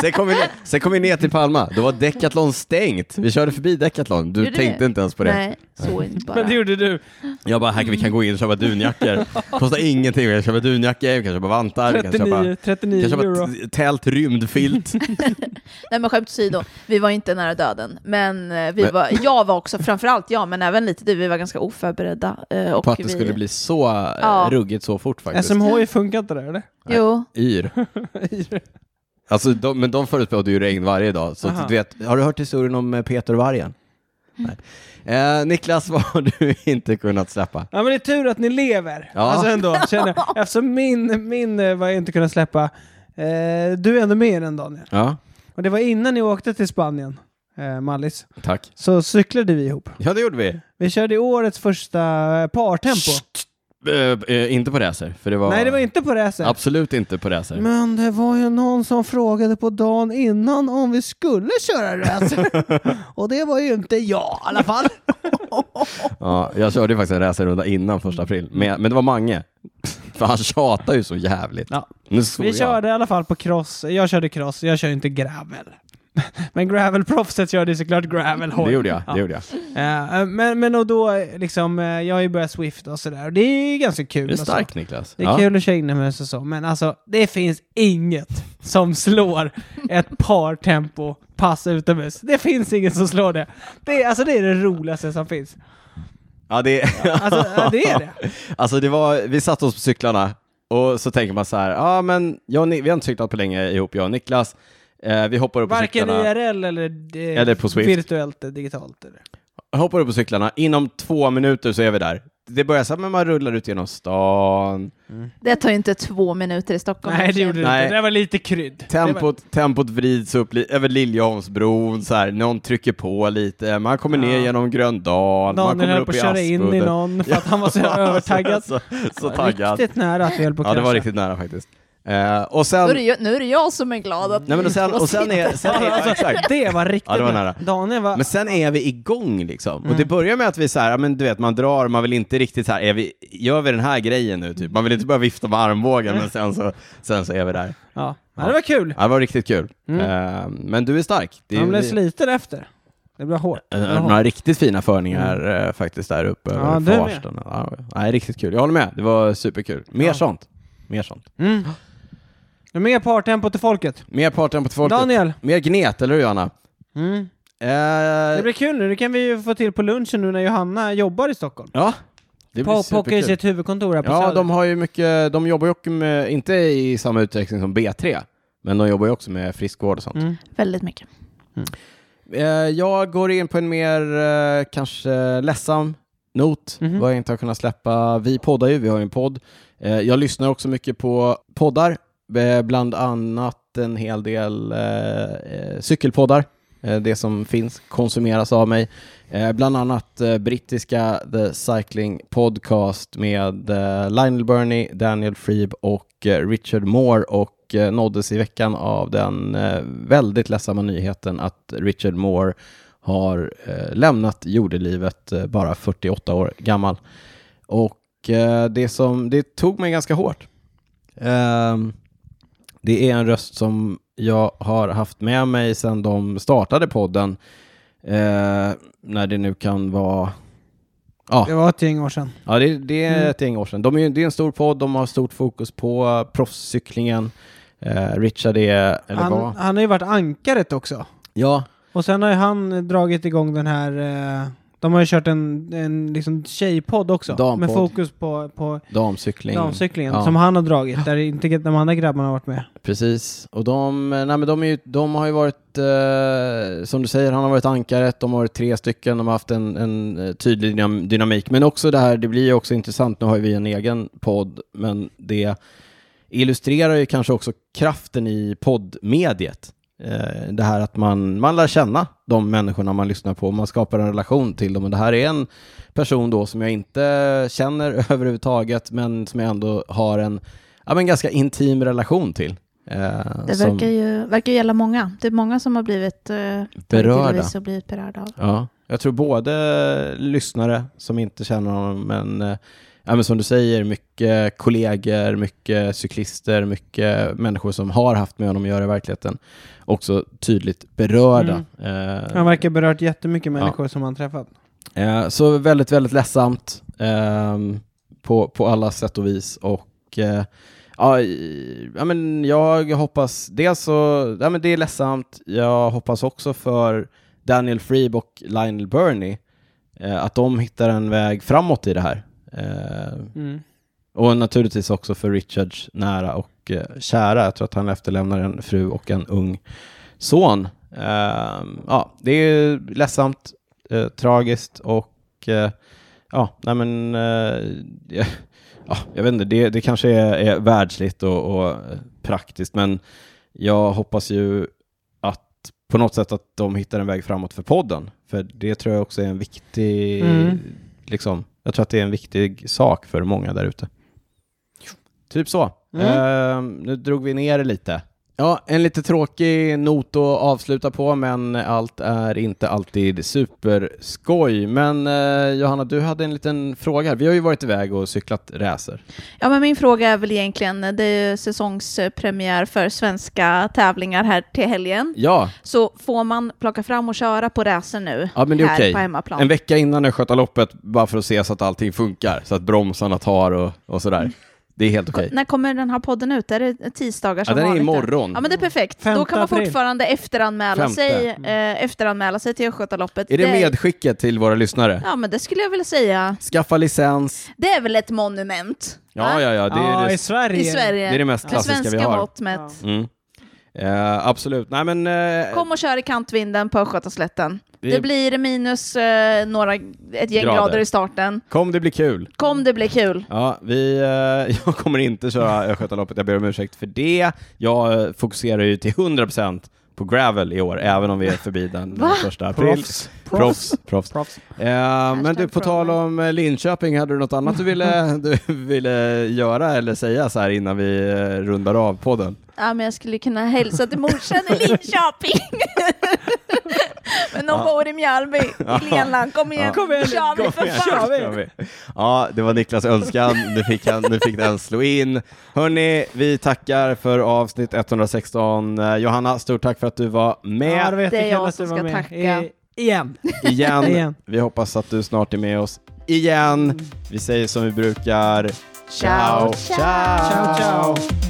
Speaker 2: Sen kom, vi ner, sen kom vi ner till Palma, då var Decathlon stängt. Vi körde förbi Decathlon, du
Speaker 1: Gjorde vi?
Speaker 2: tänkte inte ens på det.
Speaker 1: Nej, så är det bara.
Speaker 3: Men det gjorde du.
Speaker 2: Jag bara, här kan vi kan gå in och köpa dunjackor. Kostar ingenting, vi kan köpa dunjackor, vi kan köpa vantar, vi kan köpa,
Speaker 3: 39,
Speaker 2: vi kan
Speaker 3: 39
Speaker 2: köpa
Speaker 3: euro.
Speaker 2: t- tält, rymdfilt.
Speaker 1: Nej men skämt åsido, vi var ju inte nära döden. Men eh, vi
Speaker 2: Men-
Speaker 1: var, jag var också, framförallt jag, men även lite du, vi var ganska oförberedda. eh, Och
Speaker 2: På att det
Speaker 1: vi,
Speaker 2: skulle bli så eh,
Speaker 1: Ja.
Speaker 2: ruggigt så fort faktiskt.
Speaker 3: SMHI funkar inte där eller?
Speaker 1: Jo,
Speaker 2: Yr. Alltså, de, men de förutspådde ju regn varje dag. Så
Speaker 3: Aha.
Speaker 2: att du vet, har du hört historien om eh, Peter och vargen? Nej. Eh, Niklas, vad har du inte kunnat släppa?
Speaker 3: Ja men det är tur att ni lever.
Speaker 2: Ja.
Speaker 3: Alltså ändå, känner jag. Eftersom min, min eh, var jag inte kunnat släppa. Eh, du är ändå med i den Daniel.
Speaker 2: Ja,
Speaker 3: Och det var innan ni åkte till Spanien, eh, Mallis.
Speaker 2: tack.
Speaker 3: Så cyklade vi ihop.
Speaker 2: Ja, det gjorde vi.
Speaker 3: Vi körde i årets första eh, partempo.
Speaker 2: Eh, eh, inte på racer, för det var...
Speaker 3: Nej det var inte på racet.
Speaker 2: Absolut inte på racer.
Speaker 3: Men det var ju någon som frågade på dagen innan om vi skulle köra racer. Och det var ju inte jag i alla fall.
Speaker 2: Ja, jag körde ju faktiskt en racerrunda innan första april, men, men det var Mange. För han tjatar ju så jävligt.
Speaker 3: Ja.
Speaker 2: Nu svor
Speaker 3: Vi
Speaker 2: jag.
Speaker 3: körde i alla fall på cross. Jag körde cross, jag kör inte gravel. Men gravelproffset körde ju såklart gravel
Speaker 2: Det gjorde jag. Det gjorde jag.
Speaker 3: Eh, men, men och då eh, liksom, eh, jag har ju börjat Swift och sådär. Och det är ju ganska kul.
Speaker 2: Du är
Speaker 3: och så.
Speaker 2: stark Niklas.
Speaker 3: Det är
Speaker 2: Ja.
Speaker 3: kul att köra inomhus och så, men alltså det finns inget som slår ett par tempo pass utomhus. Det finns inget som slår det. det är, alltså det är det roligaste som finns.
Speaker 2: Ja, det,
Speaker 3: Alltså ja, det är det.
Speaker 2: Alltså det var, vi satte oss på cyklarna och så tänker man så här, ja men jag och Ni- vi har inte cyklat på länge ihop jag och Niklas. Eh, vi hoppar upp på
Speaker 3: Varken
Speaker 2: cyklarna.
Speaker 3: IRL eller, eh,
Speaker 2: Eller på Swift.
Speaker 3: virtuellt eh, digitalt. Eller.
Speaker 2: hoppar upp på cyklarna. Inom två minuter så är vi där. Det börjar så här med man rullar ut genom stan.
Speaker 1: Det tar ju inte två minuter i Stockholm.
Speaker 3: Nej, det gjorde det
Speaker 2: Nej.
Speaker 3: inte. Det var lite krydd. Det var...
Speaker 2: Tempot, tempot vrids upp li- över Liljeholmsbron, så här. någon trycker på lite, man kommer ner
Speaker 3: Ja.
Speaker 2: genom Gröndal, man
Speaker 3: Daniel
Speaker 2: kommer
Speaker 3: höll
Speaker 2: upp
Speaker 3: på
Speaker 2: i
Speaker 3: att köra in i
Speaker 2: Aspudden.
Speaker 3: någon för att han var så övertaggad.
Speaker 2: så, så taggad.
Speaker 3: Riktigt nära att vi höll på att
Speaker 2: Ja, det var
Speaker 3: krascha.
Speaker 2: riktigt nära faktiskt. Eh, och sen...
Speaker 1: Nu är, det, ju- nu är det jag som är glad att
Speaker 2: Nej, men och sen, och sen är... Sen är ja, exakt.
Speaker 3: alltså, Det var riktigt
Speaker 2: Ja, det var
Speaker 3: nära.
Speaker 2: nära.
Speaker 3: Daniel var...
Speaker 2: Men sen är vi igång liksom. Och det
Speaker 3: Mm.
Speaker 2: börjar med att vi så här, ja, men du vet, man drar, man vill inte riktigt så här, är vi, gör vi den här grejen nu typ? Man vill inte börja vifta med armbågen, men sen så, sen så är vi där.
Speaker 3: Ja. ja, det var kul.
Speaker 2: Ja, det var riktigt kul.
Speaker 3: Mm.
Speaker 2: Eh, men du är stark. Det är,
Speaker 3: Han blev
Speaker 2: vi-
Speaker 3: sliten efter. Det blev hårt.
Speaker 2: eh,
Speaker 3: Det blev hårt.
Speaker 2: några riktigt fina förningar eh, faktiskt där uppe
Speaker 3: Mm. Ja,
Speaker 2: över
Speaker 3: det är
Speaker 2: Farsta. Ja, nej, riktigt kul. Jag håller med. Det var superkul. Mer
Speaker 3: Ja.
Speaker 2: sånt. Mer sånt.
Speaker 3: Mm. Det är mer partempo till folket.
Speaker 2: Mer parten på två
Speaker 3: Daniel.
Speaker 2: Mer gnet, eller hur Johanna?
Speaker 3: Mm.
Speaker 2: Eh,
Speaker 3: Det blir kul nu. Det kan vi ju få till på lunchen nu när Johanna jobbar i Stockholm.
Speaker 2: Ja, det blir
Speaker 3: På pockar i
Speaker 2: superkul.
Speaker 3: sitt huvudkontor här på
Speaker 2: Ja,
Speaker 3: Söder.
Speaker 2: de har ju mycket, de jobbar ju också med, inte i samma utsträckning som B3, men de jobbar ju också med friskvård och sånt.
Speaker 3: Mm.
Speaker 1: Väldigt mycket.
Speaker 2: Eh, jag går in på en mer eh, kanske ledsam not,
Speaker 3: Mhm.
Speaker 2: vad jag inte har kunnat släppa. Vi poddar ju, vi har ju en podd. Eh, jag lyssnar också mycket på poddar, eh, bland annat en hel del eh, eh, cykelpoddar. Eh, det som finns konsumeras av mig. Eh, bland annat eh, brittiska The Cycling Podcast med eh, Lionel Burney, Daniel Freeb och eh, Richard Moore och eh, nåddes i veckan av den eh, väldigt ledsamma nyheten att Richard Moore har eh, lämnat jordelivet eh, bara 48 år gammal. Och eh, det, som, det tog mig ganska hårt. Ehm, det är en röst som jag har haft med mig sedan de startade podden. Eh, när det nu kan vara...
Speaker 3: Det var ett gäng år sedan.
Speaker 2: Ja, det, det är
Speaker 3: Mm.
Speaker 2: ett gäng år sedan. De är, ju- det är en stor podd, de har stort fokus på eh, proffscyklingen. Eh, Richard är, eller
Speaker 3: Han,
Speaker 2: var...
Speaker 3: han har ju varit ankaret också.
Speaker 2: Ja,
Speaker 3: Och sen har ju han dragit igång den här... Eh, de har ju kört en, en liksom tjejpodd också.
Speaker 2: Dampodd.
Speaker 3: Med fokus på, på
Speaker 2: damcykling.
Speaker 3: damcyklingen
Speaker 2: Ja.
Speaker 3: som han har dragit. Där inte de andra grabbarna har varit med.
Speaker 2: Precis, och de, eh, nej men de, är ju, de har ju varit, eh, som du säger, han har varit ankaret, de har varit tre stycken, de har haft en, en eh, tydlig dynam- dynamik. Men också det här, det blir ju också intressant, nu har ju vi en egen podd, men det illustrerar ju kanske också kraften i poddmediet. Eh, det här att man, man lär känna de människorna man lyssnar på, man skapar en relation till dem. Och det här är en person då som jag inte känner överhuvudtaget, men som jag ändå har en ja, men ganska intim relation till. Eh,
Speaker 1: Det
Speaker 2: som-
Speaker 1: verkar ju verkar ju gälla många. Det är många som har blivit eh,
Speaker 2: Berörda.
Speaker 1: delvis Och blivit berörda av.
Speaker 2: Ja, jag tror både lyssnare som inte känner honom, men, eh, ja, men som du säger, mycket kollegor, mycket cyklister, mycket människor som har haft med honom att göra i verkligheten, också tydligt berörda. Eh,
Speaker 3: Han verkar berört jättemycket människor som han träffat.
Speaker 2: Eh, så väldigt, väldigt ledsamt ehm, på, på alla sätt och vis. Och eh, ja, i- ja, men jag hoppas, dels så, ja, men det är ledsamt, jag hoppas också för Daniel Freeb och Lionel Burney eh, att de hittar en väg framåt i det här. Eh,
Speaker 3: Mm.
Speaker 2: och naturligtvis också för Richards nära och eh, kära. Jag tror att han efterlämnar en fru och en ung son. Ehm, ja, det är ledsamt, eh, tragiskt och eh, ja, nej men eh, ja, ja, jag vet inte, det, det kanske är, är världsligt och, och eh, praktiskt, men jag hoppas ju att på något sätt att de hittar en väg framåt för podden, för det tror jag också är en viktig,
Speaker 3: Mm.
Speaker 2: liksom, jag tror att det är en viktig sak för många där ute. Typ så.
Speaker 3: Mm.
Speaker 2: Ehm, nu drog vi ner det lite. Ja, en lite tråkig not att avsluta på, men allt är inte alltid superskoj. Men eh, Johanna, du hade en liten fråga här. Vi har ju varit iväg och cyklat racer.
Speaker 1: Ja, men min fråga är väl egentligen, det är ju säsongspremiär för svenska tävlingar här till helgen.
Speaker 2: Ja,
Speaker 1: Så får man plocka fram och köra på racer nu
Speaker 2: ja men det är
Speaker 1: här
Speaker 2: okej.
Speaker 1: på hemmaplan?
Speaker 2: En vecka innan Östgötaloppet, bara för att se så att allting funkar, så att bromsarna tar och, och sådär. Det är helt okej.
Speaker 1: När kommer den här podden ut? Är det tisdagar
Speaker 2: Ja,
Speaker 1: som
Speaker 2: den är
Speaker 1: vanligt? då?
Speaker 2: imorgon.
Speaker 1: Ja, men det är perfekt.
Speaker 3: Femte
Speaker 1: Då kan man
Speaker 3: april.
Speaker 1: fortfarande efteranmäla
Speaker 2: Femte.
Speaker 1: sig, eh, efteranmäla sig till Östgötaloppet.
Speaker 2: Är det
Speaker 1: är-
Speaker 2: medskicket till våra lyssnare?
Speaker 1: Ja, men det skulle jag vilja säga.
Speaker 2: Skaffa licens.
Speaker 1: Det är väl ett monument? va?
Speaker 2: Ja, ja, ja. Det är
Speaker 3: ja, i
Speaker 2: det,
Speaker 3: Sverige.
Speaker 1: I Sverige.
Speaker 2: det, är det mest
Speaker 1: Det
Speaker 2: klassiska vi
Speaker 1: svenska
Speaker 2: har.
Speaker 1: mått mätt.
Speaker 2: Mm. Eh, absolut. Nej, men, eh,
Speaker 1: Kom och kör i kantvinden på Östgötaslätten.
Speaker 2: Det-
Speaker 1: Det, blir minus eh, några, ett gäng
Speaker 2: Grader.
Speaker 1: grader. i starten.
Speaker 2: kom, det blir kul.
Speaker 1: Kom, det blir kul.
Speaker 2: Ja, vi, eh, jag kommer inte köra Östgötaloppet, jag ber om ursäkt för det. Jag eh, fokuserar ju till 100% på gravel i år, även om vi är förbi den
Speaker 1: Va?
Speaker 2: första april.
Speaker 3: Proffs.
Speaker 2: Proffs. Proffs.
Speaker 3: Proffs.
Speaker 2: Eh, men du, på
Speaker 1: proffs.
Speaker 2: tal om eh, Linköping, hade du något annat du ville, du ville göra eller säga så här innan vi eh, rundar av podden?
Speaker 1: Ja, men jag skulle kunna hälsa till morsan i Linköping. men hon bor i Mjällby, i Lenland. Kom igen,
Speaker 2: Ja.
Speaker 1: Kom igen. kör vi för fan.
Speaker 2: Kör vi. Ja, det var Niklas önskan. Nu fick, han, nu fick den slå in. Hörni, vi tackar för avsnitt 116. Eh, Johanna, stort tack för att du var
Speaker 3: Ja, det
Speaker 2: med
Speaker 3: var
Speaker 1: Det är jag
Speaker 3: jättekul att
Speaker 1: som
Speaker 3: du var
Speaker 1: ska
Speaker 3: med.
Speaker 1: tacka.
Speaker 3: Eh, igen.
Speaker 2: igen.
Speaker 3: Igen.
Speaker 2: Vi hoppas att du snart är med oss
Speaker 1: Mm.
Speaker 2: igen. Vi säger som vi brukar.
Speaker 1: Ciao, ciao.
Speaker 3: Ciao, ciao.